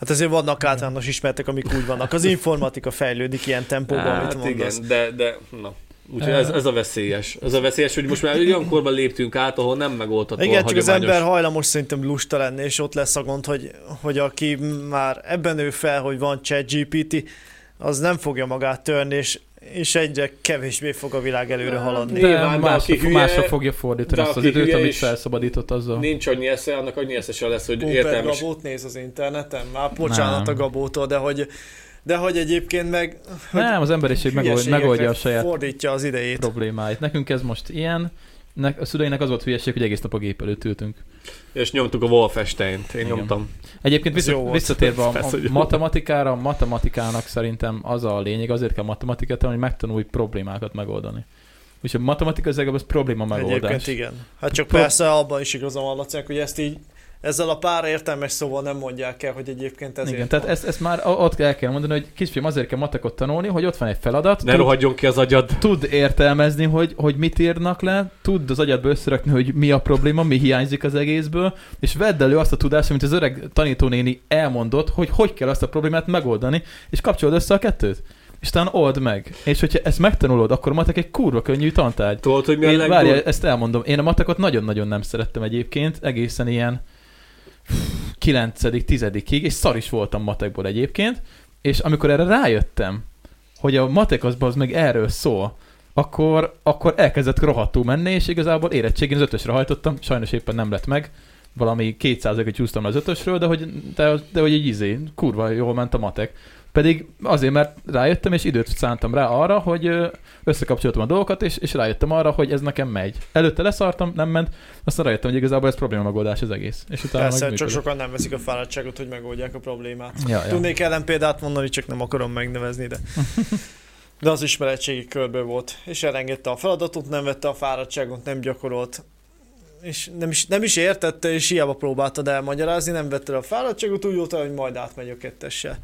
[SPEAKER 3] Hát azért vannak általános ismertek, amik úgy vannak. Az informatika fejlődik ilyen tempóban, amit
[SPEAKER 2] Hát
[SPEAKER 3] mondasz.
[SPEAKER 2] igen, de, de na. Úgyhogy ez,
[SPEAKER 1] Eh.
[SPEAKER 2] ez a veszélyes. Ez a veszélyes, hogy most már olyan korban léptünk át, ahol nem megoldható
[SPEAKER 3] Igen,
[SPEAKER 2] a
[SPEAKER 3] csak az
[SPEAKER 2] hagyományos-
[SPEAKER 3] ember hajlamos szerintem lusta lenni, és ott lesz a gond, hogy, hogy aki már ebben ő fel, hogy van chat GPT, az nem fogja magát törni, és, és egyre kevésbé fog a világ előre haladni.
[SPEAKER 2] Nyilván, de
[SPEAKER 1] De
[SPEAKER 2] aki
[SPEAKER 1] másra,
[SPEAKER 2] hülye-
[SPEAKER 1] másra fogja fordítani
[SPEAKER 2] de
[SPEAKER 1] azt az
[SPEAKER 2] aki
[SPEAKER 1] időt,
[SPEAKER 2] hülye
[SPEAKER 1] amit
[SPEAKER 2] is-
[SPEAKER 1] felszabadított azzal.
[SPEAKER 2] Nincs annyi esze, annak annyi esze sem lesz, hogy
[SPEAKER 4] Óper
[SPEAKER 2] értelmes.
[SPEAKER 4] Gabót néz az interneten, már
[SPEAKER 3] Már bocsánat
[SPEAKER 1] Nem.
[SPEAKER 3] a Gabótól, de hogy, de hogy egyébként meg hogy
[SPEAKER 1] Nem, az emberiség megold,
[SPEAKER 3] hülyeségekre
[SPEAKER 1] megoldja a saját
[SPEAKER 3] fordítja az idejét.
[SPEAKER 1] problémáit. Nekünk ez most ilyen, ne, a szüleinek az volt hülyeség, hogy egész nap a gép előtt ültünk.
[SPEAKER 2] És nyomtuk a Wolfenstein-t. Én
[SPEAKER 1] Igen.
[SPEAKER 2] nyomtam.
[SPEAKER 1] Egyébként
[SPEAKER 3] Ez jó
[SPEAKER 1] vissza,
[SPEAKER 3] volt.
[SPEAKER 1] visszatérve a,
[SPEAKER 2] Persze,
[SPEAKER 1] a
[SPEAKER 2] hogy jó.
[SPEAKER 1] matematikára, a matematikának szerintem az a lényeg, azért kell matematikát tanulni, hogy megtanulj problémákat megoldani. Úgyhogy a matematika az legalább az probléma megoldás.
[SPEAKER 3] Egyébként igen. Hát csak
[SPEAKER 1] Pro-
[SPEAKER 3] persze abban is igazam van, Lacinak, hogy ezt így
[SPEAKER 4] ezzel a pár értelmes szóval nem mondják el, hogy egyébként ezért
[SPEAKER 1] Igen, tehát
[SPEAKER 4] van.
[SPEAKER 1] ezt, ezt már a- ott el kell mondani, hogy kisfiam azért kell matekot tanulni, hogy ott van egy feladat,
[SPEAKER 2] Ne
[SPEAKER 1] tud,
[SPEAKER 2] rohadjon ki az agyad.
[SPEAKER 1] tud értelmezni, hogy, hogy mit írnak le, tudd az agyadba összerakni, hogy mi a probléma, mi hiányzik az egészből, és vedd elő azt a tudást, amit az öreg tanítónéni elmondott, hogy hogy kell azt a problémát megoldani, és kapcsolod össze a kettőt. És talán old meg. És hogyha ezt megtanulod, akkor matek egy kurva könnyű tantárgy.
[SPEAKER 2] Tudod, hogy mi a
[SPEAKER 1] Én,
[SPEAKER 2] legdur-
[SPEAKER 1] várj, ezt elmondom. Én a matekot nagyon-nagyon nem szerettem egyébként, egészen ilyen 9 tizedikig, és szar is voltam matekból egyébként, és amikor erre rájöttem, hogy a matek az, az meg erről szól, akkor, akkor elkezdett rohadtul menni, és igazából érettségén az ötösre hajtottam, sajnos éppen nem lett meg, valami 200 csúsztam le az ötösről, de hogy, de, de hogy így izé, kurva jól ment a matek. Pedig azért, mert rájöttem, és időt szántam rá arra, hogy ö, összekapcsoltam a dolgokat, és, és rájöttem arra, hogy ez nekem megy. Előtte leszartam, nem ment, aztán rájöttem, hogy igazából ez probléma megoldás az egész. És utána
[SPEAKER 3] Persze,
[SPEAKER 1] meg
[SPEAKER 3] csak
[SPEAKER 1] működik.
[SPEAKER 3] sokan nem veszik a fáradtságot, hogy megoldják a problémát.
[SPEAKER 1] Ja, ja.
[SPEAKER 3] Tudnék ellenpéldát mondani, csak nem akarom megnevezni, de...
[SPEAKER 4] De az ismeretségi körből volt, és elengedte a feladatot, nem vette a fáradtságot, nem gyakorolt. És nem is, nem is értette, és hiába próbáltad elmagyarázni, nem vette le a fáradtságot, úgy volt, hogy majd átmegy a kettessel.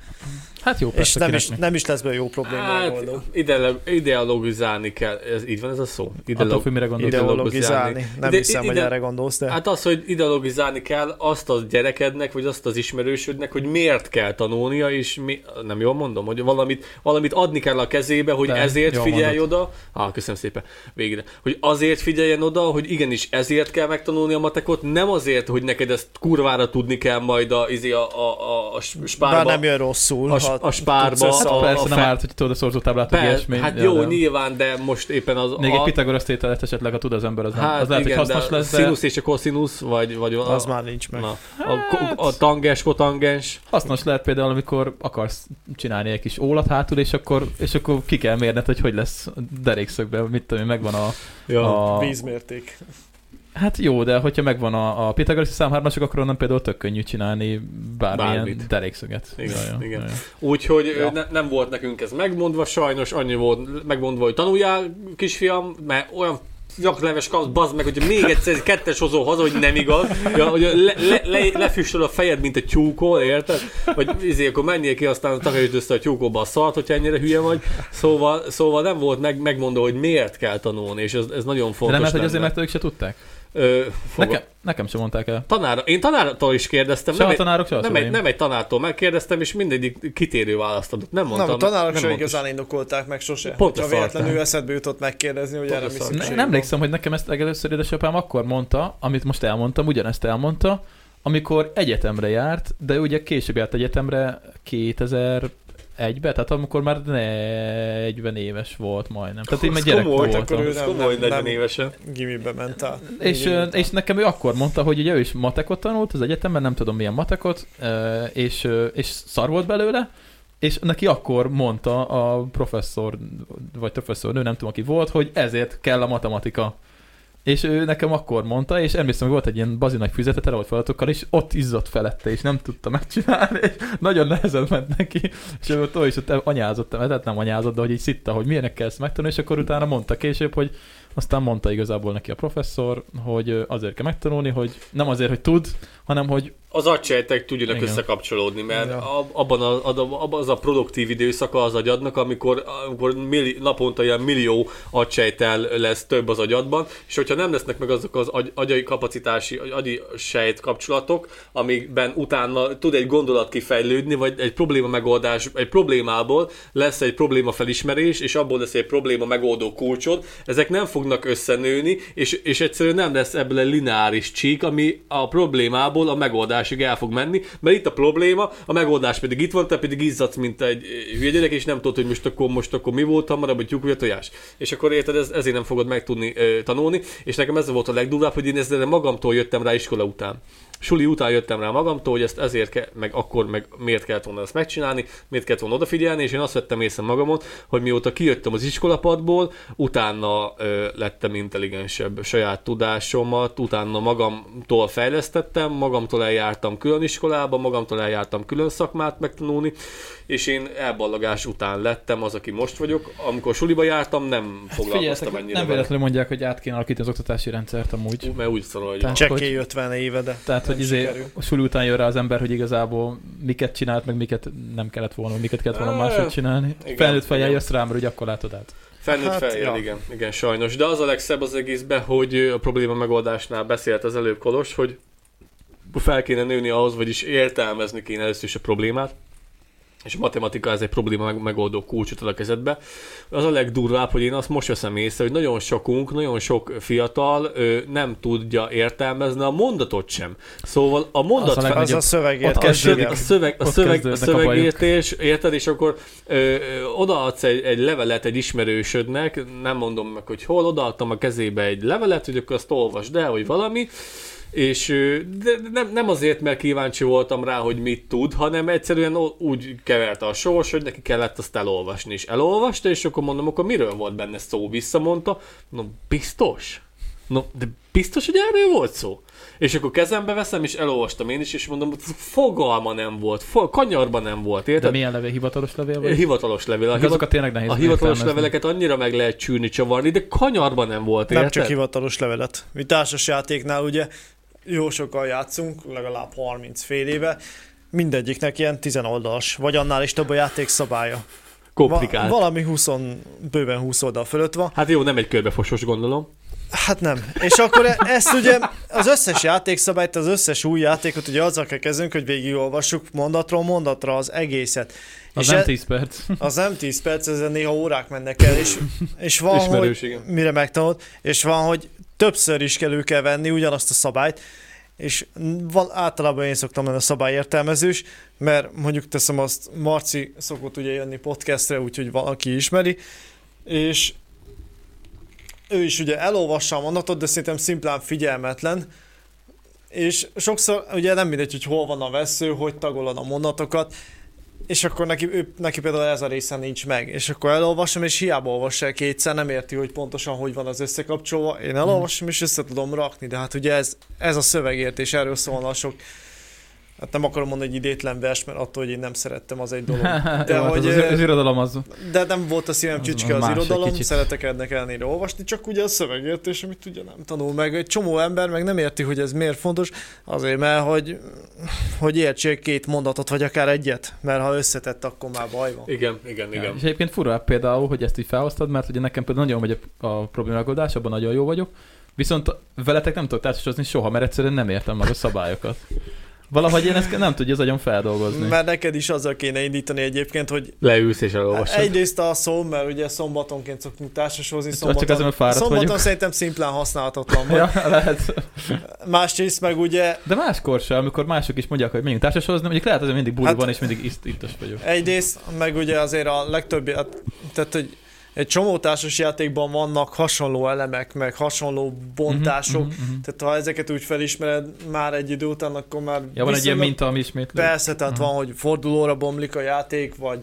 [SPEAKER 1] Hát jó,
[SPEAKER 3] És
[SPEAKER 1] persze,
[SPEAKER 3] nem
[SPEAKER 1] kinek
[SPEAKER 3] is,
[SPEAKER 1] mi.
[SPEAKER 3] nem is lesz belőle jó probléma
[SPEAKER 2] Hát,
[SPEAKER 3] megoldó.
[SPEAKER 2] ideolo- ideologizálni kell. Ez, így van ez a szó?
[SPEAKER 1] Attól
[SPEAKER 2] Ideolog-
[SPEAKER 1] függ, mire gondolsz.
[SPEAKER 2] Ide-
[SPEAKER 3] Ideologizálni. Nem
[SPEAKER 2] Ide-
[SPEAKER 3] hiszem, hogy
[SPEAKER 2] ide-
[SPEAKER 3] erre gondolsz, de...
[SPEAKER 2] Hát az, hogy ideologizálni kell azt a gyerekednek, vagy azt az ismerősödnek, hogy miért kell tanulnia, és mi, nem jól mondom, hogy valamit, valamit adni kell a kezébe, hogy
[SPEAKER 1] De,
[SPEAKER 2] De, ezért
[SPEAKER 1] jól
[SPEAKER 2] figyelj
[SPEAKER 1] mondod.
[SPEAKER 2] oda. Á, köszönöm szépen, végre. Hogy azért figyeljen oda, hogy igenis ezért kell megtanulni a matekot, nem azért, hogy neked ezt kurvára tudni kell majd a, izé a, a, a, a
[SPEAKER 3] Bár
[SPEAKER 2] spárba.
[SPEAKER 3] nem jön rosszul,
[SPEAKER 2] a,
[SPEAKER 3] ha
[SPEAKER 2] a
[SPEAKER 3] tudsz
[SPEAKER 2] spárba.
[SPEAKER 3] össze-
[SPEAKER 1] Hát
[SPEAKER 2] a,
[SPEAKER 1] persze,
[SPEAKER 2] a
[SPEAKER 1] nem
[SPEAKER 2] fe-
[SPEAKER 1] árt, hogy tudod a szorzótáblát, meg
[SPEAKER 2] Persze,
[SPEAKER 1] ilyesmi.
[SPEAKER 2] hát
[SPEAKER 1] Ja,
[SPEAKER 2] jó,
[SPEAKER 1] de-
[SPEAKER 2] nyilván, de most éppen az...
[SPEAKER 1] Még
[SPEAKER 2] a,
[SPEAKER 1] egy Pitagorasz tételet esetleg, ha tud az ember, az, nem.
[SPEAKER 2] hát
[SPEAKER 1] az lehet,
[SPEAKER 2] igen,
[SPEAKER 1] hogy hasznos
[SPEAKER 2] de
[SPEAKER 1] lesz, de
[SPEAKER 2] Színusz és a koszinusz, vagy... vagy a,
[SPEAKER 3] az már nincs meg.
[SPEAKER 2] Na, a, ko-
[SPEAKER 1] Hát.
[SPEAKER 2] a tangens, kotangens.
[SPEAKER 1] hasznos lehet például, amikor akarsz csinálni egy kis ólat hátul, és akkor, és akkor ki kell mérned, hogy hogy lesz derékszögben, mit tudom én, megvan a...
[SPEAKER 2] Ja.
[SPEAKER 1] a...
[SPEAKER 4] Vízmérték.
[SPEAKER 1] Hát jó, de hogyha megvan a, a pitagoraszi számhármasok, akkor onnan például tök könnyű csinálni bármilyen
[SPEAKER 2] Bármit.
[SPEAKER 1] derékszöget.
[SPEAKER 2] Igen, igen.
[SPEAKER 1] Jaj.
[SPEAKER 2] Úgyhogy
[SPEAKER 1] Ja.
[SPEAKER 2] ja. ne, nem volt nekünk ez megmondva, sajnos annyi volt megmondva, hogy tanuljál, kisfiam, mert olyan nyakleves kapsz, bazd meg, hogy még egyszer egy kettes hozó haza, hogy nem igaz, ja, hogy le, le, le, lefüstöl a fejed, mint egy tyúkol, érted? Vagy izé, akkor menjél ki, aztán takarítsd össze a tyúkóba a szart, hogyha ennyire hülye vagy. Szóval, szóval nem volt meg, megmondva, hogy miért kell tanulni, és ez, ez nagyon
[SPEAKER 1] De
[SPEAKER 2] fontos.
[SPEAKER 1] nem, mert hogy
[SPEAKER 2] lenne.
[SPEAKER 1] azért, mert ők se tudták.
[SPEAKER 2] Ö, fogal...
[SPEAKER 1] Nekem, nekem sem mondták el.
[SPEAKER 2] Tanára, én tanártól is kérdeztem,
[SPEAKER 1] Se
[SPEAKER 2] nem
[SPEAKER 1] a
[SPEAKER 2] egy,
[SPEAKER 1] tanárok, se a
[SPEAKER 2] nem, egy,
[SPEAKER 1] szüleim.
[SPEAKER 2] nem egy tanártól megkérdeztem, és mindegyik kitérő választ adott. Nem
[SPEAKER 4] Nem,
[SPEAKER 2] mondtam.
[SPEAKER 4] a tanárok
[SPEAKER 2] nem
[SPEAKER 4] sem
[SPEAKER 2] mondtam.
[SPEAKER 4] igazán indokolták meg sose.
[SPEAKER 2] Pont
[SPEAKER 4] Pont
[SPEAKER 2] a
[SPEAKER 4] ha
[SPEAKER 2] szartán.
[SPEAKER 4] véletlenül eszedbe jutott megkérdezni, hogy
[SPEAKER 2] Pont
[SPEAKER 4] erre
[SPEAKER 2] a
[SPEAKER 4] mi
[SPEAKER 2] szartán.
[SPEAKER 1] Ne,
[SPEAKER 4] szükség
[SPEAKER 3] Szóval
[SPEAKER 1] nem
[SPEAKER 4] van.
[SPEAKER 1] emlékszem, hogy nekem ezt legelőször édesapám akkor mondta, amit most elmondtam, ugyanezt elmondta, amikor egyetemre járt, de ugye később járt egyetemre 2001-be, tehát amikor már 40 éves volt majdnem. Tehát én
[SPEAKER 2] Ez
[SPEAKER 1] már gyerek
[SPEAKER 2] komoly,
[SPEAKER 1] voltam.
[SPEAKER 4] akkor ő
[SPEAKER 2] Ez
[SPEAKER 4] nem-
[SPEAKER 2] komoly,
[SPEAKER 4] nem-
[SPEAKER 2] 40
[SPEAKER 4] nem-
[SPEAKER 2] évesen.
[SPEAKER 4] Gimibe ment át.
[SPEAKER 1] És, ö, és nekem ő akkor mondta, hogy ugye ő is matekot tanult az egyetemen, nem tudom milyen matekot, ö, és, ö, és szar volt belőle, és neki akkor mondta a professzor, vagy professzornő, nem tudom aki volt, hogy ezért kell a matematika. És ő nekem akkor mondta, és emlékszem, hogy volt egy ilyen bazi nagy füzete, tele volt feladatokkal, és ott izzott felette, és nem tudta megcsinálni, és nagyon nehezen ment neki. És ő ott is ott anyázott, hát nem anyázott, de hogy így szitta, hogy milyenek kell ezt megtanulni, és akkor utána mondta később, hogy aztán mondta igazából neki a professzor, hogy ö, azért kell megtanulni, hogy nem azért, hogy tud, hanem hogy
[SPEAKER 2] Az agysejtek tudjanak
[SPEAKER 1] Igen.
[SPEAKER 2] összekapcsolódni, mert
[SPEAKER 1] Ja.
[SPEAKER 2] ab- abban a, ad- abban az a produktív időszaka az agyadnak, amikor, amikor milli, naponta ilyen millió agysejtel lesz több az agyadban, és hogyha nem lesznek meg azok az agy, agyai kapacitási, agy- agyi sejt kapcsolatok, amikben utána tud egy gondolat kifejlődni, vagy egy probléma megoldás, egy problémából lesz egy probléma felismerés, és abból lesz egy probléma megoldó kulcsod, ezek nem fognak összenőni, és, és egyszerűen nem lesz ebből egy lineáris csík, ami a problémából a megoldásig el fog menni, mert itt a probléma, a megoldás pedig itt van, te pedig izzadsz, mint egy ö, hülye gyerek, és nem tudod, hogy most akkor, most akkor mi volt hamarabb, hogy tyúk vagy a tojás. És akkor érted, ez, ezért nem fogod megtudni ö, tanulni, és nekem ez volt a legdurvább, hogy én ezzel magamtól jöttem rá iskola után. Suli után jöttem rá magamtól, hogy ezt ezért ke- meg akkor, meg miért kellett volna ezt megcsinálni, miért kellett volna odafigyelni, és én azt vettem észre magamon, hogy mióta kijöttem az iskolapadból, utána ö, lettem intelligensebb a saját tudásomat, utána magamtól fejlesztettem, magamtól eljártam külön iskolába, magamtól eljártam külön szakmát megtanulni, és én elballagás után lettem az, aki most vagyok. Amikor suliba jártam, nem foglalkoztam
[SPEAKER 1] Hát figyeljetek,
[SPEAKER 2] ennyire
[SPEAKER 1] nem
[SPEAKER 2] vele.
[SPEAKER 1] véletlenül mondják, hogy át kéne alakítani az oktatási rendszert amúgy.
[SPEAKER 2] Mert úgy szorol, hogy
[SPEAKER 1] Tehát-
[SPEAKER 3] Csekély 50 éve, de
[SPEAKER 1] Tehát, hogy
[SPEAKER 7] is
[SPEAKER 1] izé,
[SPEAKER 7] sikerül.
[SPEAKER 1] a suli után jön rá az ember, hogy igazából miket csinált, meg miket nem kellett volna, vagy miket kellett volna
[SPEAKER 2] Ö,
[SPEAKER 1] máshogy csinálni.
[SPEAKER 2] igen,
[SPEAKER 1] Felnőtt fejjel
[SPEAKER 2] igen.
[SPEAKER 1] jössz rám, hogy akkor látod át.
[SPEAKER 2] Felnőtt
[SPEAKER 3] Hát,
[SPEAKER 2] hát, feljel,
[SPEAKER 3] ja.
[SPEAKER 2] ja. igen, igen, sajnos. De az a legszebb az egészben, hogy ö, a probléma megoldásnál beszélt az előbb Kolos, hogy fel kéne nőni ahhoz, vagyis értelmezni kéne először is a problémát, és a matematika ez egy probléma meg- megoldó kulcsot ad a kezedbe. Az a legdurvább, hogy én azt most veszem észre, hogy nagyon sokunk, nagyon sok fiatal ö, nem tudja értelmezni a mondatot sem. Szóval a mondat...
[SPEAKER 1] a
[SPEAKER 2] fel-
[SPEAKER 3] Az
[SPEAKER 1] legnagyobb-
[SPEAKER 3] a szövegért.
[SPEAKER 1] ott
[SPEAKER 2] a, szöveg, a,
[SPEAKER 1] igen.
[SPEAKER 2] szöveg, a,
[SPEAKER 1] Ott
[SPEAKER 2] szöveg, a
[SPEAKER 1] kezdődnek a bajok.
[SPEAKER 2] szövegértés, érted, és akkor ö, ö, odaadsz egy, egy levelet egy ismerősödnek, nem mondom meg, hogy hol, odaadtam a kezébe egy levelet, hogy akkor azt olvasd el, hogy valami, és ö, de de nem, nem azért, mert kíváncsi voltam rá, hogy mit tud, hanem egyszerűen ó- úgy keverte a sors, hogy neki kellett azt elolvasni, és elolvasta, és akkor mondom, akkor miről volt benne szó, visszamondta, no biztos, no de biztos, hogy erről volt szó. És akkor kezembe veszem, és elolvastam én is, és mondom, hogy fogalma nem volt, fo- kanyarba nem volt,
[SPEAKER 1] De
[SPEAKER 2] érted?
[SPEAKER 1] milyen levél? Hivatalos levél vagy?
[SPEAKER 2] Hivatalos levél. A,
[SPEAKER 1] Meg azokat
[SPEAKER 2] hivat-
[SPEAKER 1] tényleg nehéz
[SPEAKER 2] a hivatalos
[SPEAKER 1] értelmezni.
[SPEAKER 2] leveleket annyira meg lehet csűrni, csavarni, de kanyarba nem volt,
[SPEAKER 3] Nem
[SPEAKER 2] érted?
[SPEAKER 3] csak hivatalos levelet. Mi társasjátéknál ugye jó sokan játszunk, legalább 30 fél éve, mindegyiknek ilyen 10 oldalas, vagy annál is több a játék szabálya.
[SPEAKER 2] Komplikált.
[SPEAKER 3] valami 20, bőven 20 oldal fölött van.
[SPEAKER 2] Hát jó, nem egy körbefosos, gondolom.
[SPEAKER 3] Hát nem. És akkor e- ezt ugye, az összes játékszabályt, az összes új játékot ugye azzal kell kezdünk, hogy végigolvassuk mondatról mondatra az egészet.
[SPEAKER 1] Az
[SPEAKER 3] és
[SPEAKER 1] nem
[SPEAKER 3] e-
[SPEAKER 1] 10 perc.
[SPEAKER 3] az nem 10 perc, ezen néha órák mennek el, és, és van,
[SPEAKER 2] Ismerős,
[SPEAKER 3] hogy,
[SPEAKER 2] igen.
[SPEAKER 3] mire megtanult, és van, hogy többször is kell elő kell venni ugyanazt a szabályt, és van, általában én szoktam lenni a szabályértelmezős, mert mondjuk teszem azt, Marci szokott ugye jönni podcastre, úgyhogy valaki ismeri, és ő is ugye elolvassa a mondatot, de szerintem szimplán figyelmetlen, és sokszor ugye nem mindegy, hogy hol van a vesző, hogy tagolod a mondatokat, és akkor neki, ő, neki például ez a része nincs meg, és akkor elolvasom, és hiába olvassa el kétszer, nem érti, hogy pontosan hogy van az összekapcsolva. Én elolvasom, és össze tudom rakni, de hát ugye ez, ez a szövegértés, erről szólna a sok Hát nem akarom mondani, hogy idétlen vers, mert attól, hogy én nem szerettem, az egy dolog.
[SPEAKER 1] De
[SPEAKER 3] hogy,
[SPEAKER 1] hogy... Az,
[SPEAKER 3] ö,
[SPEAKER 1] az irodalom az...
[SPEAKER 3] De nem volt a szívem
[SPEAKER 1] Az
[SPEAKER 3] csücske az
[SPEAKER 1] más egy
[SPEAKER 3] irodalom,
[SPEAKER 1] kicsit.
[SPEAKER 3] szeretek ennek ellenére olvasni, csak ugye a szövegértés, amit ugye nem tanul meg. Egy csomó ember meg nem érti, hogy ez miért fontos, azért mert, hogy, hogy értsék két mondatot, vagy akár egyet, mert ha összetett, akkor már baj van.
[SPEAKER 2] Igen, igen, igen.
[SPEAKER 1] És egyébként fura például, hogy ezt így felhoztad, mert ugye nekem például nagyon megy a, a problémagoldás, abban nagyon jó vagyok, viszont veletek nem tudok társasozni soha, mert egyszerűen nem értem meg a szabályokat. Valahogy én ezt nem tudja az agyam feldolgozni.
[SPEAKER 3] Mert neked is azzal kéne indítani egyébként, hogy
[SPEAKER 2] Leülsz és
[SPEAKER 3] hát
[SPEAKER 2] elolvasod.
[SPEAKER 3] egyrészt a szó, mert ugye szombatonként szoktunk társasozni,
[SPEAKER 1] csak
[SPEAKER 3] szombaton,
[SPEAKER 1] azért, mert fáradt
[SPEAKER 3] szombaton
[SPEAKER 1] vagyok.
[SPEAKER 3] szerintem szimplán használhatatlan vagy.
[SPEAKER 1] Ja, lehet.
[SPEAKER 3] Másrészt meg ugye
[SPEAKER 1] De máskor sem, amikor mások is mondják, hogy menjünk társasozni, mondjuk lehet, hogy mindig buliban
[SPEAKER 3] Hát-
[SPEAKER 1] van, és mindig itt, ittas vagyok.
[SPEAKER 3] Egyrészt, meg ugye azért a legtöbb, hát, tehát hogy egy csomó társasjátékban vannak hasonló elemek, meg hasonló bontások,
[SPEAKER 1] Mhm, mhm, mhm.
[SPEAKER 3] tehát ha ezeket úgy felismered már egy idő után, akkor
[SPEAKER 1] Ja,
[SPEAKER 3] már
[SPEAKER 1] van egy ilyen
[SPEAKER 3] viszonylag-
[SPEAKER 1] minta, ami ismétlő.
[SPEAKER 3] Persze, tehát
[SPEAKER 1] Mhm.
[SPEAKER 3] van, hogy fordulóra bomlik a játék, vagy,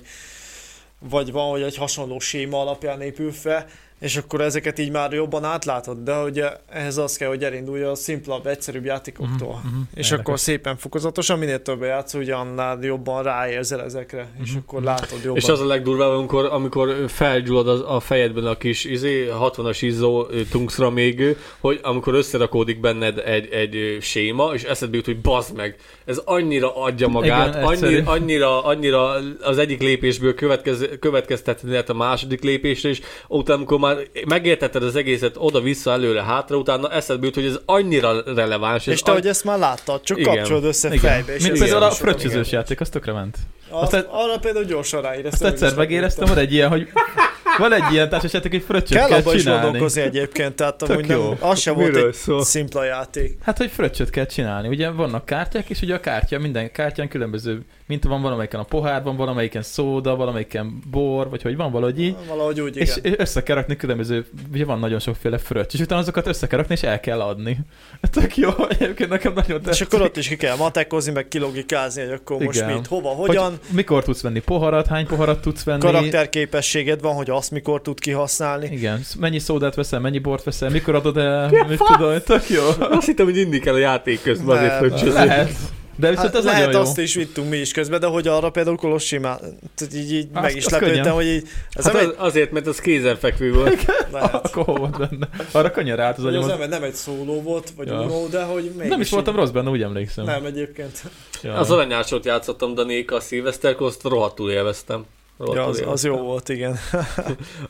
[SPEAKER 3] vagy van, hogy egy hasonló séma alapján épül fel, és akkor ezeket így már jobban átlátod, de ugye ehhez az kell, hogy elindulja a szimplabb, egyszerűbb játékoktól.
[SPEAKER 1] Mhm, mhm.
[SPEAKER 3] És
[SPEAKER 1] Érdekes.
[SPEAKER 3] akkor szépen fokozatosan, minél többen játsz, ugye annál jobban ráérzel ezekre, és
[SPEAKER 1] Mhm.
[SPEAKER 3] akkor látod jobban.
[SPEAKER 2] És az a legdurvább, amikor, amikor felgyullad az, a fejedben a kis izé, 60-as izzó ö, tungszra még, ö, hogy amikor összerakódik benned egy, egy ö, séma, és eszedbe jut, hogy bazd meg, ez annyira adja magát,
[SPEAKER 1] Igen,
[SPEAKER 2] Igen, annyira,
[SPEAKER 1] egyszerű.
[SPEAKER 2] annyira, annyira az egyik lépésből következ, következtetni lehet a második lépésre, és utána, amikor már megértetted az egészet oda-vissza, előre-hátra, utána eszedbe jut, hogy ez annyira releváns.
[SPEAKER 3] és
[SPEAKER 2] ez
[SPEAKER 3] te,
[SPEAKER 2] an-
[SPEAKER 3] hogy ezt már láttad, csak
[SPEAKER 2] Igen.
[SPEAKER 3] kapcsolod össze
[SPEAKER 1] Igen.
[SPEAKER 3] fejbe. És
[SPEAKER 1] Mint
[SPEAKER 3] ez
[SPEAKER 1] például a
[SPEAKER 3] nagyon sokan
[SPEAKER 1] fröccsözős
[SPEAKER 3] igen.
[SPEAKER 1] játék, az tökre ment.
[SPEAKER 3] Azt,
[SPEAKER 1] Azt-
[SPEAKER 3] arra például gyorsan
[SPEAKER 1] Azt
[SPEAKER 3] ráéreztem.
[SPEAKER 1] egyszer megéreztem, van egy ilyen, hogy van egy ilyen társasjáték, hogy fröccsöt
[SPEAKER 3] Kell
[SPEAKER 1] kell
[SPEAKER 3] abban is
[SPEAKER 1] csinálni.
[SPEAKER 3] gondolkozni egyébként, tehát amúgy
[SPEAKER 1] jó.
[SPEAKER 3] nem, az sem volt
[SPEAKER 2] Miről
[SPEAKER 3] egy
[SPEAKER 2] szól?
[SPEAKER 3] szimpla játék.
[SPEAKER 1] Hát, hogy fröccsöt kell csinálni. Ugye vannak kártyák, és ugye a kártya, minden kártyán különböző minta van, valamelyiken a pohárban, valamelyiken szóda, valamelyiken bor, vagy hogy van valahogy így.
[SPEAKER 3] Valahogy úgy, igen.
[SPEAKER 1] És, és össze kell rakni különböző, ugye van nagyon sokféle fröccs, és utána azokat össze kell rakni, és el kell adni. Tök jó, egyébként nekem nagyon
[SPEAKER 3] És
[SPEAKER 1] tetszik.
[SPEAKER 3] akkor ott is ki kell matekozni, meg kilogikázni, hogy akkor most
[SPEAKER 1] Igen.
[SPEAKER 3] mit, hova,
[SPEAKER 1] Hogy
[SPEAKER 3] hogyan.
[SPEAKER 1] mikor tudsz venni poharat, hány poharat tudsz venni.
[SPEAKER 3] Karakterképességed van, hogy azt mikor tud kihasználni.
[SPEAKER 1] Igen, mennyi szódát veszel, mennyi bort veszel, mikor adod el, mit tudom, tök jó.
[SPEAKER 2] Azt hittem, hogy inni kell a játék közben,
[SPEAKER 3] Nem.
[SPEAKER 2] azért, hogy
[SPEAKER 1] Lehet. De viszont ez
[SPEAKER 3] Hát lehet
[SPEAKER 1] nagyon jó.
[SPEAKER 3] azt is vittünk mi is közben, de hogy arra például Kolossimá, tehát így, így
[SPEAKER 1] Azt-
[SPEAKER 3] meg is
[SPEAKER 1] azt
[SPEAKER 3] lepődtem,
[SPEAKER 1] könnyen.
[SPEAKER 3] hogy így, ez
[SPEAKER 2] Hát
[SPEAKER 3] nem
[SPEAKER 2] az,
[SPEAKER 3] egy,
[SPEAKER 2] azért, mert az kézenfekvő volt.
[SPEAKER 3] lehet.
[SPEAKER 1] Akkor hol volt benne? Arra könnyen ráállt az
[SPEAKER 4] Hogy
[SPEAKER 1] agyam.
[SPEAKER 4] az
[SPEAKER 1] az-
[SPEAKER 4] nem, nem egy szóló volt, vagy
[SPEAKER 1] Ja.
[SPEAKER 4] ja. unó, de hogy mégis
[SPEAKER 1] Nem is voltam rossz benne, úgy emlékszem.
[SPEAKER 4] így... Nem, egyébként.
[SPEAKER 1] Ja.
[SPEAKER 2] Az aranyásot játszottam Danéka a szilveszterkor, azt rohadtul élveztem. Rohadtul
[SPEAKER 3] ja, az, az jó volt, igen.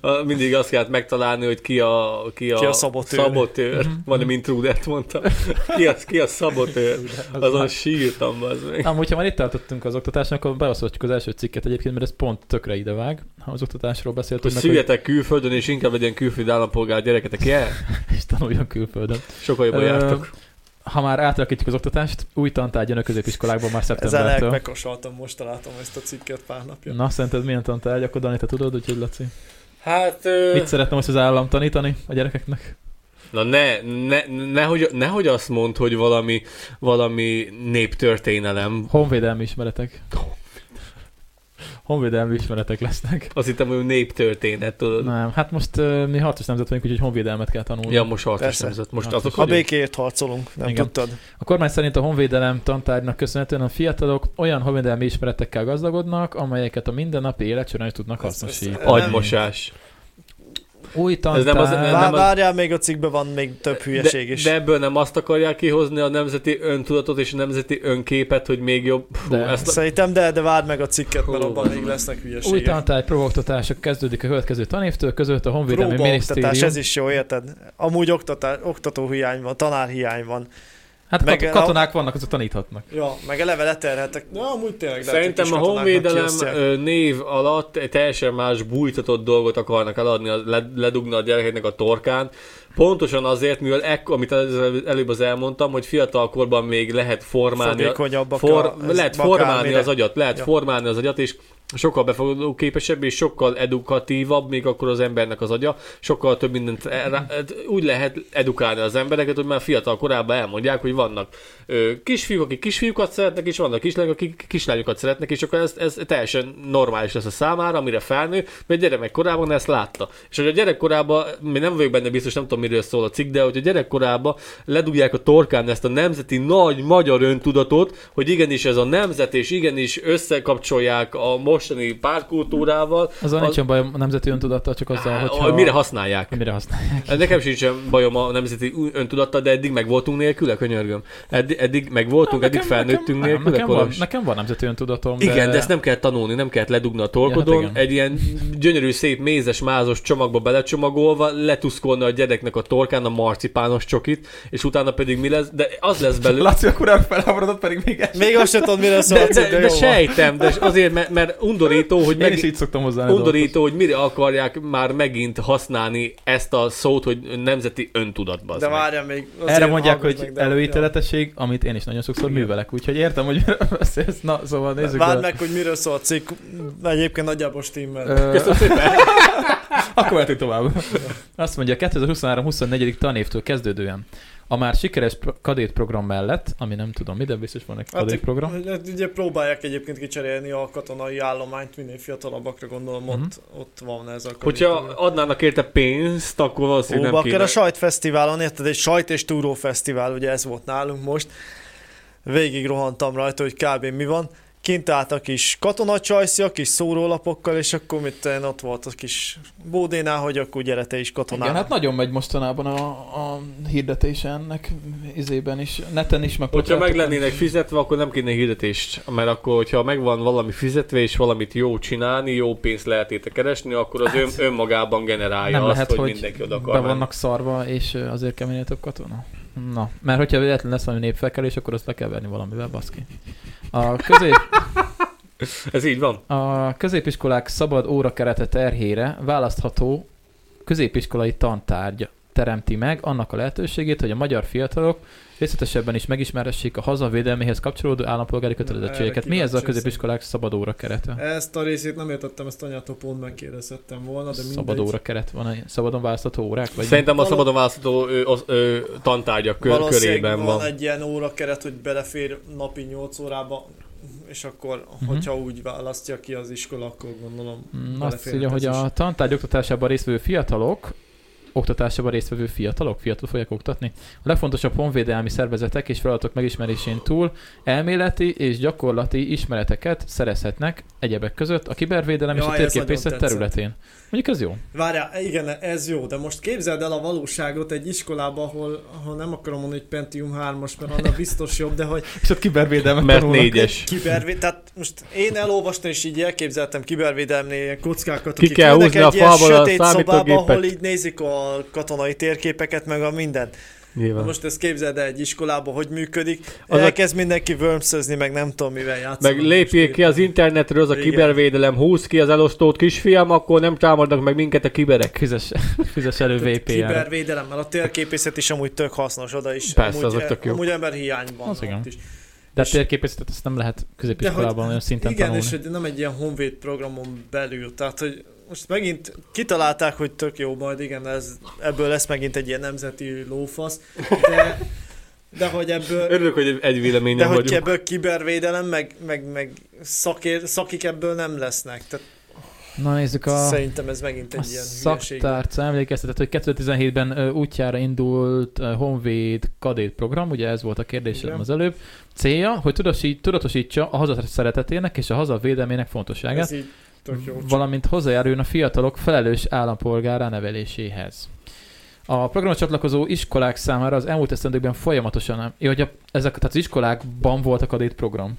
[SPEAKER 2] Ö, Mindig azt kellett megtalálni, hogy ki a, ki a,
[SPEAKER 3] Ki a szabotőr.
[SPEAKER 2] szabotőr. Majdnem intrudert mondtam. Ki a, ki a szabotőr. Azon sírtam, az meg.
[SPEAKER 1] Amúgy, ha már itt tartottunk az oktatásnak, akkor beoszthatjuk az első cikket egyébként, mert ez pont tökre idevág. Ha az oktatásról
[SPEAKER 2] Hogy
[SPEAKER 1] beszéltünk, meg, hogy
[SPEAKER 2] szüljetek külföldön, és inkább legyen külföldi állampolgár gyereketek. Yeah.
[SPEAKER 1] és tanuljon külföldön.
[SPEAKER 2] Sokkal jobban
[SPEAKER 1] Ö,
[SPEAKER 2] jártok.
[SPEAKER 1] Ha már átrakítjuk az oktatást, új tantárgy jön a középiskolákban már
[SPEAKER 3] Ezzel lehet
[SPEAKER 1] szeptembertől.
[SPEAKER 3] megkosoltam, most találtam ezt a cikket pár napja.
[SPEAKER 1] Na, szerinted milyen tantárgy? Akkor Dani, te tudod, úgyhogy Laci.
[SPEAKER 2] Hát... Ö...
[SPEAKER 1] Mit szeretne most az állam tanítani a gyerekeknek?
[SPEAKER 2] Na ne, ne, nehogy, nehogy azt mondd, hogy valami, valami néptörténelem.
[SPEAKER 1] Honvédelmi ismeretek. Honvédelmi ismeretek lesznek.
[SPEAKER 2] Azt hittem, hogy néptörténet, tudod. Na.
[SPEAKER 1] Nem, hát most ö, mi harcos nemzet vagyunk, úgyhogy honvédelmet kell tanulni.
[SPEAKER 2] Ja, most harcos
[SPEAKER 3] Persze.
[SPEAKER 2] nemzet. Most
[SPEAKER 1] Harcos.
[SPEAKER 2] azok
[SPEAKER 3] A
[SPEAKER 2] vagyunk?
[SPEAKER 3] békéért harcolunk, nem
[SPEAKER 1] Igen.
[SPEAKER 3] tudtad?
[SPEAKER 1] A kormány szerint a honvédelem tantárgynak köszönhetően a fiatalok olyan honvédelmi ismeretekkel gazdagodnak, amelyeket a mindennapi élet során is tudnak
[SPEAKER 3] Ez- ez-
[SPEAKER 1] hasznosítani.
[SPEAKER 2] Agymosás.
[SPEAKER 1] Új tantárgy.
[SPEAKER 2] nem az- nem
[SPEAKER 3] Vá-
[SPEAKER 2] az-
[SPEAKER 3] Várjál, még a cikkben van még több hülyeség
[SPEAKER 2] de,
[SPEAKER 3] is.
[SPEAKER 2] de ebből nem azt akarják kihozni a nemzeti öntudatot és a nemzeti önképet, hogy még jobb. Fú,
[SPEAKER 1] De.
[SPEAKER 2] ezt a...
[SPEAKER 3] Szerintem de, de várd meg a cikket, mert
[SPEAKER 2] Hú,
[SPEAKER 3] abban még lesznek
[SPEAKER 1] Új
[SPEAKER 3] hülyeségek.
[SPEAKER 1] tantárgy próbaoktatása kezdődik a következő tanévtől, között a Honvédelmi
[SPEAKER 3] Próbaoktatás,
[SPEAKER 1] Minisztérium.
[SPEAKER 3] ez is jó, érted? Amúgy oktatás, oktatóhiány van, tanárhiány van.
[SPEAKER 1] Hát
[SPEAKER 3] Meg
[SPEAKER 1] kat-
[SPEAKER 3] a-
[SPEAKER 1] katonák vannak, azok taníthatnak.
[SPEAKER 3] Ja, meg eleve leterhetek. Na, amúgy tényleg lehet, hogy
[SPEAKER 4] hát
[SPEAKER 2] Szerintem a
[SPEAKER 3] kis katonáknak
[SPEAKER 2] honvédelem
[SPEAKER 3] kiosztják.
[SPEAKER 2] ö, név alatt egy teljesen más bújtatott dolgot akarnak eladni, a- le- ledugni a gyerekeknek a torkán. Pontosan azért, mivel ekkor, amit az- előbb az elmondtam, hogy fiatalkorban még lehet formálni, a-
[SPEAKER 3] Fogékonyabbak
[SPEAKER 2] for,
[SPEAKER 3] ez
[SPEAKER 2] lehet
[SPEAKER 3] bakármire.
[SPEAKER 2] formálni az agyat, lehet
[SPEAKER 3] Ja.
[SPEAKER 2] ja. formálni az agyat, és sokkal befogadóképesebb és sokkal edukatívabb még akkor az embernek az agya, sokkal több mindent elrá- hát úgy lehet edukálni az embereket, hogy már fiatal korában elmondják, hogy vannak ö, kisfiúk, akik kisfiúkat szeretnek, és vannak kislányok, akik kislányokat szeretnek, és akkor ez, ez teljesen normális lesz a számára, amire felnő, mert gyermekkorában ezt látta. És hogy a gyerekkorában, mi nem vagyok benne biztos, nem tudom miről szól a cikk, de hogy a gyerekkorában ledugják a torkán ezt a nemzeti nagy magyar öntudatot, hogy igenis ez a nemzet, és igenis összekapcsolják a mostani párkultúrával.
[SPEAKER 1] Azzal
[SPEAKER 2] Az-
[SPEAKER 1] nincsen baj a nemzeti öntudattal, csak azzal,
[SPEAKER 2] Hogyha...
[SPEAKER 1] Szóval, hogyha...
[SPEAKER 2] Mire használják?
[SPEAKER 1] mire használják.
[SPEAKER 2] Hát Nekem sincsen bajom a nemzeti öntudattal, de eddig meg voltunk nélküle, könyörgöm. Eddig, eddig meg voltunk, eddig felnőttünk
[SPEAKER 1] nekem,
[SPEAKER 2] nélküle.
[SPEAKER 1] nekem, van,
[SPEAKER 2] Kolos.
[SPEAKER 1] nekem van nemzeti öntudatom, de...
[SPEAKER 2] Igen, de ezt nem kell tanulni, nem kell ledugni a
[SPEAKER 1] Ja, hát
[SPEAKER 2] torkodon, ja,
[SPEAKER 1] igen.
[SPEAKER 2] hát egy ilyen gyönyörű, szép, mézes, mázos csomagba belecsomagolva, letuszkolni a gyereknek a torkán a marcipános csokit, és utána pedig mi lesz, de az lesz belőle.
[SPEAKER 1] Laci akkor nem felháborodott, pedig még egy.
[SPEAKER 3] Még azt sem tudod, mire szól a
[SPEAKER 2] De,
[SPEAKER 3] cikk, de,
[SPEAKER 2] de,
[SPEAKER 3] jó
[SPEAKER 2] de
[SPEAKER 3] van.
[SPEAKER 2] sejtem, de azért, mert, mert undorító, hogy
[SPEAKER 1] Én is
[SPEAKER 2] meg,
[SPEAKER 1] így szoktam hozzá.
[SPEAKER 2] undorító, hogy mire akarják már megint használni ezt a szót, hogy nemzeti öntudatba.
[SPEAKER 3] De várjál még. azért
[SPEAKER 1] Erre mondják,
[SPEAKER 3] hallgass
[SPEAKER 1] hogy
[SPEAKER 3] meg, de-
[SPEAKER 1] előítéletesség, amit én is nagyon sokszor művelek, úgyhogy értem, hogy miről beszélsz. Na, szóval
[SPEAKER 3] Ja.
[SPEAKER 1] nézzük
[SPEAKER 3] Várd
[SPEAKER 1] bele.
[SPEAKER 3] meg, hogy miről szól a cikk. Egyébként nagyjából stimmel.
[SPEAKER 1] Ö, Akkor mehetünk tovább. Azt mondja, 2023-24. tanévtől kezdődően a már sikeres pro- kadétprogram mellett, ami nem tudom mi, de biztos van egy kadétprogram,
[SPEAKER 3] Hát, hát ugye próbálják egyébként kicserélni a katonai állományt, minél fiatalabbakra gondolom, ott,
[SPEAKER 1] Mhm.
[SPEAKER 3] ott van ez a
[SPEAKER 2] Hogyha
[SPEAKER 3] kadétprogram.
[SPEAKER 2] adnának érte pénzt, akkor
[SPEAKER 3] Ó,
[SPEAKER 2] valószínűleg nem
[SPEAKER 3] bakker,
[SPEAKER 2] kéne.
[SPEAKER 3] a sajtfesztiválon, érted, egy sajt és túró fesztivál, ugye ez volt nálunk most. Végig rohantam rajta, hogy kb. mi van. Kint állt a kis katonacsajszi, a kis szórólapokkal, és akkor mit tudom én, ott volt a kis bódénál, hogy akkor gyere te is
[SPEAKER 1] Igen,
[SPEAKER 3] katonának.
[SPEAKER 1] hát nagyon megy mostanában a, a hirdetése ennek izében is, neten is, meg
[SPEAKER 2] Hogyha meg
[SPEAKER 1] plakátokon is.
[SPEAKER 2] lennének fizetve, akkor nem kéne hirdetést, mert akkor, hogyha megvan valami fizetve és valamit jó csinálni, jó pénzt lehet érte keresni, akkor az ön, önmagában generálja
[SPEAKER 1] nem
[SPEAKER 2] azt,
[SPEAKER 1] lehet,
[SPEAKER 2] hogy,
[SPEAKER 1] hogy
[SPEAKER 2] mindenki oda
[SPEAKER 1] Be
[SPEAKER 2] akar menni.
[SPEAKER 1] vannak szarva, és ö, azért kell minél több katona. Na, mert hogyha véletlen lesz valami népfelkelés, akkor azt le kell verni valamivel, baszki. A, közép,
[SPEAKER 2] Ez így van.
[SPEAKER 1] a középiskolák szabad órakerete terhére választható középiskolai tantárgy teremti meg annak a lehetőségét, hogy a magyar fiatalok részletesebben is megismeressék a hazavédelméhez kapcsolódó állampolgári kötelezettségeket. Mi ez a
[SPEAKER 3] kíváncsi
[SPEAKER 1] középiskolák szabad óra kerete?
[SPEAKER 3] Ezt a részét nem értettem, ezt anyától pont megkérdezhettem volna, de mindegy.
[SPEAKER 1] Szabad óra keret van, szabadon választható órák? Vagy
[SPEAKER 2] Szerintem a
[SPEAKER 3] Való-
[SPEAKER 2] szabadon választható ö, az, ö, tantárgyak kör,
[SPEAKER 3] Valószínűleg
[SPEAKER 2] körében
[SPEAKER 3] van,
[SPEAKER 2] van.
[SPEAKER 3] egy ilyen órakeret, hogy belefér napi 8 órába, és akkor,
[SPEAKER 1] Mhm.
[SPEAKER 3] hogyha úgy választja ki az iskola, akkor gondolom
[SPEAKER 1] Mm, Azt
[SPEAKER 3] beleférhet
[SPEAKER 1] írja,
[SPEAKER 3] ez
[SPEAKER 1] hogy
[SPEAKER 3] is.
[SPEAKER 1] a tantárgy oktatásában résztvevő fiatalok oktatásában résztvevő fiatalok, fiatal fogják oktatni. A legfontosabb honvédelmi szervezetek és feladatok megismerésén túl elméleti és gyakorlati ismereteket szerezhetnek egyebek között a kibervédelem és
[SPEAKER 4] Jaj,
[SPEAKER 1] a
[SPEAKER 4] ez
[SPEAKER 1] térképészet
[SPEAKER 4] nagyon tetszett.
[SPEAKER 1] területén. Mondjuk ez jó.
[SPEAKER 4] Várjál, igen, ez jó, de most képzeld el a valóságot egy iskolába, ahol, ahol nem akarom mondani, hogy Pentium 3-as, mert annál biztos jobb, de hogy
[SPEAKER 1] És ott kibervédelmet
[SPEAKER 5] Mert
[SPEAKER 1] tanulnak.
[SPEAKER 5] négyes.
[SPEAKER 4] kibervé... Tehát most én elolvastam és így elképzeltem kibervédelmnél ilyen kockákat,
[SPEAKER 5] Ki
[SPEAKER 4] akik
[SPEAKER 5] kell
[SPEAKER 4] ülnek
[SPEAKER 5] húzni a
[SPEAKER 4] egy ilyen
[SPEAKER 5] falból a
[SPEAKER 4] sötét szobába,
[SPEAKER 5] számítógépet.
[SPEAKER 4] ahol így nézik a katonai térképeket, meg a mindent.
[SPEAKER 5] Nyilván.
[SPEAKER 4] Most ezt képzeld el egy iskolába, hogy működik.
[SPEAKER 5] Az
[SPEAKER 4] Az
[SPEAKER 5] a-
[SPEAKER 4] Elkezd mindenki wormsözni, meg nem tudom mivel játszani.
[SPEAKER 5] Meg lépjél ki az internetről, az a
[SPEAKER 4] Igen.
[SPEAKER 5] kibervédelem, húz ki az elosztót, kisfiam, akkor nem támadnak meg minket a kiberek.
[SPEAKER 1] Fizes, fizes elő VPN-re.
[SPEAKER 4] Kibervédelemmel, a térképészet is amúgy tök hasznos, oda is.
[SPEAKER 5] Persze,
[SPEAKER 4] amúgy, e-
[SPEAKER 5] azok tök jók.
[SPEAKER 4] amúgy ember hiányban.
[SPEAKER 1] Az igen.
[SPEAKER 4] ott is.
[SPEAKER 1] De
[SPEAKER 4] És-
[SPEAKER 1] térképészetet ezt nem lehet
[SPEAKER 4] De hogy-
[SPEAKER 1] középiskolában olyan szinten
[SPEAKER 4] Igen,
[SPEAKER 1] tanulni.
[SPEAKER 4] és hogy nem egy ilyen honvéd programon belül, tehát hogy most megint kitalálták, hogy tök jó, majd igen, ez, ebből lesz megint egy ilyen nemzeti lófasz, de, de hogy ebből,
[SPEAKER 5] Örülök, hogy egy
[SPEAKER 4] de
[SPEAKER 5] véleményen
[SPEAKER 4] hogy
[SPEAKER 5] vagyunk.
[SPEAKER 4] ebből kibervédelem, meg, meg, meg szakér, szakik ebből nem lesznek, tehát
[SPEAKER 1] Na nézzük
[SPEAKER 4] a,
[SPEAKER 1] a...
[SPEAKER 4] szerintem ez megint
[SPEAKER 1] A
[SPEAKER 4] egy ilyen hülyeség.
[SPEAKER 1] szaktárca emlékeztetett, hogy 2017-ben ö, útjára indult ö, Honvéd kadét program, ugye ez volt a kérdésem
[SPEAKER 4] Igen.
[SPEAKER 1] az előbb. Célja, hogy tudosít, tudatosítsa a haza szeretetének és a haza védelmének fontosságát,
[SPEAKER 4] Ez így tök jó.
[SPEAKER 1] valamint hozzájáruljon a fiatalok felelős állampolgárá neveléséhez. A programra csatlakozó iskolák számára az elmúlt esztendőkben folyamatosan, jó, hogy a, ezek, tehát az iskolákban volt a kadét program.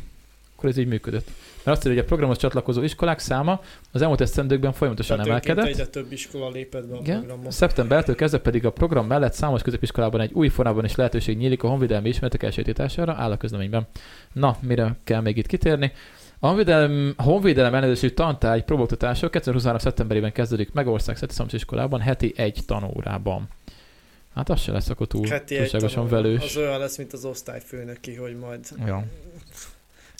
[SPEAKER 1] Akkor ez így működött. Mert azt írja, hogy a programhoz csatlakozó iskolák száma az elmúlt esztendőkben folyamatosan
[SPEAKER 4] Tehát
[SPEAKER 1] emelkedett.
[SPEAKER 4] önként egyre több iskola lépett be a
[SPEAKER 1] Igen.
[SPEAKER 4] programba.
[SPEAKER 1] Szeptembertől kezdve pedig a program mellett számos középiskolában egy új formában is lehetőség nyílik a honvédelmi ismeretek elsajátítására, áll a közleményben. Na, mire kell még itt kitérni? A honvédelem, a honvédelem ellenőrzésű tantárgy próbáltatása 2023. szeptemberében kezdődik meg országszerte iskolában heti egy tanórában. Hát az se lesz akkor túl,
[SPEAKER 4] Heti egy
[SPEAKER 1] túlságosan
[SPEAKER 4] tanóra.
[SPEAKER 1] velős.
[SPEAKER 4] Az olyan lesz, mint az osztályfőnöki, hogy majd
[SPEAKER 1] Ja.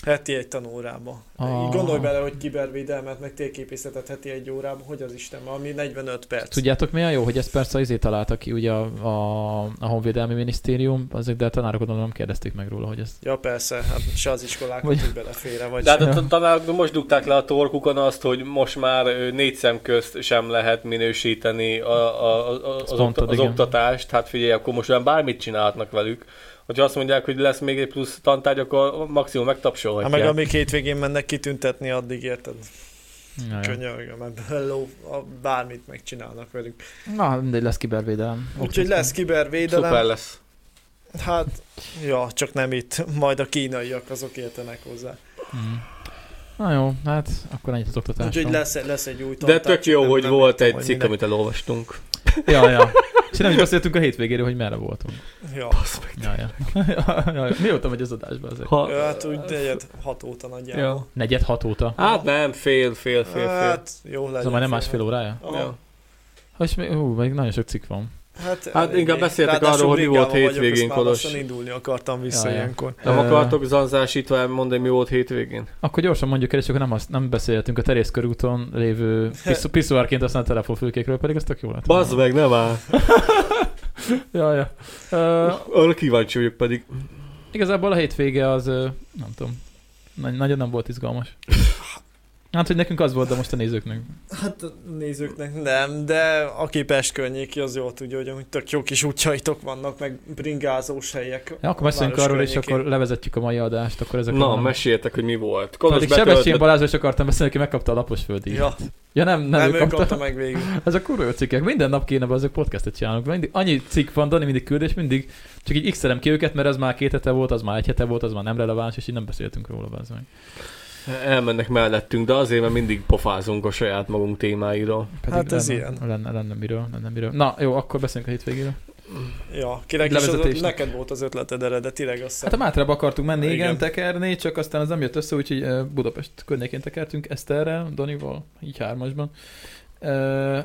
[SPEAKER 4] Heti egy tanórába.
[SPEAKER 1] A-
[SPEAKER 4] Így Gondolj bele, hogy kibervédelmet, meg térképészetet heti egy órába, hogy az Isten, ami 45 perc.
[SPEAKER 1] Tudjátok mi a jó, hogy ezt persze izé találta ki ugye a, a, a Honvédelmi Minisztérium, azok, de a tanárok gondolom nem kérdezték meg róla, hogy ez
[SPEAKER 4] Ja persze, hát se az iskolák,
[SPEAKER 1] Vagy-
[SPEAKER 4] hogy belefére, vagy
[SPEAKER 2] De hát
[SPEAKER 4] sem.
[SPEAKER 2] a tanárok most dugták le a torkukon azt, hogy most már ö, négy szem közt sem lehet minősíteni a, a, a, a, az,
[SPEAKER 1] mondtad,
[SPEAKER 2] okta, az
[SPEAKER 1] igen.
[SPEAKER 2] oktatást. Hát figyelj, akkor most olyan bármit csinálhatnak velük. Hogyha azt mondják, hogy lesz még egy plusz tantárgy, akkor maximum
[SPEAKER 4] Hát
[SPEAKER 2] megtapsolhatják.
[SPEAKER 4] meg amíg hétvégén mennek kitüntetni, addig érted,
[SPEAKER 1] Na, jó.
[SPEAKER 4] könyörgöm, ebből ló, a, bármit megcsinálnak velünk.
[SPEAKER 1] Na, mindegy, lesz kibervédelem.
[SPEAKER 4] Úgyhogy lesz kibervédelem,
[SPEAKER 2] Szuper lesz.
[SPEAKER 4] hát ja, csak nem itt, majd a kínaiak azok értenek hozzá.
[SPEAKER 1] Mm. Na jó, hát akkor ennyit az oktatásról.
[SPEAKER 4] Úgyhogy lesz, lesz egy új
[SPEAKER 5] De
[SPEAKER 4] tantárgy,
[SPEAKER 5] tök jó,
[SPEAKER 4] nem-
[SPEAKER 5] hogy
[SPEAKER 4] nem
[SPEAKER 5] volt
[SPEAKER 4] értem,
[SPEAKER 5] egy
[SPEAKER 4] hogy
[SPEAKER 5] cikk,
[SPEAKER 4] minek.
[SPEAKER 5] amit elolvastunk.
[SPEAKER 1] Ja, ja. És nem is beszéltünk a hétvégéről, hogy merre voltunk.
[SPEAKER 4] Ja,
[SPEAKER 1] Ja, ja. ja, ja. Mióta megy az adásba azért?
[SPEAKER 5] Ha,
[SPEAKER 4] Ja, hát úgy negyed hat óta nagyjából.
[SPEAKER 5] Ja.
[SPEAKER 1] Negyed hat óta.
[SPEAKER 5] Hát nem, fél, fél, fél, fél.
[SPEAKER 4] Hát jó legyen.
[SPEAKER 1] Ez
[SPEAKER 4] Ah,
[SPEAKER 1] Szóval már nem másfél órája?
[SPEAKER 4] Ó,
[SPEAKER 5] Ja.
[SPEAKER 1] Ha, És még, hú, még nagyon sok cikk van.
[SPEAKER 4] Hát,
[SPEAKER 5] Hát inkább beszéltek
[SPEAKER 4] Ráadásul
[SPEAKER 5] arról, hogy mi
[SPEAKER 4] bringában
[SPEAKER 5] volt
[SPEAKER 4] vagyok,
[SPEAKER 5] hétvégén,
[SPEAKER 4] ezt már
[SPEAKER 5] Kolos.
[SPEAKER 4] lassan indulni akartam vissza
[SPEAKER 1] Jaj,
[SPEAKER 4] Jaj,
[SPEAKER 1] jaj.
[SPEAKER 4] ilyenkor.
[SPEAKER 5] Nem
[SPEAKER 1] Ö,
[SPEAKER 5] akartok zanzásítva mondani, mi volt hétvégén?
[SPEAKER 1] Akkor gyorsan mondjuk el, és akkor nem, azt, nem beszéltünk a Terész körúton lévő piszu, piszuárként használt telefonfülkékről, pedig ez tök jó lett.
[SPEAKER 5] Bazd meg, nem áll.
[SPEAKER 1] Ja, ja. Ö,
[SPEAKER 5] Arra kíváncsi vagyok pedig.
[SPEAKER 1] Igazából a hétvége az, ö, nem tudom, nagy- nagyon nem volt izgalmas. Hát, hogy nekünk az volt, de most a nézőknek.
[SPEAKER 4] Hát a nézőknek nem, de aki Pest környéki, az jól tudja, hogy amúgy tök jó kis útjaitok vannak, meg bringázós helyek.
[SPEAKER 1] Ja, akkor beszélünk
[SPEAKER 4] város
[SPEAKER 1] arról, és
[SPEAKER 4] környékén.
[SPEAKER 1] akkor levezetjük a mai adást, akkor ezek
[SPEAKER 5] Na, meséltek, hogy mi volt. Kolos
[SPEAKER 1] Pedig Sebestyén
[SPEAKER 5] betöltött.
[SPEAKER 1] Balázsra is akartam beszélni, aki megkapta a lapos földi. Ja,
[SPEAKER 4] Ja,
[SPEAKER 1] ja nem, nem, ő
[SPEAKER 4] nem, ő
[SPEAKER 1] kapta.
[SPEAKER 4] kapta meg végül.
[SPEAKER 1] Ez a kurva jó cikkek. Minden nap kéne be azok podcastet csinálunk. Mindig, annyi cikk van, Dani mindig küld, és mindig csak így x ki őket, mert az már két hete volt, az már egy hete volt, az már nem releváns, és így nem beszéltünk róla. Bazd meg.
[SPEAKER 5] Elmennek mellettünk, de azért, mert mindig pofázunk a saját magunk témáiról.
[SPEAKER 1] Pedig
[SPEAKER 4] Hát ez
[SPEAKER 1] lenne,
[SPEAKER 4] ilyen.
[SPEAKER 1] Lenne, lenne, miről, lenne miről. Na jó, akkor beszélünk a hétvégéről.
[SPEAKER 4] Ja, kinek is az,
[SPEAKER 1] Levezetésnek.
[SPEAKER 4] neked volt az ötleted eredetileg, azt
[SPEAKER 1] Hát a
[SPEAKER 4] hiszem.
[SPEAKER 1] Mátrába akartunk menni, igen,
[SPEAKER 4] Igen.
[SPEAKER 1] tekerni, csak aztán ez nem jött össze, úgyhogy ö, Budapest környékén tekertünk Eszterrel, Danival, így hármasban. Ö,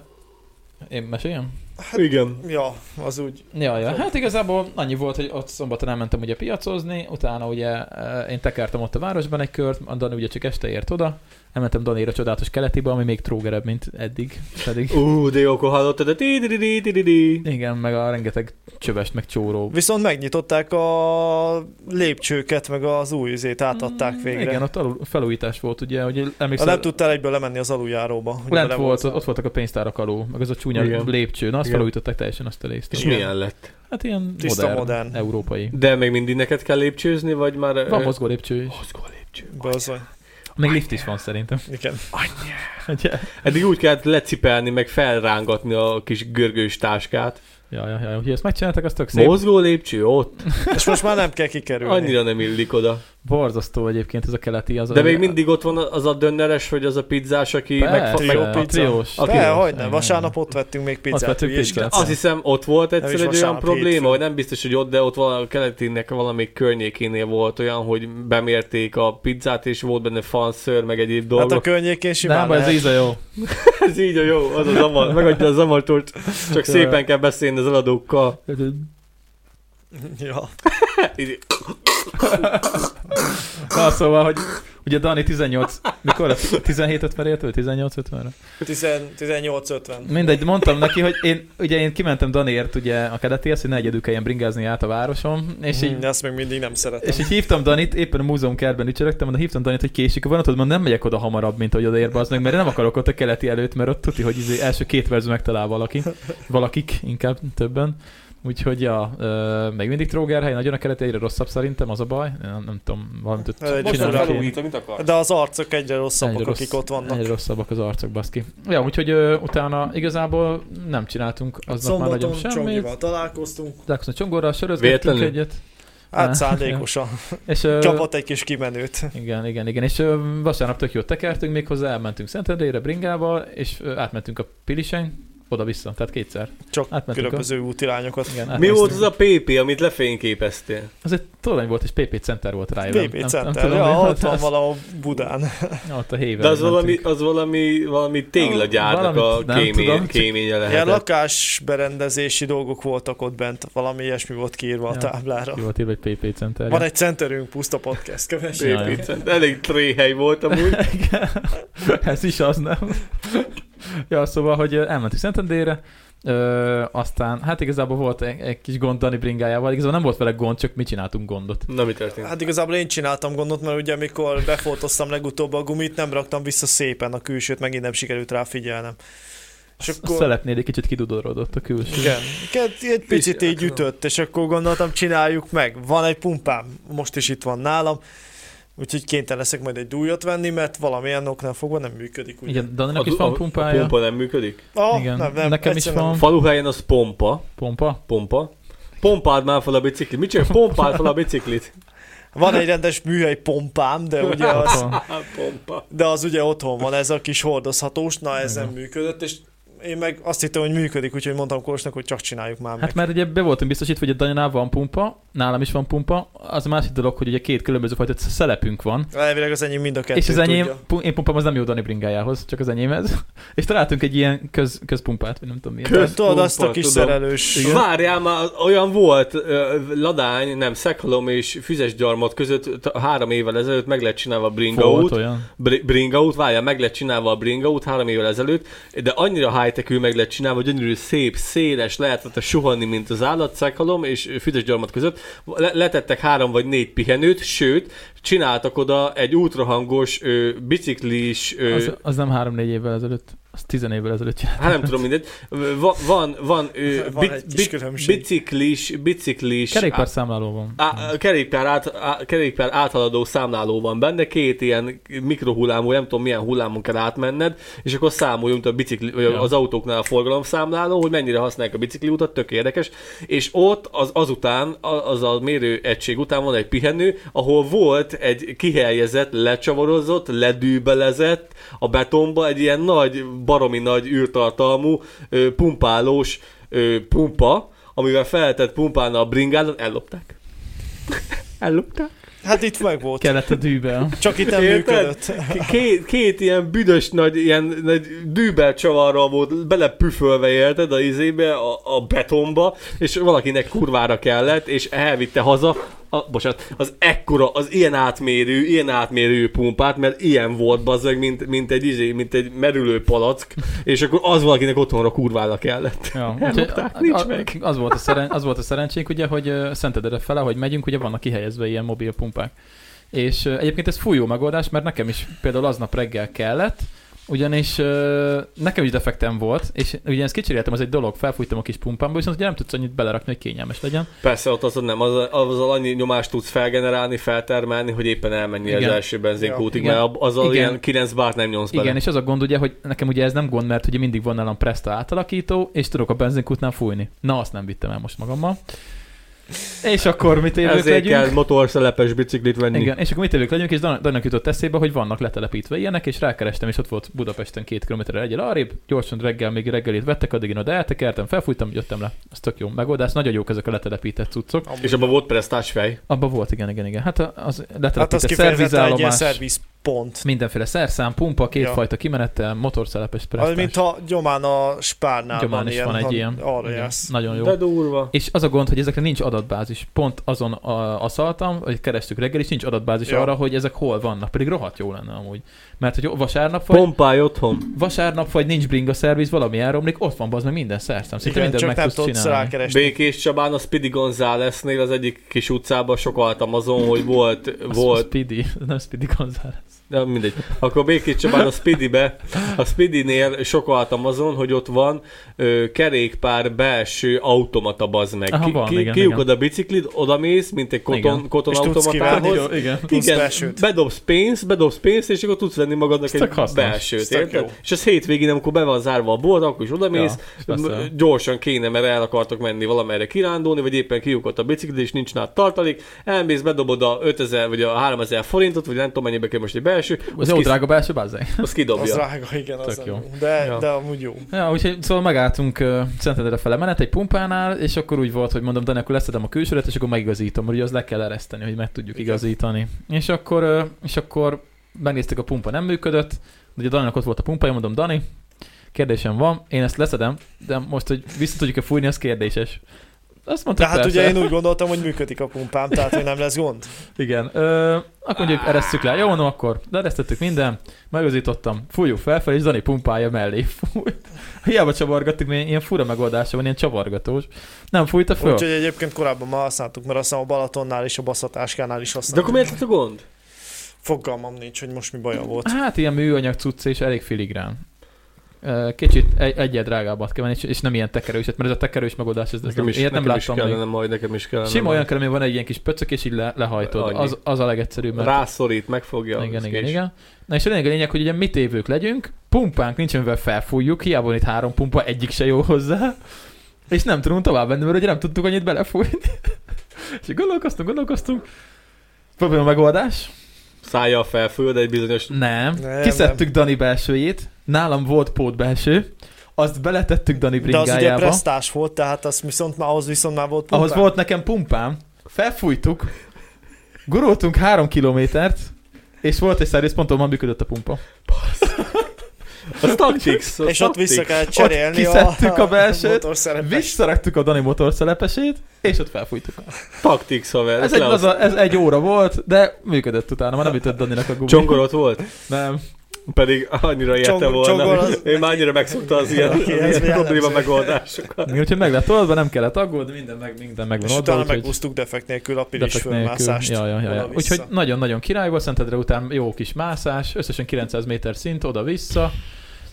[SPEAKER 1] Én meséljem?
[SPEAKER 3] Hát,
[SPEAKER 5] Igen.
[SPEAKER 4] Ja, az úgy.
[SPEAKER 1] Ja, ja, hát igazából annyi volt, hogy ott szombaton elmentem ugye piacozni, utána ugye eh, én tekertem ott a városban egy kört, a Dani ugye csak este ért oda, elmentem Daniér a csodálatos keletibe, ami még trógerebb, mint eddig, pedig.
[SPEAKER 5] Ú, de jókor hallottad, de ti di di di di di.
[SPEAKER 1] Igen, meg a rengeteg csövest, meg csóró.
[SPEAKER 3] Viszont megnyitották a lépcsőket, meg az új izét átadták végre.
[SPEAKER 1] Mm, Igen, ott alul, felújítás volt, ugye, hogy
[SPEAKER 3] Ha
[SPEAKER 1] emlékszel,
[SPEAKER 3] nem tudtál egyből lemenni az aluljáróba. hogy
[SPEAKER 1] lent
[SPEAKER 3] bele
[SPEAKER 1] volt,
[SPEAKER 3] voltál.
[SPEAKER 1] ott voltak a pénztárak alul, meg az a csúnya
[SPEAKER 5] Igen.
[SPEAKER 1] lépcső. Na, azt felújították teljesen azt a részt.
[SPEAKER 2] És
[SPEAKER 1] Ugye?
[SPEAKER 2] milyen lett?
[SPEAKER 1] Hát ilyen
[SPEAKER 3] Tiszta
[SPEAKER 1] modern,
[SPEAKER 3] modern.
[SPEAKER 1] európai.
[SPEAKER 2] De még mindig neked kell lépcsőzni, vagy már...
[SPEAKER 1] Van mozgó lépcső is.
[SPEAKER 2] Mozgó lépcső.
[SPEAKER 3] Bazony.
[SPEAKER 1] Még lift is van szerintem.
[SPEAKER 3] Igen.
[SPEAKER 1] Ugye?
[SPEAKER 2] Eddig úgy kellett lecipelni, meg felrángatni a kis görgős táskát.
[SPEAKER 1] Ja, ja, ja, hogy ezt megcsináltak, az tök szép.
[SPEAKER 2] Szép. Mozgó lépcső ott?
[SPEAKER 3] És most már nem kell kikerülni.
[SPEAKER 2] Annyira nem illik oda.
[SPEAKER 1] Borzasztó egyébként ez a keleti. Az
[SPEAKER 2] De még mindig ott van az a dönneres, vagy az a pizzás, aki meg...
[SPEAKER 1] Persze,
[SPEAKER 3] meg-
[SPEAKER 1] a
[SPEAKER 3] pizza.
[SPEAKER 1] triós.
[SPEAKER 2] A
[SPEAKER 1] A
[SPEAKER 2] triós.
[SPEAKER 3] De,
[SPEAKER 1] triós.
[SPEAKER 3] hogy nem.
[SPEAKER 1] Igen.
[SPEAKER 3] Vasárnap ott vettünk még pizzát.
[SPEAKER 1] Ott vettünk
[SPEAKER 3] hülyéskedsz?
[SPEAKER 1] pizzát.
[SPEAKER 2] Azt hiszem, ott volt egyszer
[SPEAKER 3] is
[SPEAKER 2] egy olyan
[SPEAKER 3] vasárnap,
[SPEAKER 2] probléma,
[SPEAKER 3] hétfőn.
[SPEAKER 2] hogy nem biztos, hogy ott, de ott valami a keletinek valamelyik környékénél volt olyan, hogy bemérték a pizzát, és volt benne fanször, meg egyéb
[SPEAKER 3] Hát a
[SPEAKER 2] dolgok.
[SPEAKER 3] környékén simán
[SPEAKER 1] Nem,
[SPEAKER 3] nem,
[SPEAKER 1] ez íze jó.
[SPEAKER 2] Ez így a jó, az a zamar, megadja a zamartort. Csak szépen kell beszélni az eladókkal.
[SPEAKER 3] Ja.
[SPEAKER 2] Így-
[SPEAKER 1] Na, szóval, hogy ugye Dani 18, mikor lesz? 17.50-re ért, vagy 18.50-re?
[SPEAKER 3] 18-50.
[SPEAKER 1] Mindegy, mondtam neki, hogy én, ugye én kimentem Daniért ugye a keletihez, hogy ne egyedül kelljen bringázni át a városom, és így
[SPEAKER 3] Hm, azt még mindig nem szeretem.
[SPEAKER 1] és így hívtam Danit, éppen a múzeum kertben ücsörögtem, de hívtam Danit, hogy késik a vonatod, mondom, nem megyek oda hamarabb, mint hogy odaér az meg, mert én nem akarok ott a keleti előtt, mert ott tuti, hogy izé első két verz megtalál valaki, valakik, inkább többen. Úgyhogy ja, ö, még mindig trógerhely, nagyon a keleti egyre rosszabb szerintem, az a baj. Nem, nem tudom, valamit ott
[SPEAKER 3] Egyre
[SPEAKER 1] csinálni
[SPEAKER 3] rosszabb.
[SPEAKER 1] kéne.
[SPEAKER 2] mit akarsz?
[SPEAKER 3] De az arcok egyre
[SPEAKER 1] Egyre
[SPEAKER 3] rosszabbak,
[SPEAKER 1] rossz-
[SPEAKER 3] akik ott vannak.
[SPEAKER 1] Egyre rosszabbak az arcok, baszki. Ja, úgyhogy ö, utána igazából nem csináltunk aznap már nagyon
[SPEAKER 8] Szombaton
[SPEAKER 1] semmit.
[SPEAKER 8] Csongival találkoztunk.
[SPEAKER 1] Dákson Csongorral sörözgettünk
[SPEAKER 2] Véletlenül?
[SPEAKER 1] egyet. Ne.
[SPEAKER 3] Hát szándékosan.
[SPEAKER 1] És, ö,
[SPEAKER 3] Csapat egy kis kimenőt.
[SPEAKER 1] Igen, igen, igen. És ö, vasárnap tök jót tekertünk még hozzá, elmentünk Szentendrére bringával, és ö, átmentünk a Pilisen, oda-vissza, tehát kétszer.
[SPEAKER 3] Csak
[SPEAKER 1] Átmentünk
[SPEAKER 3] különböző útirányokat.
[SPEAKER 1] Igen,
[SPEAKER 2] Hát Mi
[SPEAKER 1] átmentünk.
[SPEAKER 2] volt az a PP, amit lefényképeztél?
[SPEAKER 1] Az egy torony volt, és PP Center volt rájövő.
[SPEAKER 3] BB Center, ja, ott van valahol Budán.
[SPEAKER 1] Ott a héven.
[SPEAKER 2] De az valami,
[SPEAKER 1] mentünk.
[SPEAKER 2] az valami, valami téglagyárnak a
[SPEAKER 1] Valamit nem
[SPEAKER 2] kémény,
[SPEAKER 1] tudom.
[SPEAKER 2] kéménye
[SPEAKER 3] Ilyen
[SPEAKER 2] lehetett.
[SPEAKER 3] lakásberendezési dolgok voltak ott bent, valami ilyesmi volt kiírva a
[SPEAKER 1] Ja.
[SPEAKER 3] táblára.
[SPEAKER 1] Ki volt írva egy PP Center.
[SPEAKER 3] Van egy centerünk, puszta podcast, kövess.
[SPEAKER 1] Jaj.
[SPEAKER 2] PP cent. Elég tréhely volt amúgy.
[SPEAKER 1] Igen. Ez is az, nem? ja, szóval, hogy ö, elmentünk Szentendére, ö, aztán, hát igazából volt egy, egy kis gond Dani bringájával, igazából nem volt vele gond, csak mi csináltunk gondot.
[SPEAKER 2] Na mi történt?
[SPEAKER 3] Hát igazából én csináltam gondot, mert ugye amikor befoltoztam legutóbb a gumit, nem raktam vissza szépen a külsőt, megint nem sikerült rá figyelnem. És
[SPEAKER 1] A
[SPEAKER 3] akkor...
[SPEAKER 1] szelepnél egy kicsit kidudorodott a külső.
[SPEAKER 3] Igen, Ke- egy picit így ütött, és akkor gondoltam, csináljuk meg. Van egy pumpám, most is itt van nálam, úgyhogy kénytelen leszek majd egy dújat venni, mert valamilyen oknál fogva nem működik. Ugye?
[SPEAKER 1] Igen, Daninak
[SPEAKER 2] A-
[SPEAKER 1] is van
[SPEAKER 2] a-
[SPEAKER 1] pumpája.
[SPEAKER 2] A pumpa nem működik?
[SPEAKER 3] Ah,
[SPEAKER 1] Igen, nekem is
[SPEAKER 3] egyszerűen
[SPEAKER 1] van
[SPEAKER 2] A faluhelyen az pompa.
[SPEAKER 1] pompa.
[SPEAKER 2] Pompa. Pompád már fel a biciklit. Mit csinál? Pompád fel a biciklit.
[SPEAKER 3] Van egy rendes műhely pompám, de ugye az,
[SPEAKER 1] Pompa.
[SPEAKER 2] Hát pompa.
[SPEAKER 3] de az ugye otthon van, ez a kis hordozhatós, na ez nem működött, és én meg azt hittem, hogy működik, úgyhogy mondtam Korsnak, hogy csak csináljuk már meg.
[SPEAKER 1] Hát mert ugye be voltam biztosítva, hogy a Daninál van pumpa, nálam is van pumpa, az a másik dolog, hogy ugye két különböző fajta szelepünk van,
[SPEAKER 3] Elvileg az enyém mind a kettő
[SPEAKER 1] és az enyém,
[SPEAKER 3] tudja.
[SPEAKER 1] pu- én pumpám az nem jó Dani bringájához, csak az enyémhez. És találtunk egy ilyen köz, közpumpát, vagy nem tudom miért.
[SPEAKER 2] Köz-
[SPEAKER 3] Tudod, azt a
[SPEAKER 2] Pumpa,
[SPEAKER 3] kis
[SPEAKER 2] tudom.
[SPEAKER 3] szerelős...
[SPEAKER 2] Várjál már, olyan volt ö, ladány, nem, szekhalom és füzesgyarmat között t- három évvel ezelőtt meg lett csinálva a bringa
[SPEAKER 1] Volt
[SPEAKER 2] út.
[SPEAKER 1] olyan.
[SPEAKER 2] Br- Bringa út, várjál, meg lett csinálva a Bringa út három évvel ezelőtt, de annyira high meg lett csinálva, hogy gyönyörű, szép, széles, lehetett a suhanni, mint az állatszákalom, és füzes gyarmat között. Le- letettek három vagy négy pihenőt, sőt, csináltak oda egy ultrahangos ö, biciklis, ö,
[SPEAKER 1] Az, az nem három-négy évvel ezelőtt, az tizen évvel ezelőtt csinált.
[SPEAKER 2] hát nem tudom mindegy, Va- van, van, ö,
[SPEAKER 3] Van egy kis különbség.
[SPEAKER 2] biciklis, biciklis,
[SPEAKER 1] Kerékpárszámláló van.
[SPEAKER 2] Á, a kerékpár, át, á, kerékpár áthaladó számláló van benne, két ilyen mikrohullámú, nem tudom milyen hullámon kell átmenned, és akkor számoljunk a bicikli, vagy
[SPEAKER 1] Ja.
[SPEAKER 2] az autóknál a forgalomszámláló, hogy mennyire használják a bicikliutat, tök érdekes, és ott az, azután, a- az a mérő egység után van egy pihenő, ahol volt egy kihelyezett, lecsavarozott, ledűbelezett, a betonba egy ilyen nagy, baromi nagy űrtartalmú, ö, pumpálós ö, pumpa, amivel feltett pumpálna a bringádon, ellopták. Ellopták?
[SPEAKER 3] Hát itt meg volt.
[SPEAKER 1] Kellett a dűbel.
[SPEAKER 3] Csak itt nem
[SPEAKER 2] Érted?
[SPEAKER 3] működött.
[SPEAKER 2] Két, két ilyen büdös nagy, ilyen nagy dűbel csavarral volt belepüfölve érted a izébe, a, a betonba, és valakinek kurvára kellett, és elvitte haza, a, bocsánat, az ekkora, az ilyen átmérő, ilyen átmérő pumpát, mert ilyen volt bazzeg, mint, mint egy izé, mint egy merülő palack, és akkor az valakinek otthonra kurvára kellett.
[SPEAKER 1] Ja,
[SPEAKER 2] Ellopták,
[SPEAKER 1] úgyhogy
[SPEAKER 2] nincs meg.
[SPEAKER 1] Az volt, a szeren, az volt a szerencsénk, ugye, hogy ö, Szentedre fele, hogy megyünk, ugye vannak kihelyezve ilyen mobil pumpák. És ö, egyébként ez fújó megoldás, mert nekem is például aznap reggel kellett, Ugyanis ö, nekem is defektem volt, és ugye ezt kicseréltem, az egy dolog, felfújtam a kis pumpámba, viszont ugye nem tudsz annyit belerakni, hogy kényelmes legyen.
[SPEAKER 2] Persze ott azon nem, az, azzal annyi nyomást tudsz felgenerálni, feltermelni, hogy éppen elmenni az
[SPEAKER 1] Igen.
[SPEAKER 2] első benzinkútig,
[SPEAKER 1] Ja.
[SPEAKER 2] mert ab- azzal
[SPEAKER 1] Igen.
[SPEAKER 2] ilyen 9 bárt nem nyomsz bele.
[SPEAKER 1] Igen, és az a gond ugye, hogy nekem ugye ez nem gond, mert ugye mindig van nálam Presta átalakító, és tudok a benzinkútnál fújni. Na, azt nem vittem el most magammal. És akkor mit élők
[SPEAKER 2] Ezért
[SPEAKER 1] legyünk?
[SPEAKER 2] kell motorszelepes biciklit venni.
[SPEAKER 1] Igen, és akkor mit élők legyünk, és Dan- Daninak jutott eszébe, hogy vannak letelepítve ilyenek, és rákerestem, és ott volt Budapesten két kilométerre egyel arrébb, gyorsan reggel, még reggelit vettek, addig én oda eltekertem, felfújtam, jöttem le. Ez tök jó megoldás, nagyon jók ezek a letelepített cuccok.
[SPEAKER 2] És abban volt presztás fej.
[SPEAKER 1] Abban volt, igen, igen, igen. Hát az letelepített
[SPEAKER 3] Hát
[SPEAKER 1] hát
[SPEAKER 3] az kifejezetten egy ilyen
[SPEAKER 1] szervizállomás,
[SPEAKER 3] szervizpont.
[SPEAKER 1] mindenféle szerszám, pumpa, kétfajta kimenettel, motorszelepes presztás.
[SPEAKER 3] Az, mint ha gyomán a spárnál
[SPEAKER 1] Gyomán
[SPEAKER 3] van
[SPEAKER 1] is
[SPEAKER 3] ilyen,
[SPEAKER 1] van egy
[SPEAKER 3] ha
[SPEAKER 1] ilyen.
[SPEAKER 3] Arra
[SPEAKER 1] Igen,
[SPEAKER 3] jársz.
[SPEAKER 1] Nagyon jó.
[SPEAKER 2] De durva.
[SPEAKER 1] És az a gond, hogy ezekre nincs adatbázis. Pont azon a, aszaltam, hogy kerestük reggel, és nincs adatbázis
[SPEAKER 3] Ja.
[SPEAKER 1] arra, hogy ezek hol vannak. Pedig rohadt jó lenne amúgy. Mert hogy vasárnap vagy,
[SPEAKER 2] Pompáj otthon.
[SPEAKER 1] vasárnap vagy nincs bringa szerviz, valami elromlik, ott van bazd meg minden szerszám. Szinte
[SPEAKER 3] Igen,
[SPEAKER 1] mindent
[SPEAKER 3] csak
[SPEAKER 1] meg
[SPEAKER 3] nem
[SPEAKER 1] tudsz
[SPEAKER 3] tudsz
[SPEAKER 1] csinálni.
[SPEAKER 3] rákeresni.
[SPEAKER 2] Békés Csabán a Speedy Gonzálesnél az egyik kis utcában sokaltam azon, hogy volt,
[SPEAKER 1] Az- az
[SPEAKER 2] volt,
[SPEAKER 1] Szóval Speedy, nem Speedy González.
[SPEAKER 2] de mindegy. Akkor Békés Csabán a Speedybe, a Speedynél sokaltam azon, hogy ott van ö, kerékpár belső automata bazd meg.
[SPEAKER 1] Aha,
[SPEAKER 2] ki,
[SPEAKER 1] van,
[SPEAKER 2] ki,
[SPEAKER 1] igen,
[SPEAKER 2] kiukod
[SPEAKER 1] igen.
[SPEAKER 2] a biciklid, odamész, mint egy koton,
[SPEAKER 1] Igen.
[SPEAKER 2] koton
[SPEAKER 3] És tudsz
[SPEAKER 1] Hát,
[SPEAKER 3] kivágni.
[SPEAKER 2] automatához.
[SPEAKER 1] jó, igen.
[SPEAKER 3] Tudsz
[SPEAKER 2] Igen,
[SPEAKER 3] belsőt.
[SPEAKER 2] bedobsz pénzt, bedobsz pénzt, és akkor tudsz venni magadnak
[SPEAKER 1] Ez tök
[SPEAKER 2] egy
[SPEAKER 1] hasznos.
[SPEAKER 2] belsőt,
[SPEAKER 3] Ez tök jó.
[SPEAKER 2] érted? És ez hétvégén, amikor be van zárva a bolt, akkor is odamész,
[SPEAKER 1] Ja,
[SPEAKER 2] m-
[SPEAKER 1] persze.
[SPEAKER 2] gyorsan kéne, mert el akartok menni valamerre kirándulni, vagy éppen kiukott a bicikli, és nincs nála tartalék, elmész, bedobod a 5000 vagy a 3000 forintot, vagy nem tudom mennyibe kell most egy belső,
[SPEAKER 1] Az
[SPEAKER 2] az,
[SPEAKER 1] jó
[SPEAKER 2] kis,
[SPEAKER 1] drága belső bázzeg.
[SPEAKER 2] az
[SPEAKER 3] Az
[SPEAKER 2] kidobja.
[SPEAKER 3] drága, igen, az
[SPEAKER 1] Tök
[SPEAKER 3] nem-
[SPEAKER 1] jó.
[SPEAKER 3] De,
[SPEAKER 2] Ja.
[SPEAKER 3] de amúgy jó.
[SPEAKER 1] Ja, úgyhogy szóval megálltunk uh, Szentendre fele menet egy pumpánál, és akkor úgy volt, hogy mondom, Dani, akkor leszedem a külsőlet, és akkor megigazítom, mert ugye az le kell ereszteni, hogy meg tudjuk
[SPEAKER 3] Igen.
[SPEAKER 1] igazítani. És akkor, uh, és akkor megnéztük, a pumpa nem működött, de ugye Daninak ott volt a pumpa, én mondom, Dani, kérdésem van, én ezt leszedem, de most, hogy vissza tudjuk-e fújni, az kérdéses. Azt mondta,
[SPEAKER 3] De hát
[SPEAKER 1] persze.
[SPEAKER 3] ugye én úgy gondoltam, hogy működik a pumpám, tehát hogy nem lesz gond.
[SPEAKER 1] Igen. Ö, akkor mondjuk eresztjük le. Jó, no, akkor leeresztettük minden. Megazítottam. Fújjuk felfelé, és Dani pumpája mellé fúj. Hiába csavargattuk, mert ilyen fura megoldása van, ilyen csavargatós. Nem fújta föl.
[SPEAKER 3] Úgyhogy egyébként korábban már használtuk, mert azt hiszem a Balatonnál és a baszatáskánál is
[SPEAKER 2] De akkor
[SPEAKER 3] használtuk.
[SPEAKER 2] miért lett a gond?
[SPEAKER 3] Fogalmam nincs, hogy most mi baja volt.
[SPEAKER 1] Hát ilyen műanyag cucc és elég filigrán. Ö, Kicsit egy, egyet drágábbat kell venni, és, és nem ilyen tekerőset, mert ez a tekerős megoldás, ez, ez nem, ilyet nem
[SPEAKER 2] nekem is
[SPEAKER 1] láttam
[SPEAKER 2] kellene
[SPEAKER 1] még.
[SPEAKER 2] majd, nekem is kellene.
[SPEAKER 1] Sima
[SPEAKER 2] majd.
[SPEAKER 1] olyan kell, ami van egy ilyen kis pöcök, és így le, lehajtod.
[SPEAKER 2] Annyi.
[SPEAKER 1] Az, az a legegyszerűbb, mert
[SPEAKER 2] Rászorít, megfogja.
[SPEAKER 1] igen,
[SPEAKER 2] az
[SPEAKER 1] igen,
[SPEAKER 2] kés.
[SPEAKER 1] igen. Na és a lényeg, a lényeg, hogy ugye mi tévők legyünk, pumpánk nincs, amivel felfújjuk, hiába van itt három pumpa, egyik se jó hozzá, és nem tudunk tovább menni, mert ugye nem tudtuk annyit belefújni. és így gondolkoztunk, gondolkoztunk, probléma megoldás?
[SPEAKER 2] Szállja fel föl, de egy bizonyos
[SPEAKER 1] Nem.
[SPEAKER 3] Nem,
[SPEAKER 1] Kiszedtük Dani belsőjét, nálam volt pót belső, azt beletettük Dani
[SPEAKER 3] De az ugye
[SPEAKER 1] bringájába.
[SPEAKER 3] presztás volt, tehát az viszont már, ahhoz viszont már volt pumpám.
[SPEAKER 1] Ahhoz volt nekem pumpám, felfújtuk, gurultunk három kilométert, és volt egy szervizponton, ma működött a pumpa.
[SPEAKER 2] az tactics, az
[SPEAKER 3] És ott
[SPEAKER 2] tactics.
[SPEAKER 3] vissza kellett cserélni
[SPEAKER 1] kiszedtük a belsőt,
[SPEAKER 3] motorszerepet.
[SPEAKER 1] Visszaraktuk a Dani motorszelepesét, és ott felfújtuk.
[SPEAKER 2] Tactics, haver.
[SPEAKER 1] Ez
[SPEAKER 2] Ez
[SPEAKER 1] egy,
[SPEAKER 2] egy
[SPEAKER 1] az a, ez egy óra volt, de működött utána, már nem ütött Daninak a gumi.
[SPEAKER 2] Csongorot volt?
[SPEAKER 1] Nem.
[SPEAKER 2] Pedig annyira érte
[SPEAKER 3] Csongor-
[SPEAKER 2] volna.
[SPEAKER 3] csongor az-
[SPEAKER 2] Én már annyira megszokta az ilyen, az
[SPEAKER 3] Neki ez
[SPEAKER 2] ilyen probléma
[SPEAKER 3] jellemző.
[SPEAKER 2] megoldásokat.
[SPEAKER 1] Úgyhogy meg lett oldva, nem kellett aggódni, minden meg, minden meg van
[SPEAKER 3] És
[SPEAKER 1] oldva,
[SPEAKER 3] utána
[SPEAKER 1] úgyhogy
[SPEAKER 3] megúsztuk defekt nélkül a pilis
[SPEAKER 1] defekt nélkül.
[SPEAKER 3] fölmászást.
[SPEAKER 1] Ja, ja, ja, ja.
[SPEAKER 3] oda-vissza.
[SPEAKER 1] Úgyhogy nagyon-nagyon király volt, Szentedre után jó kis mászás, összesen 900 méter szint, oda-vissza.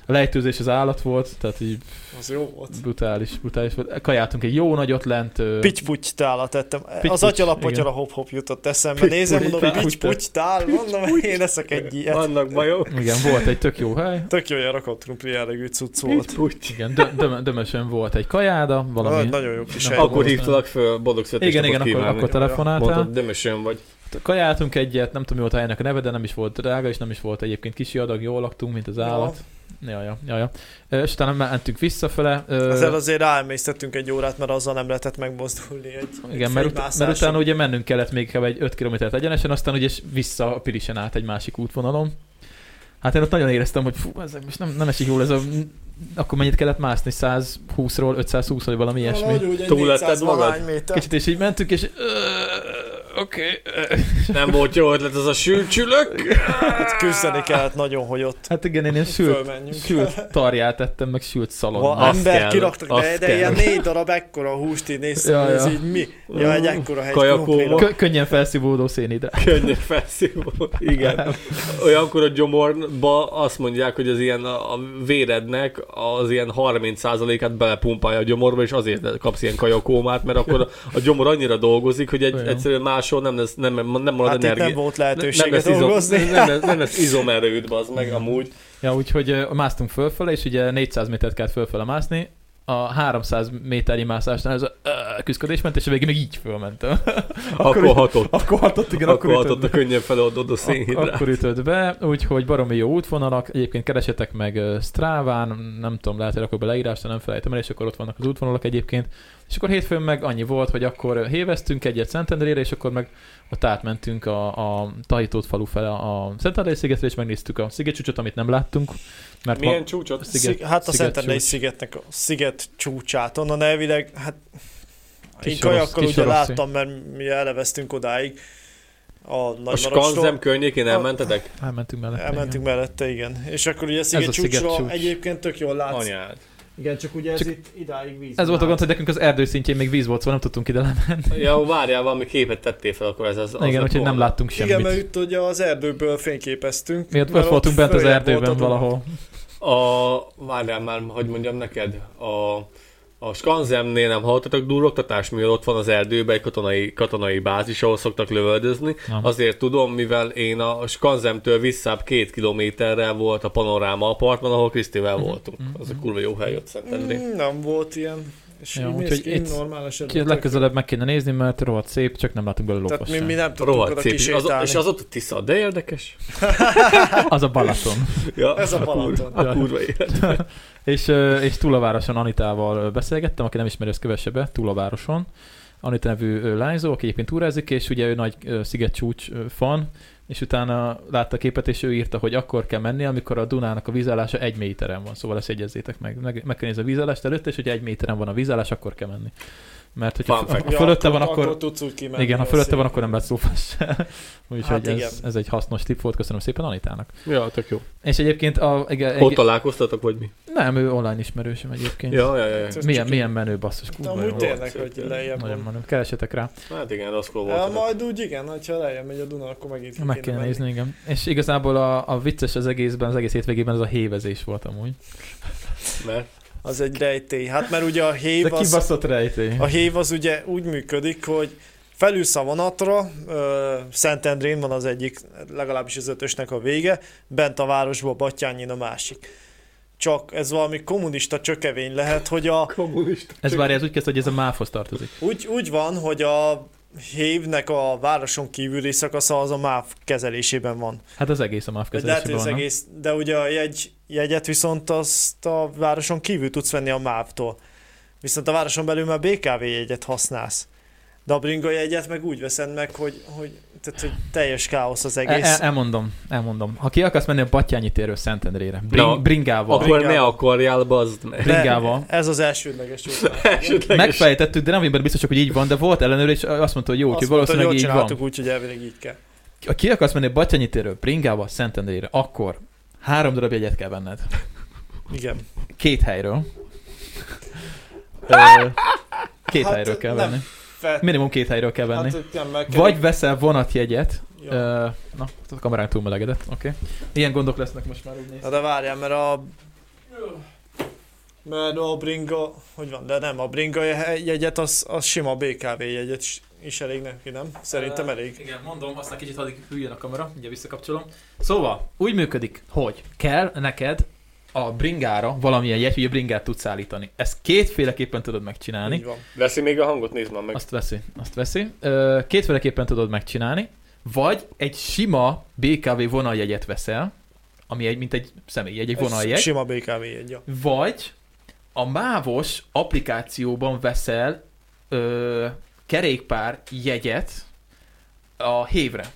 [SPEAKER 1] A lejtőzés az állat volt, tehát így
[SPEAKER 3] Az jó volt.
[SPEAKER 1] brutális, brutális volt. Kajáltunk egy jó nagyot lent. ö,
[SPEAKER 3] Pityputy tála tettem.
[SPEAKER 1] Pityputy,
[SPEAKER 3] az atyalapotyra
[SPEAKER 1] igen.
[SPEAKER 3] hop-hop jutott eszembe. Nézem, mondom,
[SPEAKER 1] pityputy.
[SPEAKER 3] pityputy tál, mondom, én eszek egy ilyet.
[SPEAKER 2] Vannak bajok.
[SPEAKER 1] Igen, volt egy tök jó hely.
[SPEAKER 3] Tök jó, olyan rakott krumpli jellegű cucc volt.
[SPEAKER 2] Így úgy.
[SPEAKER 1] Igen, dö- dö- dömösen volt egy kajáda, valami...
[SPEAKER 3] Ah, Nagyon jó kis
[SPEAKER 1] Nem
[SPEAKER 3] hely
[SPEAKER 1] tudom.
[SPEAKER 3] volt.
[SPEAKER 2] Akkor hívtalak föl,
[SPEAKER 1] Igen,
[SPEAKER 2] boldog születésnapot
[SPEAKER 1] igen, akkor,
[SPEAKER 2] kívánni.
[SPEAKER 1] akkor Hát, telefonáltál.
[SPEAKER 2] Mondtad, dömösön vagy.
[SPEAKER 1] Kajáltunk egyet, nem tudom, mi volt a helynek a neve, de nem is volt drága, és nem is volt egyébként kisi adag, jól laktunk, mint az állat. Ja, ja, ja, ja. Ö, És utána mentünk visszafele. Ö,
[SPEAKER 3] Ezzel azért ráemésztettünk egy órát, mert azzal nem lehetett megmozdulni egy
[SPEAKER 1] igen, mert, ut-
[SPEAKER 3] fénymászásig.
[SPEAKER 1] mert utána ugye mennünk kellett még kb. egy 5 kilométert egyenesen, aztán ugye vissza a Pirisen át egy másik útvonalon. Hát én ott nagyon éreztem, hogy fú, ezek most nem, nem esik jól ez a... Akkor mennyit kellett mászni? 120-ról 520 vagy valami ilyesmi.
[SPEAKER 3] Valahogy úgy egy
[SPEAKER 2] Túl letted
[SPEAKER 3] 400
[SPEAKER 2] magad?
[SPEAKER 3] valány méter.
[SPEAKER 1] Kicsit és így mentünk, és ö, Oké.
[SPEAKER 2] Nem volt jó ötlet ez a sülcsülök.
[SPEAKER 3] Hát küzdeni kellett nagyon, hogy ott
[SPEAKER 1] Hát igen, én ilyen sült,
[SPEAKER 4] Fölmenjünk.
[SPEAKER 1] sült tarját ettem, meg sült
[SPEAKER 3] ha
[SPEAKER 1] szalonnát.
[SPEAKER 5] Azt
[SPEAKER 3] ember
[SPEAKER 5] kell,
[SPEAKER 3] kiraktak, de,
[SPEAKER 5] azt
[SPEAKER 3] de
[SPEAKER 5] kell.
[SPEAKER 3] ilyen négy darab ekkora húst így nézszem,
[SPEAKER 1] Ja,
[SPEAKER 3] ja, ez
[SPEAKER 1] ja.
[SPEAKER 3] így mi? Ja, egy ekkora hegy
[SPEAKER 2] Kajakó.
[SPEAKER 3] krumpléra.
[SPEAKER 1] Kö- könnyen felszívódó szénhidrát.
[SPEAKER 2] Könnyen felszívó. Igen. Olyankor a gyomorba azt mondják, hogy az ilyen a, a vérednek az ilyen 30%-át belepumpálja a gyomorba, és azért kapsz ilyen kajakómát, mert akkor a gyomor annyira dolgozik, hogy egy,
[SPEAKER 1] Olyan.
[SPEAKER 2] egyszerűen máshol nem, lesz, nem, nem marad
[SPEAKER 3] Hát itt
[SPEAKER 2] energia.
[SPEAKER 3] nem volt
[SPEAKER 2] nem,
[SPEAKER 3] lehetősége
[SPEAKER 2] lesz izom,
[SPEAKER 3] dolgozni.
[SPEAKER 2] nem, lesz, nem lesz izomerőd, az meg amúgy.
[SPEAKER 1] Ja, úgyhogy ö, másztunk fölfele, és ugye 400 métert kellett fölfele mászni. A 300 méternyi mászásnál ez a ö, küzdködés ment, és a végén még így fölmentem.
[SPEAKER 2] Akkor,
[SPEAKER 1] így-
[SPEAKER 2] hatott.
[SPEAKER 1] Akkor hatott, igen,
[SPEAKER 2] akkor
[SPEAKER 1] akkor, ütött
[SPEAKER 2] hatott a
[SPEAKER 1] be.
[SPEAKER 2] könnyen feloldódó
[SPEAKER 1] Ak-
[SPEAKER 2] szénhidrát.
[SPEAKER 1] Akkor ütött be, úgyhogy baromi jó útvonalak. Egyébként keresetek meg ö, Stráván, nem tudom, lehet, hogy akkor be leírásra nem felejtem el, és akkor ott vannak az útvonalak egyébként. És akkor hétfőn meg annyi volt, hogy akkor héveztünk egyet Szentendrére, és akkor meg ott átmentünk a, a Tahitót falu fele a Szentendrei szigetre, és megnéztük a szigetcsúcsot, amit nem láttunk. Mert ma-
[SPEAKER 2] Milyen csúcsot?
[SPEAKER 1] Sziget-
[SPEAKER 3] Sziget, hát a
[SPEAKER 1] sziget
[SPEAKER 3] Szentendrei
[SPEAKER 1] csúcs.
[SPEAKER 3] szigetnek a sziget csúcsát, onnan elvileg, hát
[SPEAKER 1] Kis
[SPEAKER 3] én
[SPEAKER 1] orosz-
[SPEAKER 3] kajakkal
[SPEAKER 1] kis
[SPEAKER 3] ugye
[SPEAKER 1] orosz-
[SPEAKER 3] láttam, mert mi eleveztünk odáig. A
[SPEAKER 2] A
[SPEAKER 3] nagy
[SPEAKER 2] Skanzem
[SPEAKER 3] Marocsról.
[SPEAKER 2] környékén
[SPEAKER 3] A-
[SPEAKER 2] elmentetek?
[SPEAKER 1] Elmentünk mellette.
[SPEAKER 3] Elmentünk mellette, igen. És akkor ugye a
[SPEAKER 1] a
[SPEAKER 3] sziget csúcsról
[SPEAKER 1] Szigetcsúcs.
[SPEAKER 3] egyébként tök jól látsz.
[SPEAKER 2] Anyád.
[SPEAKER 3] Igen, csak ugye ez
[SPEAKER 1] Csak-
[SPEAKER 3] itt idáig víz.
[SPEAKER 1] Ez volt a gond, hogy nekünk az erdő szintjén még víz volt, szóval nem tudtunk ide lemenni.
[SPEAKER 2] Ja, várjál, valami képet tettél fel, akkor ez az, az
[SPEAKER 1] Igen,
[SPEAKER 2] lett
[SPEAKER 1] úgyhogy nem
[SPEAKER 2] volna.
[SPEAKER 1] láttunk
[SPEAKER 3] Igen, mert
[SPEAKER 1] semmit.
[SPEAKER 3] itt ugye az erdőből fényképeztünk.
[SPEAKER 1] Mi ott
[SPEAKER 3] mert
[SPEAKER 1] ott voltunk bent az
[SPEAKER 3] följebb
[SPEAKER 1] erdőben
[SPEAKER 3] volt a Duna.
[SPEAKER 1] valahol.
[SPEAKER 2] A, várjál már, hogy mondjam neked, a, a Skanzemnél nem hallottatok durroktatás, mivel ott van az erdőben egy katonai, katonai bázis, ahol szoktak lövöldözni.
[SPEAKER 1] Nem.
[SPEAKER 2] Azért tudom, mivel én a Skanzemtől visszább két kilométerrel volt a panoráma apartman, ahol Krisztivel voltunk. Az a kurva jó hely ott Szentendrén.
[SPEAKER 3] Mhm. Mm, Nem volt ilyen. És
[SPEAKER 1] Ja,
[SPEAKER 3] így néz
[SPEAKER 1] úgyhogy
[SPEAKER 3] ki,
[SPEAKER 1] itt-
[SPEAKER 3] normál esetben.
[SPEAKER 1] Úgyhogy legközelebb meg kéne nézni, mert rohadt szép, csak nem látunk belőle
[SPEAKER 3] Tehát
[SPEAKER 1] lopast
[SPEAKER 3] mi, mi
[SPEAKER 1] sem.
[SPEAKER 3] nem tudtunk
[SPEAKER 2] Rohadt
[SPEAKER 3] oda
[SPEAKER 2] szép, és az,
[SPEAKER 3] kisétálni.
[SPEAKER 2] és az ott a Tisza, de érdekes.
[SPEAKER 1] Az a Balaton.
[SPEAKER 2] Ja,
[SPEAKER 3] Ez a
[SPEAKER 2] kurva,
[SPEAKER 3] Balaton.
[SPEAKER 2] a kurva élet.
[SPEAKER 1] És, ö, és Túlavároson Anitával ö, beszélgettem, aki nem ismeri, az kövesse be, Túlavároson. Anita nevű ö, lányzó, aki egyébként túrázik, és ugye ő nagy ö, szigetcsúcs ö, fan, és utána látta a képet, és ő írta, hogy akkor kell menni, amikor a Dunának a vízállása egy méteren van, szóval ezt jegyezzétek meg. Meg, meg kell nézni a vízállást előtt, és hogyha egy méteren van a vízállás, akkor kell menni. Mert hogyha
[SPEAKER 2] Fun fact.
[SPEAKER 1] ha fölötte van, akkor,
[SPEAKER 3] akkor tudsz úgy kimenni.
[SPEAKER 1] igen, ha
[SPEAKER 3] a
[SPEAKER 1] fölötte van,
[SPEAKER 3] szépen.
[SPEAKER 1] akkor nem lehet szófás. Úgyhogy
[SPEAKER 3] Hát igen.
[SPEAKER 1] ez, ez egy hasznos tipp volt, köszönöm szépen Anitának.
[SPEAKER 2] Ja, tök jó.
[SPEAKER 1] És egyébként a... Igen,
[SPEAKER 2] Ott találkoztatok, vagy mi?
[SPEAKER 1] nem, ő online ismerősöm egyébként.
[SPEAKER 2] Ja, ja, ja. ja.
[SPEAKER 3] Ez
[SPEAKER 1] Milyen,
[SPEAKER 3] csak
[SPEAKER 1] milyen menő basszus,
[SPEAKER 3] De
[SPEAKER 1] kurva
[SPEAKER 3] amúgy
[SPEAKER 1] jó.
[SPEAKER 3] tényleg, hogy
[SPEAKER 2] Volt.
[SPEAKER 3] lejjebb
[SPEAKER 1] Nagyon
[SPEAKER 3] van.
[SPEAKER 1] menő. Keresetek rá.
[SPEAKER 2] Hát igen, rossz
[SPEAKER 3] Ja,
[SPEAKER 2] volt.
[SPEAKER 3] majd úgy igen, ha lejjebb megy a Duna, akkor megint ki
[SPEAKER 1] Meg kéne
[SPEAKER 3] menni.
[SPEAKER 1] nézni, igen. És igazából a, a vicces az egészben, az egész hétvégében az a hévezés volt amúgy.
[SPEAKER 2] Mert
[SPEAKER 3] Az egy rejtély. Hát mert ugye a
[SPEAKER 1] De
[SPEAKER 3] hév az,
[SPEAKER 1] kibaszott rejtély.
[SPEAKER 3] a hév az ugye úgy működik, hogy felülsz a vonatra, ö, Szentendrén van az egyik, legalábbis az ötösnek a vége, bent a városban, Batyányin a másik. Csak ez valami kommunista csökevény lehet, hogy a,
[SPEAKER 2] kommunista.
[SPEAKER 1] Ez várja, ez úgy kezd, hogy ez a máfhoz tartozik.
[SPEAKER 3] Úgy, úgy van, hogy a hévnek a városon kívüli szakasza az a MÁV kezelésében van.
[SPEAKER 1] Hát az egész a máf
[SPEAKER 3] Vagy lehet, hogy
[SPEAKER 1] kezelésében
[SPEAKER 3] az
[SPEAKER 1] van. nem?
[SPEAKER 3] egész, de ugye a jegy, jegyet viszont azt a városon kívül tudsz venni a MÁV-tól. Viszont a városon belül már BKV jegyet használsz. De a bringa jegyet meg úgy veszed meg, hogy, hogy, tehát, hogy teljes káosz az
[SPEAKER 1] El, el,
[SPEAKER 3] egész.
[SPEAKER 1] E- elmondom, elmondom. Ha ki akarsz menni a Batyányi térről Szentendrére, bring,
[SPEAKER 2] Na,
[SPEAKER 1] bringával,
[SPEAKER 2] Akkor ne akarjál, bazd meg.
[SPEAKER 3] De
[SPEAKER 1] bringával,
[SPEAKER 3] Ez az elsődleges út.
[SPEAKER 2] Elsődleges.
[SPEAKER 1] megfejtettük, de nem vagyunk benne biztosak, hogy így van, de volt ellenőre, és azt mondta, hogy jó, úgyhogy
[SPEAKER 3] Azt mondta,
[SPEAKER 1] valószínűleg
[SPEAKER 3] hogy jól
[SPEAKER 1] így van.
[SPEAKER 3] csináltuk, úgyhogy elvileg így kell.
[SPEAKER 1] Ha ki akarsz menni Batyányi térről Bringába, Szentendrére, akkor három darab jegyet kell venned.
[SPEAKER 3] Igen.
[SPEAKER 1] Két helyről. Ö, két
[SPEAKER 3] Hát,
[SPEAKER 1] helyről kell
[SPEAKER 3] nem
[SPEAKER 1] venni.
[SPEAKER 3] Fel...
[SPEAKER 1] Minimum két helyről kell venni.
[SPEAKER 3] Hát, hogy nem, meg kell-
[SPEAKER 1] Vagy veszel vonatjegyet.
[SPEAKER 3] Ja.
[SPEAKER 1] Ö, Na, a kamerán túl melegedett, oké. Ilyen gondok lesznek most már úgy néz.
[SPEAKER 3] Na de várjál, mert a... Mert a bringa... Hogy van? De nem, a bringa jegyet, az, az sima BKV jegyet is- is elég neki, nem? Szerintem
[SPEAKER 1] E-
[SPEAKER 3] elég.
[SPEAKER 1] Igen, mondom, aztán kicsit addig hüljön a kamera, ugye visszakapcsolom. Szóval, úgy működik, hogy kell neked a bringára valamilyen jegy, ugye bringát tudsz állítani. Ezt kétféleképpen tudod megcsinálni.
[SPEAKER 3] Így van.
[SPEAKER 2] Veszi még a hangot, nézd már meg.
[SPEAKER 1] Azt veszi, azt veszi. Ö, Kétféleképpen tudod megcsinálni, vagy egy sima BKV vonaljegyet veszel, ami egy, mint egy személyjegy, egy
[SPEAKER 3] Ez
[SPEAKER 1] vonaljegy,
[SPEAKER 3] Sima BKV jegy, ja.
[SPEAKER 1] vagy a mávos applikációban veszel ö, kerékpár jegyet a hévre.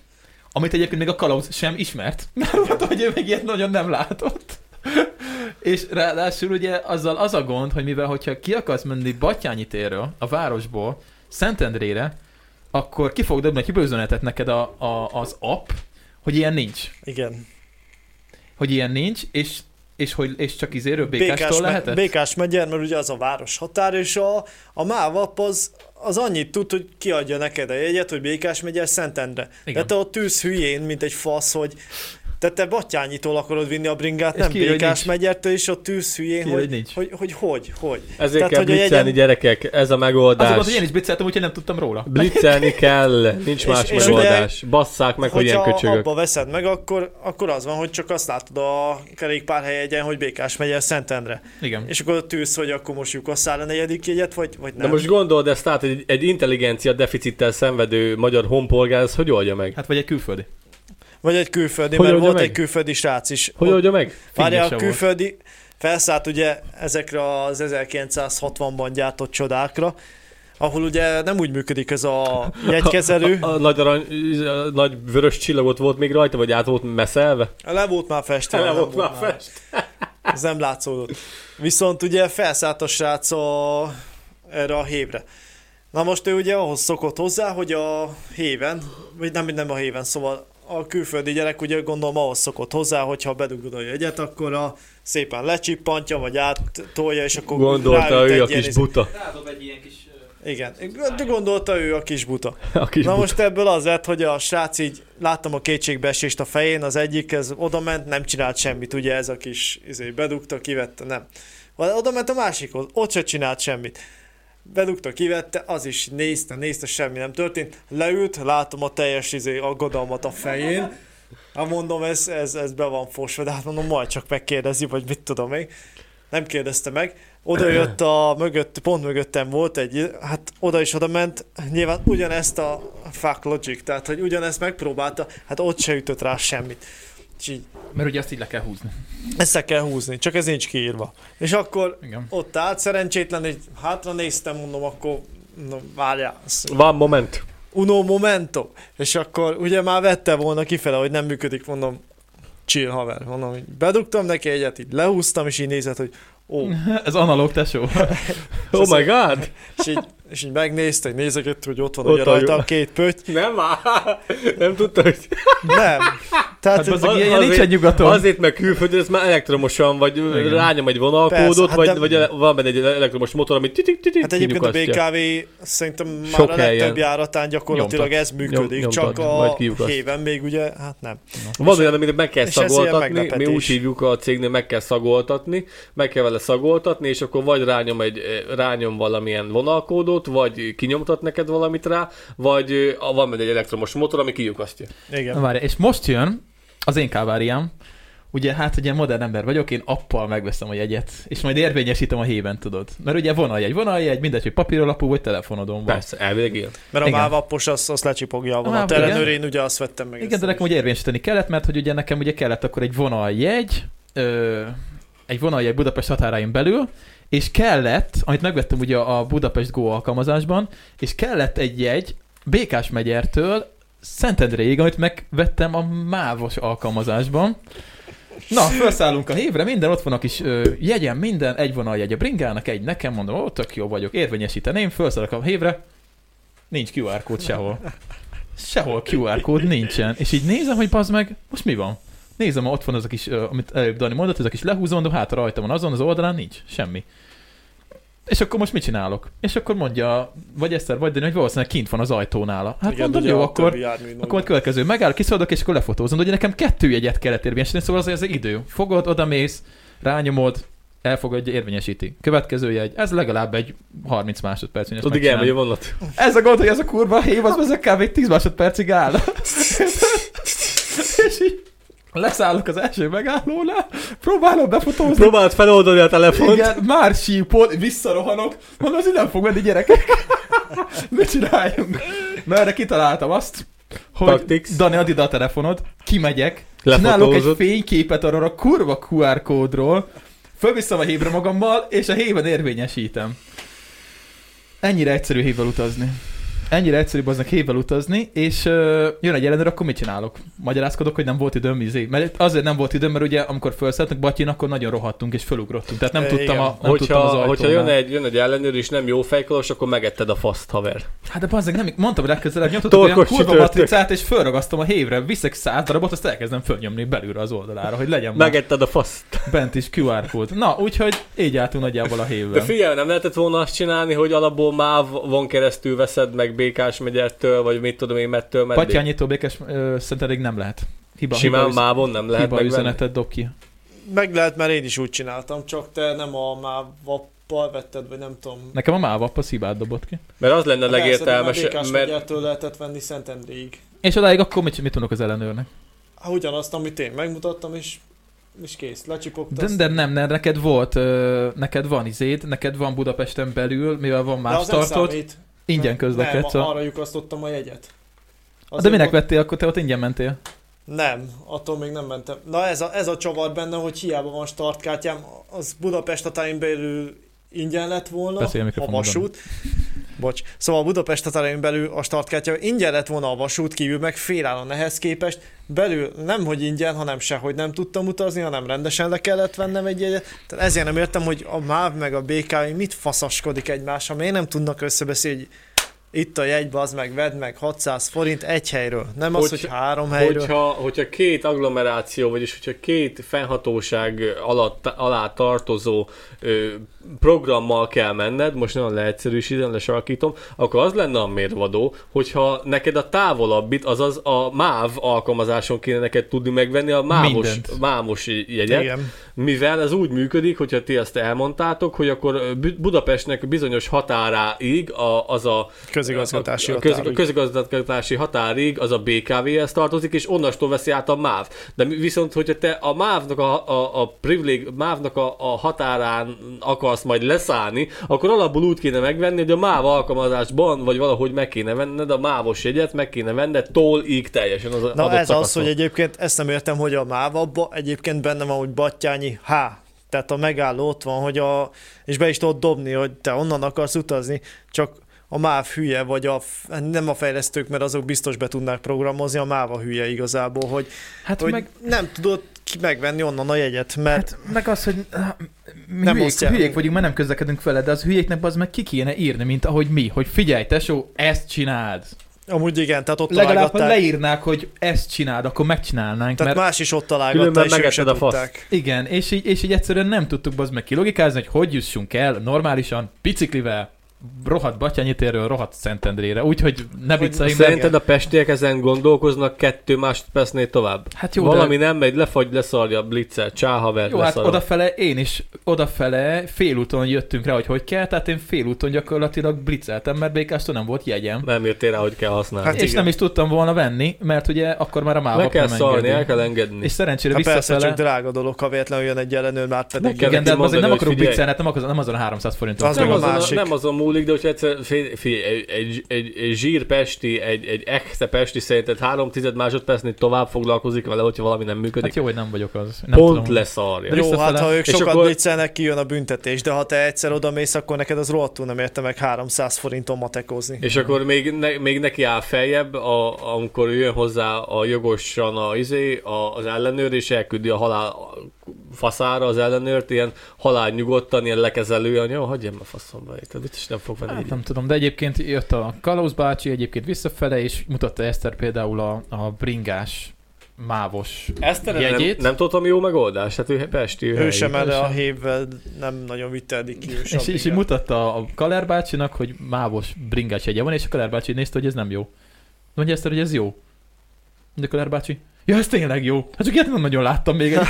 [SPEAKER 1] Amit egyébként még a kalauz sem ismert, mert mondta, hogy ő még ilyet nagyon nem látott. És ráadásul ugye azzal az a gond, hogy mivel hogyha ki akarsz menni Batyányi térről, a városból, Szentendrére, akkor ki fog dobni egy hibőzönetet neked a, a, az app, hogy ilyen nincs.
[SPEAKER 3] Igen.
[SPEAKER 1] Hogy ilyen nincs, és, és, hogy, és csak izéről
[SPEAKER 3] Békás,
[SPEAKER 1] békástól
[SPEAKER 3] me-
[SPEAKER 1] lehetett?
[SPEAKER 3] Békás megyer, mert ugye az a város határ, és a, a mávap az, az annyit tud, hogy kiadja neked a jegyet, hogy Békás megyer Szentendre. De
[SPEAKER 1] Igen.
[SPEAKER 3] te ott ülsz hülyén, mint egy fasz, hogy te, te Battyányitól akarod vinni a bringát,
[SPEAKER 1] És
[SPEAKER 3] nem
[SPEAKER 1] kiírja, hogy
[SPEAKER 3] Békás
[SPEAKER 1] nincs.
[SPEAKER 3] megyertől, és ott ülsz hülyén,
[SPEAKER 1] Kiírja,
[SPEAKER 3] hogy,
[SPEAKER 1] hogy nincs.
[SPEAKER 3] hogy, hogy, hogy, hogy.
[SPEAKER 2] Ezért
[SPEAKER 3] Tehát,
[SPEAKER 2] kell
[SPEAKER 3] hogy a
[SPEAKER 2] blitzelni,
[SPEAKER 3] jegyen-
[SPEAKER 2] gyerekek, ez a
[SPEAKER 1] Az
[SPEAKER 2] megoldás.
[SPEAKER 1] volt, hogy én is blitzeltem, úgyhogy nem tudtam róla.
[SPEAKER 2] Blitzelni kell, nincs más
[SPEAKER 3] és ugye-
[SPEAKER 2] megoldás. Basszák meg, hogy ilyen
[SPEAKER 3] Hogyha
[SPEAKER 2] köcsögök.
[SPEAKER 3] abba veszed meg, akkor, akkor az van, hogy csak azt látod a kerékpárhelyegyen, hogy Békás megyer Szentendre.
[SPEAKER 1] Igen.
[SPEAKER 3] És akkor ott ülsz, hogy akkor most lyukasszál a negyedik jegyet, vagy, vagy
[SPEAKER 2] De
[SPEAKER 3] nem.
[SPEAKER 2] most gondold ezt át, egy, egy intelligencia deficittel szenvedő magyar honpolgár, ez hogy oldja meg?
[SPEAKER 1] Hát vagy egy külföldi.
[SPEAKER 3] Vagy egy külföldi,
[SPEAKER 2] Hogy
[SPEAKER 3] mert
[SPEAKER 2] oldja
[SPEAKER 3] volt
[SPEAKER 2] meg?
[SPEAKER 3] egy külföldi srác is.
[SPEAKER 2] Hogy
[SPEAKER 3] Ott-
[SPEAKER 2] oldja meg?
[SPEAKER 3] Várja,
[SPEAKER 1] Fingja
[SPEAKER 3] a
[SPEAKER 1] se
[SPEAKER 3] külföldi felszállt ugye ezekre az 1960-ban gyártott csodákra, ahol ugye nem úgy működik ez a jegykezelő,
[SPEAKER 2] A, a, nagy, arany, a nagy vörös csillagot volt még rajta, vagy át volt meszelve?
[SPEAKER 3] le volt már festve.
[SPEAKER 2] Tele
[SPEAKER 3] nem
[SPEAKER 2] volt már
[SPEAKER 3] már.
[SPEAKER 2] fest.
[SPEAKER 3] Ez nem látszódott. Viszont ugye felszállt a srác a, erre a hévre. Na most ő ugye ahhoz szokott hozzá, hogy a héven, vagy nem, nem a héven, szóval a külföldi gyerek ugye gondolom ahhoz szokott hozzá, hogyha bedugod a jegyet, akkor a szépen lecsippantja, vagy áttolja, és akkor
[SPEAKER 2] Gondolta
[SPEAKER 3] ráüt
[SPEAKER 2] ő
[SPEAKER 3] egy
[SPEAKER 2] a
[SPEAKER 3] ilyen
[SPEAKER 2] kis
[SPEAKER 3] izé-
[SPEAKER 2] buta.
[SPEAKER 1] Rádob egy ilyen kis...
[SPEAKER 3] Igen, de gondolta ő a kis buta.
[SPEAKER 2] A kis
[SPEAKER 3] Na
[SPEAKER 2] buta.
[SPEAKER 3] most ebből az lett, hogy a srác így láttam a kétségbeesést a fején, az egyik ez oda ment, nem csinált semmit, ugye ez a kis izé, bedugta, kivette, nem. Vagy Oda ment a másikhoz, ott se csinált semmit. Bedugta, kivette, az is nézte, nézte, semmi nem történt. Leült, látom a teljes izé, aggodalmat a fején. Hát mondom, ez, ez, ez be van fosva, de hát mondom, majd csak megkérdezi, vagy mit tudom én. Nem kérdezte meg. Oda jött a mögött, pont mögöttem volt egy, hát oda is oda ment, nyilván ugyanezt a fuck logic, tehát hogy ugyanezt megpróbálta, hát ott se ütött rá semmit. És így
[SPEAKER 1] Mert ugye azt így le kell húzni.
[SPEAKER 3] össze kell húzni, csak ez nincs kiírva. És akkor
[SPEAKER 1] Igen.
[SPEAKER 3] ott állt szerencsétlen, egy hátra néztem, mondom, akkor no, várjál, azt
[SPEAKER 2] Van moment.
[SPEAKER 3] uno momento. És akkor ugye már vette volna kifele, hogy nem működik, mondom, chill haver, mondom, hogy bedugtam neki egyet, így lehúztam, és így nézett, hogy ó,
[SPEAKER 1] Ez analóg tesó.
[SPEAKER 2] Oh
[SPEAKER 3] Szóval-
[SPEAKER 2] my god!
[SPEAKER 3] és így, és így megnézte, hogy nézegett, hogy ott van
[SPEAKER 2] Ott
[SPEAKER 3] ugye
[SPEAKER 2] a jó.
[SPEAKER 3] rajta a két pöty.
[SPEAKER 2] Nem áll. Nem tudta, hogy...
[SPEAKER 3] Nem.
[SPEAKER 1] Hát
[SPEAKER 3] Tehát
[SPEAKER 1] az, ilyen, ilyen
[SPEAKER 2] azért-
[SPEAKER 1] nincsen nyugaton.
[SPEAKER 2] Azért meg külföldön, ez már elektromosan, vagy
[SPEAKER 1] Igen.
[SPEAKER 2] Igen. rányom egy
[SPEAKER 3] Persze,
[SPEAKER 2] vonalkódot,
[SPEAKER 3] hát
[SPEAKER 2] vagy,
[SPEAKER 3] de-
[SPEAKER 2] vagy ele- van benne egy elektromos motor, amit titik titik
[SPEAKER 3] Hát egyébként a
[SPEAKER 2] kinyugasztja.
[SPEAKER 3] BKV szerintem már
[SPEAKER 2] Sok
[SPEAKER 3] a legtöbb
[SPEAKER 2] helyen.
[SPEAKER 3] járatán gyakorlatilag
[SPEAKER 1] Nyomtat.
[SPEAKER 3] ez működik,
[SPEAKER 2] Nyom-
[SPEAKER 3] csak
[SPEAKER 2] nyomtat, majd
[SPEAKER 3] a
[SPEAKER 2] kiugaszt.
[SPEAKER 3] héven még ugye, hát nem.
[SPEAKER 2] Van olyan, amit meg kell
[SPEAKER 3] és ez ilyen
[SPEAKER 2] szagoltatni, mi
[SPEAKER 3] meglepetés.
[SPEAKER 2] úgy hívjuk a cégnél, meg kell szagoltatni, meg kell vele szagoltatni, és akkor vagy rányom, egy, eh, rányom valamilyen vonalkódot, vagy kinyomtat neked valamit rá, vagy ö, a- van benne egy elektromos motor, ami kiukasztja.
[SPEAKER 3] Igen.
[SPEAKER 1] Na várj, és most jön az én káváriám. Ugye hát, hogy ilyen modern ember vagyok, én appal megveszem a jegyet, és majd érvényesítem a héven, tudod. Mert ugye vonaljegy, vonaljegy, mindegy, hogy papíralapú vagy telefonodon van.
[SPEAKER 2] Persze, elvileg ilyen.
[SPEAKER 3] Mert a
[SPEAKER 1] Igen.
[SPEAKER 3] mávappos azt, azt lecsipogja a
[SPEAKER 1] mávap,
[SPEAKER 3] vonat. Ellenőre
[SPEAKER 1] igen.
[SPEAKER 3] én ugye azt vettem meg.
[SPEAKER 1] Igen,
[SPEAKER 3] ezt
[SPEAKER 1] de nekem
[SPEAKER 3] is.
[SPEAKER 1] ugye érvényesíteni kellett, mert hogy ugye nekem ugye kellett akkor egy vonaljegy, ö, egy vonaljegy Budapest határain belül, és kellett, amit megvettem ugye a Budapest Go alkalmazásban, és kellett egy jegy Békás megyertől Szentendréig, amit megvettem a Mávos alkalmazásban. Na, felszállunk a hévre, minden ott van a kis ö, jegyem, minden, egy vonaljegy a bringának, egy nekem, mondom, ó, tök jó vagyok, érvényesíteném, felszállok a hévre, nincs QR kód sehol. Sehol QR kód nincsen. És így nézem, hogy bazd meg, most mi van? Nézem, ott van az a kis, ö, amit előbb Dani mondott, ez a kis lehúzó, mondom, hát rajta van azon, az oldalán nincs, semmi. És akkor most mit csinálok? És akkor mondja, vagy Eszter, vagy Dani, hogy valószínűleg kint van az ajtónál. Hát
[SPEAKER 3] Igen,
[SPEAKER 1] mondom,
[SPEAKER 3] ugye
[SPEAKER 1] jó,
[SPEAKER 3] a
[SPEAKER 1] akkor
[SPEAKER 3] többi jármű
[SPEAKER 1] akkor majd következő megáll, kiszaladok, és akkor lefotózom. De ugye nekem kettő jegyet kellett érvényesíteni, szóval az, az idő. Fogod, oda mész, rányomod, elfogadja, érvényesíti. Következő jegy, ez legalább egy 30 másodperc. mire ezt
[SPEAKER 2] Tudod, igen,
[SPEAKER 1] megcsinálom.
[SPEAKER 2] megy a vonat.
[SPEAKER 1] Ez a gond, hogy ez a kurva hév, az ezek kb. 10 másodpercig áll. és így leszállok az első megállónál, próbálom befotózni.
[SPEAKER 2] Próbáld feloldani a telefont.
[SPEAKER 1] Igen, már sípol, visszarohanok, mondom, az nem fog menni gyerekek. Mit csináljunk? Na erre kitaláltam azt, hogy
[SPEAKER 2] Tactics.
[SPEAKER 1] Dani, add ide a telefonod, kimegyek, csinálok egy
[SPEAKER 2] Lefotózod.
[SPEAKER 1] fényképet arról a kurva QR kódról, fölviszem a hébre magammal, és a héven érvényesítem. Ennyire egyszerű hévvel utazni. ennyire egyszerűbb aznak hével utazni, és ö, jön egy ellenőr, akkor mit csinálok? Magyarázkodok, hogy nem volt időm izé. Mert azért nem volt időm, mert ugye amikor felszálltunk Batyin, akkor nagyon rohadtunk és felugrottunk. Tehát nem
[SPEAKER 3] E,
[SPEAKER 1] tudtam, a,
[SPEAKER 3] igen.
[SPEAKER 1] nem
[SPEAKER 2] hogyha,
[SPEAKER 1] tudtam az ajtónál.
[SPEAKER 2] hogyha jön egy, jön egy ellenőr és nem jó fejkolos, akkor megetted a faszt, haver.
[SPEAKER 1] Hát de bazdmeg, nem, mondtam, hogy legközelebb nyomtatok olyan
[SPEAKER 2] Torkos
[SPEAKER 1] kurva
[SPEAKER 2] csütörtök.
[SPEAKER 1] matricát, és fölragasztom a hévre, viszek száz darabot, azt elkezdem fölnyomni belülre az oldalára, hogy legyen meg
[SPEAKER 2] Megetted a faszt.
[SPEAKER 1] bent is QR kód. Na, úgyhogy így álltunk nagyjából a
[SPEAKER 2] De
[SPEAKER 1] hévben.
[SPEAKER 2] figyelj, nem lehetett volna azt csinálni, hogy alapból MÁV van keresztül veszed meg Békás megyertől, vagy mit tudom én, mettől meddig.
[SPEAKER 1] Patyányító békes ö, szerinteleg nem lehet. Hiba,
[SPEAKER 2] Simán
[SPEAKER 1] hiba, üz-
[SPEAKER 2] mávon nem lehet
[SPEAKER 1] hiba
[SPEAKER 2] megvenni.
[SPEAKER 1] üzenetet dob ki.
[SPEAKER 3] Meg lehet, mert
[SPEAKER 4] Mert én is úgy csináltam, csak te nem a mávappal vetted, vagy nem tudom.
[SPEAKER 1] Nekem a mávap a szibát dobott ki.
[SPEAKER 2] Mert az lenne
[SPEAKER 4] Legértelmes,
[SPEAKER 2] legértelmes,
[SPEAKER 4] mert...
[SPEAKER 2] mert
[SPEAKER 4] Megyertől lehetett venni Szentendréig.
[SPEAKER 1] És odáig akkor mit, mit tudok az ellenőrnek?
[SPEAKER 4] Hát ugyanazt, amit én megmutattam, és, és kész, lecsipogtasz.
[SPEAKER 1] De, de nem, nem, neked volt, ö, neked van izéd, neked van Budapesten belül, mivel van
[SPEAKER 4] De
[SPEAKER 1] más
[SPEAKER 4] az nem
[SPEAKER 1] tartott,
[SPEAKER 4] számít.
[SPEAKER 1] ingyen
[SPEAKER 4] Nem,
[SPEAKER 1] közlekedsz.
[SPEAKER 4] Nem,
[SPEAKER 1] a-
[SPEAKER 4] arra lyukasztottam a jegyet.
[SPEAKER 1] De
[SPEAKER 4] Azért
[SPEAKER 1] minek
[SPEAKER 4] ott-
[SPEAKER 1] vettél, akkor te ott ingyen mentél?
[SPEAKER 4] Nem, attól még nem mentem. Na ez a, ez a csavar benne, hogy hiába van startkártyám, az Budapest határain belül ingyen lett volna
[SPEAKER 1] Beszélj a
[SPEAKER 4] a
[SPEAKER 1] mikrofonba,
[SPEAKER 4] vasút. Bocs, szóval Budapest határain belül a startkártya ingyen lett volna a vasút kívül, meg félállon ehhez képest. Belül nem, hogy ingyen, hanem sehogy nem tudtam utazni, hanem rendesen le kellett vennem egy jegyet. Tehát ezért nem értem, hogy a MÁV meg a BKV mit faszaskodik egymással, miért nem tudnak összebeszélni, hogy itt a jegy, az meg vedd meg 600 forint egy helyről. Nem az,
[SPEAKER 2] Hogy-
[SPEAKER 4] hogy három helyről.
[SPEAKER 2] hogyha, hogyha két agglomeráció, vagyis hogyha két fennhatóság alatt, alá tartozó ö, programmal kell menned, most nagyon leegyszerűsítem, lesarkítom, akkor az lenne a mérvadó, hogyha neked a távolabbit, azaz a MÁV alkalmazáson kéne neked tudni megvenni a mámos,
[SPEAKER 1] Mindent.
[SPEAKER 2] mámos jegyet,
[SPEAKER 4] Igen.
[SPEAKER 2] mivel ez úgy működik, hogyha ti ezt elmondtátok, hogy akkor Bu- Budapestnek bizonyos határáig a, az a
[SPEAKER 3] közigazgatási
[SPEAKER 2] a, a,
[SPEAKER 3] határig.
[SPEAKER 2] köz, a közigazgatási határig az a BKV-hez tartozik, és onnastól veszi át a MÁV. De mi- viszont, hogyha te a MÁV-nak a, a, a privileg, MÁV-nak a, a határán akarsz majd leszállni, akkor alapból úgy kéne megvenni, hogy a MÁV alkalmazásban, vagy valahogy meg kéne venned a MÁV-os jegyet, meg kéne venned tól ig teljesen az
[SPEAKER 3] Na
[SPEAKER 2] adott
[SPEAKER 3] ez az,
[SPEAKER 2] szakaszon.
[SPEAKER 3] hogy egyébként ezt nem értem, hogy a MÁV abba egyébként benne van, hogy Battyányi H. Tehát a megálló ott van, hogy a, és be is tudod dobni, hogy te onnan akarsz utazni, csak a MÁV hülye, vagy a, nem a fejlesztők, mert azok biztos be tudnák programozni, a MÁV a hülye igazából, hogy,
[SPEAKER 1] Hát
[SPEAKER 3] hogy
[SPEAKER 1] meg,
[SPEAKER 3] meg... nem tudod ki megvenni onnan a jegyet, mert
[SPEAKER 1] hát meg az, hogy ah, mi
[SPEAKER 3] Nem
[SPEAKER 1] hülyék,
[SPEAKER 3] osztják.
[SPEAKER 1] hülyék vagyunk, mert nem közlekedünk vele, de az hülyéknek az meg ki kéne írni, mint ahogy mi, hogy figyelj, tesó, ezt csináld.
[SPEAKER 3] amúgy igen, tehát ott
[SPEAKER 1] Legalább, ha
[SPEAKER 3] találgatták.
[SPEAKER 1] leírnák, hogy ezt csináld, akkor megcsinálnánk,
[SPEAKER 3] Tehát
[SPEAKER 1] mert
[SPEAKER 3] más is ott találgatta,
[SPEAKER 2] Különben
[SPEAKER 3] és ők se
[SPEAKER 2] megetted a faszt.
[SPEAKER 3] tudták.
[SPEAKER 1] igen, és így, és így egyszerűen nem tudtuk az meg kilogikázni, hogy hogy jussunk el normálisan, biciklivel, rohadt Batyányi térről, rohadt Szentendrére, úgyhogy ne
[SPEAKER 3] Hogy
[SPEAKER 1] vicceljünk, mert...
[SPEAKER 2] Szerinted a pestiek ezen gondolkoznak kettő másodpercnél tovább?
[SPEAKER 1] Hát jó, de-
[SPEAKER 2] Valami nem megy, lefagy, leszarja a blitzer, csáhaver,
[SPEAKER 1] Jó, hát odafele én is, odafele félúton jöttünk rá, hogy hogy kell, tehát én félúton gyakorlatilag blitzeltem, mert Békástól nem volt jegyem.
[SPEAKER 2] Nem írtél rá, hogy kell használni.
[SPEAKER 3] Hát
[SPEAKER 1] Hát és
[SPEAKER 3] igen.
[SPEAKER 1] nem is tudtam volna venni, mert ugye akkor már a
[SPEAKER 2] Le
[SPEAKER 1] mávak
[SPEAKER 2] kell
[SPEAKER 1] nem
[SPEAKER 2] szarni, el
[SPEAKER 1] engedi.
[SPEAKER 2] kell engedni.
[SPEAKER 1] És szerencsére
[SPEAKER 3] Hát persze, csak
[SPEAKER 1] visszafele...
[SPEAKER 3] drága dolog, ha véletlenül jön egy ellenőr, már pedig
[SPEAKER 2] Nekem-
[SPEAKER 1] Igen, de
[SPEAKER 2] Mondani,
[SPEAKER 1] azért nem
[SPEAKER 2] hogy
[SPEAKER 1] akarok
[SPEAKER 2] figyelj.
[SPEAKER 1] blitzelni, hát nem, akar- nem azon a 300 forintot.
[SPEAKER 3] Az
[SPEAKER 1] kell.
[SPEAKER 2] nem
[SPEAKER 3] meg a
[SPEAKER 2] azon,
[SPEAKER 3] másik.
[SPEAKER 2] nem azon múlik, de hogyha egyszer figyelj, figyelj, egy, egy, egy, egy zsírpesti, egy, egy echte pesti szerinted három tized másodpercnél tovább foglalkozik vele, hogyha valami nem működik.
[SPEAKER 1] Hát jó, hogy nem vagyok az. Nem
[SPEAKER 2] Pont
[SPEAKER 1] tudom.
[SPEAKER 2] leszarja.
[SPEAKER 1] De-
[SPEAKER 3] Jó,
[SPEAKER 1] visszafele.
[SPEAKER 3] hát ha
[SPEAKER 2] És
[SPEAKER 3] ők sokat
[SPEAKER 2] akkor-
[SPEAKER 3] akkor... blitzelnek, kijön a büntetés, de ha te egyszer oda mész, akkor neked az rohadtul nem érte meg 300 forinton matekozni.
[SPEAKER 2] És akkor még, ne, még neki áll feljebb, a, amikor jön hozzá a jogosan a, izé, a, az ellenőr, és elküldi a halál a faszára az ellenőrt, ilyen halál nyugodtan, ilyen lekezelően, jó, hagyjam a faszomba, érted, mit is nem fog venni.
[SPEAKER 1] Hát
[SPEAKER 2] így.
[SPEAKER 1] nem tudom, de egyébként jött a Kalóz bácsi, egyébként visszafele, és mutatta Eszter például a, a bringás mávos
[SPEAKER 2] Eszteren nem,
[SPEAKER 1] jegyét.
[SPEAKER 2] nem tudtam jó megoldás, hát ő pesti,
[SPEAKER 3] Ő
[SPEAKER 2] helyi.
[SPEAKER 3] sem, mert
[SPEAKER 1] sem.
[SPEAKER 3] a hévvel nem nagyon vittedik ki. ő sem,
[SPEAKER 1] És, és így
[SPEAKER 3] igen.
[SPEAKER 1] mutatta a Kaler bácsinak, hogy mávos bringás jegye van, és a Kaler bácsi nézte, hogy ez nem jó. Mondja ezt, hogy ez jó. Mondja Kaler bácsi, ja, ez tényleg jó. Hát csak ilyet nem nagyon láttam még egy.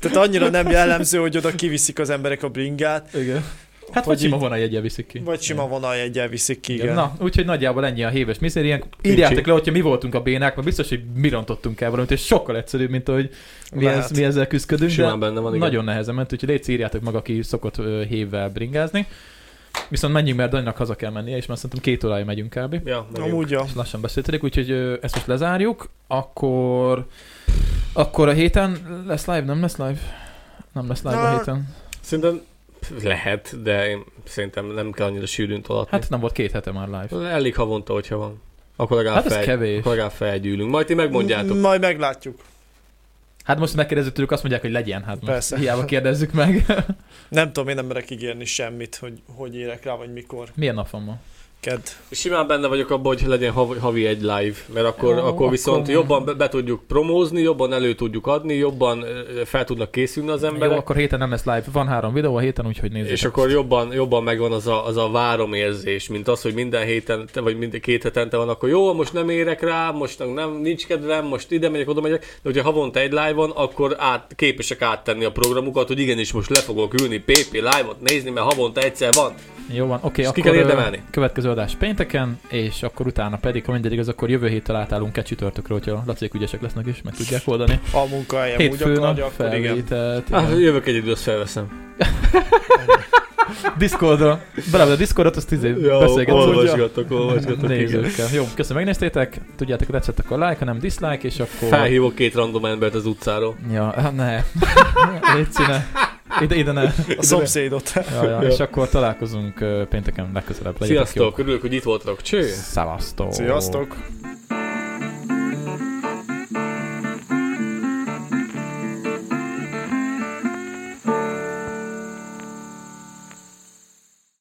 [SPEAKER 3] Tehát annyira nem jellemző, hogy oda kiviszik az emberek a bringát,
[SPEAKER 1] Igen. Hát vagy
[SPEAKER 3] Vagy
[SPEAKER 1] sima
[SPEAKER 3] így-
[SPEAKER 1] van a jegye viszik ki.
[SPEAKER 3] vagy sima vonaljegyel viszik ki. Igen.
[SPEAKER 1] Na, úgyhogy nagyjából ennyi a héves mizériánk. Írjátok le, hogyha mi voltunk a bénák, mert biztos, hogy mi rontottunk el valamit, és sokkal egyszerűbb, mint hogy mi,
[SPEAKER 3] Lehet.
[SPEAKER 1] ez, mi ezzel küzdködünk. de-
[SPEAKER 2] Simán benne van, igen.
[SPEAKER 1] Nagyon nehezen ment, úgyhogy légy írjátok meg, aki szokott ö, hévvel bringázni. Viszont menjünk, mert Danynak haza kell mennie, és már szerintem két órája megyünk kb.
[SPEAKER 2] Ja, mondjuk.
[SPEAKER 3] Amúgy ja.
[SPEAKER 1] És lassan beszéltetek, úgyhogy ö, ezt most lezárjuk. Akkor... Akkor a héten lesz live, nem lesz live? Nem lesz live a
[SPEAKER 3] Na,
[SPEAKER 1] héten.
[SPEAKER 2] Szerintem Pff, Lehet, de én szerintem nem kell annyira sűrűn tolatni.
[SPEAKER 1] Hát nem volt két hete már live.
[SPEAKER 2] Elég havonta, hogyha van. Akkor legalább,
[SPEAKER 1] Hát ez
[SPEAKER 2] fel,
[SPEAKER 1] kevés.
[SPEAKER 2] akkor legalább felgyűlünk. Majd ti megmondjátok.
[SPEAKER 3] Majd meglátjuk.
[SPEAKER 1] Hát most megkérdezzük tőlük, azt mondják, hogy legyen. Hát most
[SPEAKER 3] Persze.
[SPEAKER 1] hiába kérdezzük meg.
[SPEAKER 3] Nem tudom, én nem merek ígérni semmit, hogy hogy érek rá, vagy mikor.
[SPEAKER 1] Milyen nap van ma?
[SPEAKER 3] Kedd.
[SPEAKER 2] Simán benne vagyok abban, hogy legyen havi, havi egy live, mert akkor,
[SPEAKER 1] Jó,
[SPEAKER 2] akkor, akkor viszont
[SPEAKER 1] akkor-
[SPEAKER 2] jobban be, be tudjuk promózni, jobban elő tudjuk adni, jobban ö, fel tudnak készülni az
[SPEAKER 1] Jó,
[SPEAKER 2] emberek.
[SPEAKER 1] akkor héten nem lesz live. Van három videó a héten, úgyhogy nézzük.
[SPEAKER 2] És akkor jobban, jobban megvan az a, az a várom érzés, mint az, hogy minden héten, vagy minden két hetente van, akkor jó, most nem érek rá, most nem, nincs kedvem, most ide megyek, oda megyek, de hogyha havonta egy live van, akkor át, képesek áttenni a programukat, hogy igenis most le fogok ülni PP live-ot nézni, mert havonta egyszer van.
[SPEAKER 1] Jó van, oké,
[SPEAKER 2] Ezt ki
[SPEAKER 1] akkor
[SPEAKER 2] kell
[SPEAKER 1] ö,
[SPEAKER 2] érdemelni.
[SPEAKER 1] következő adás pénteken, és akkor utána pedig, ha mindegy igaz, akkor jövő héttel átállunk kecsütörtökre, hogyha a lacék ügyesek lesznek és meg tudják oldani.
[SPEAKER 3] A munkahelyem úgy
[SPEAKER 1] Hétfőn a
[SPEAKER 3] akarja, akkor igen.
[SPEAKER 1] felvételt.
[SPEAKER 2] Hát,
[SPEAKER 1] igen.
[SPEAKER 2] jövök egy időt felveszem.
[SPEAKER 1] Discordra. Bele a Discordot, azt izé beszélgetünk.
[SPEAKER 2] olvasgatok, olvasgatok, igen.
[SPEAKER 1] Nézőkkel. Jó, köszönöm, megnézték, tudjátok, hogy tetszett, akkor like, ha nem dislike, és akkor...
[SPEAKER 2] Felhívok két random embert az utcáról.
[SPEAKER 1] Ja, hát ne. Légy színe. Ide, ide ne.
[SPEAKER 3] A szomszédot.
[SPEAKER 1] Ja, ja. És akkor találkozunk ö, pénteken legközelebb. Legyetek jók.
[SPEAKER 2] Sziasztok, örülök, hogy itt voltatok. Cső!
[SPEAKER 1] Szevasztok.
[SPEAKER 3] Sziasztok.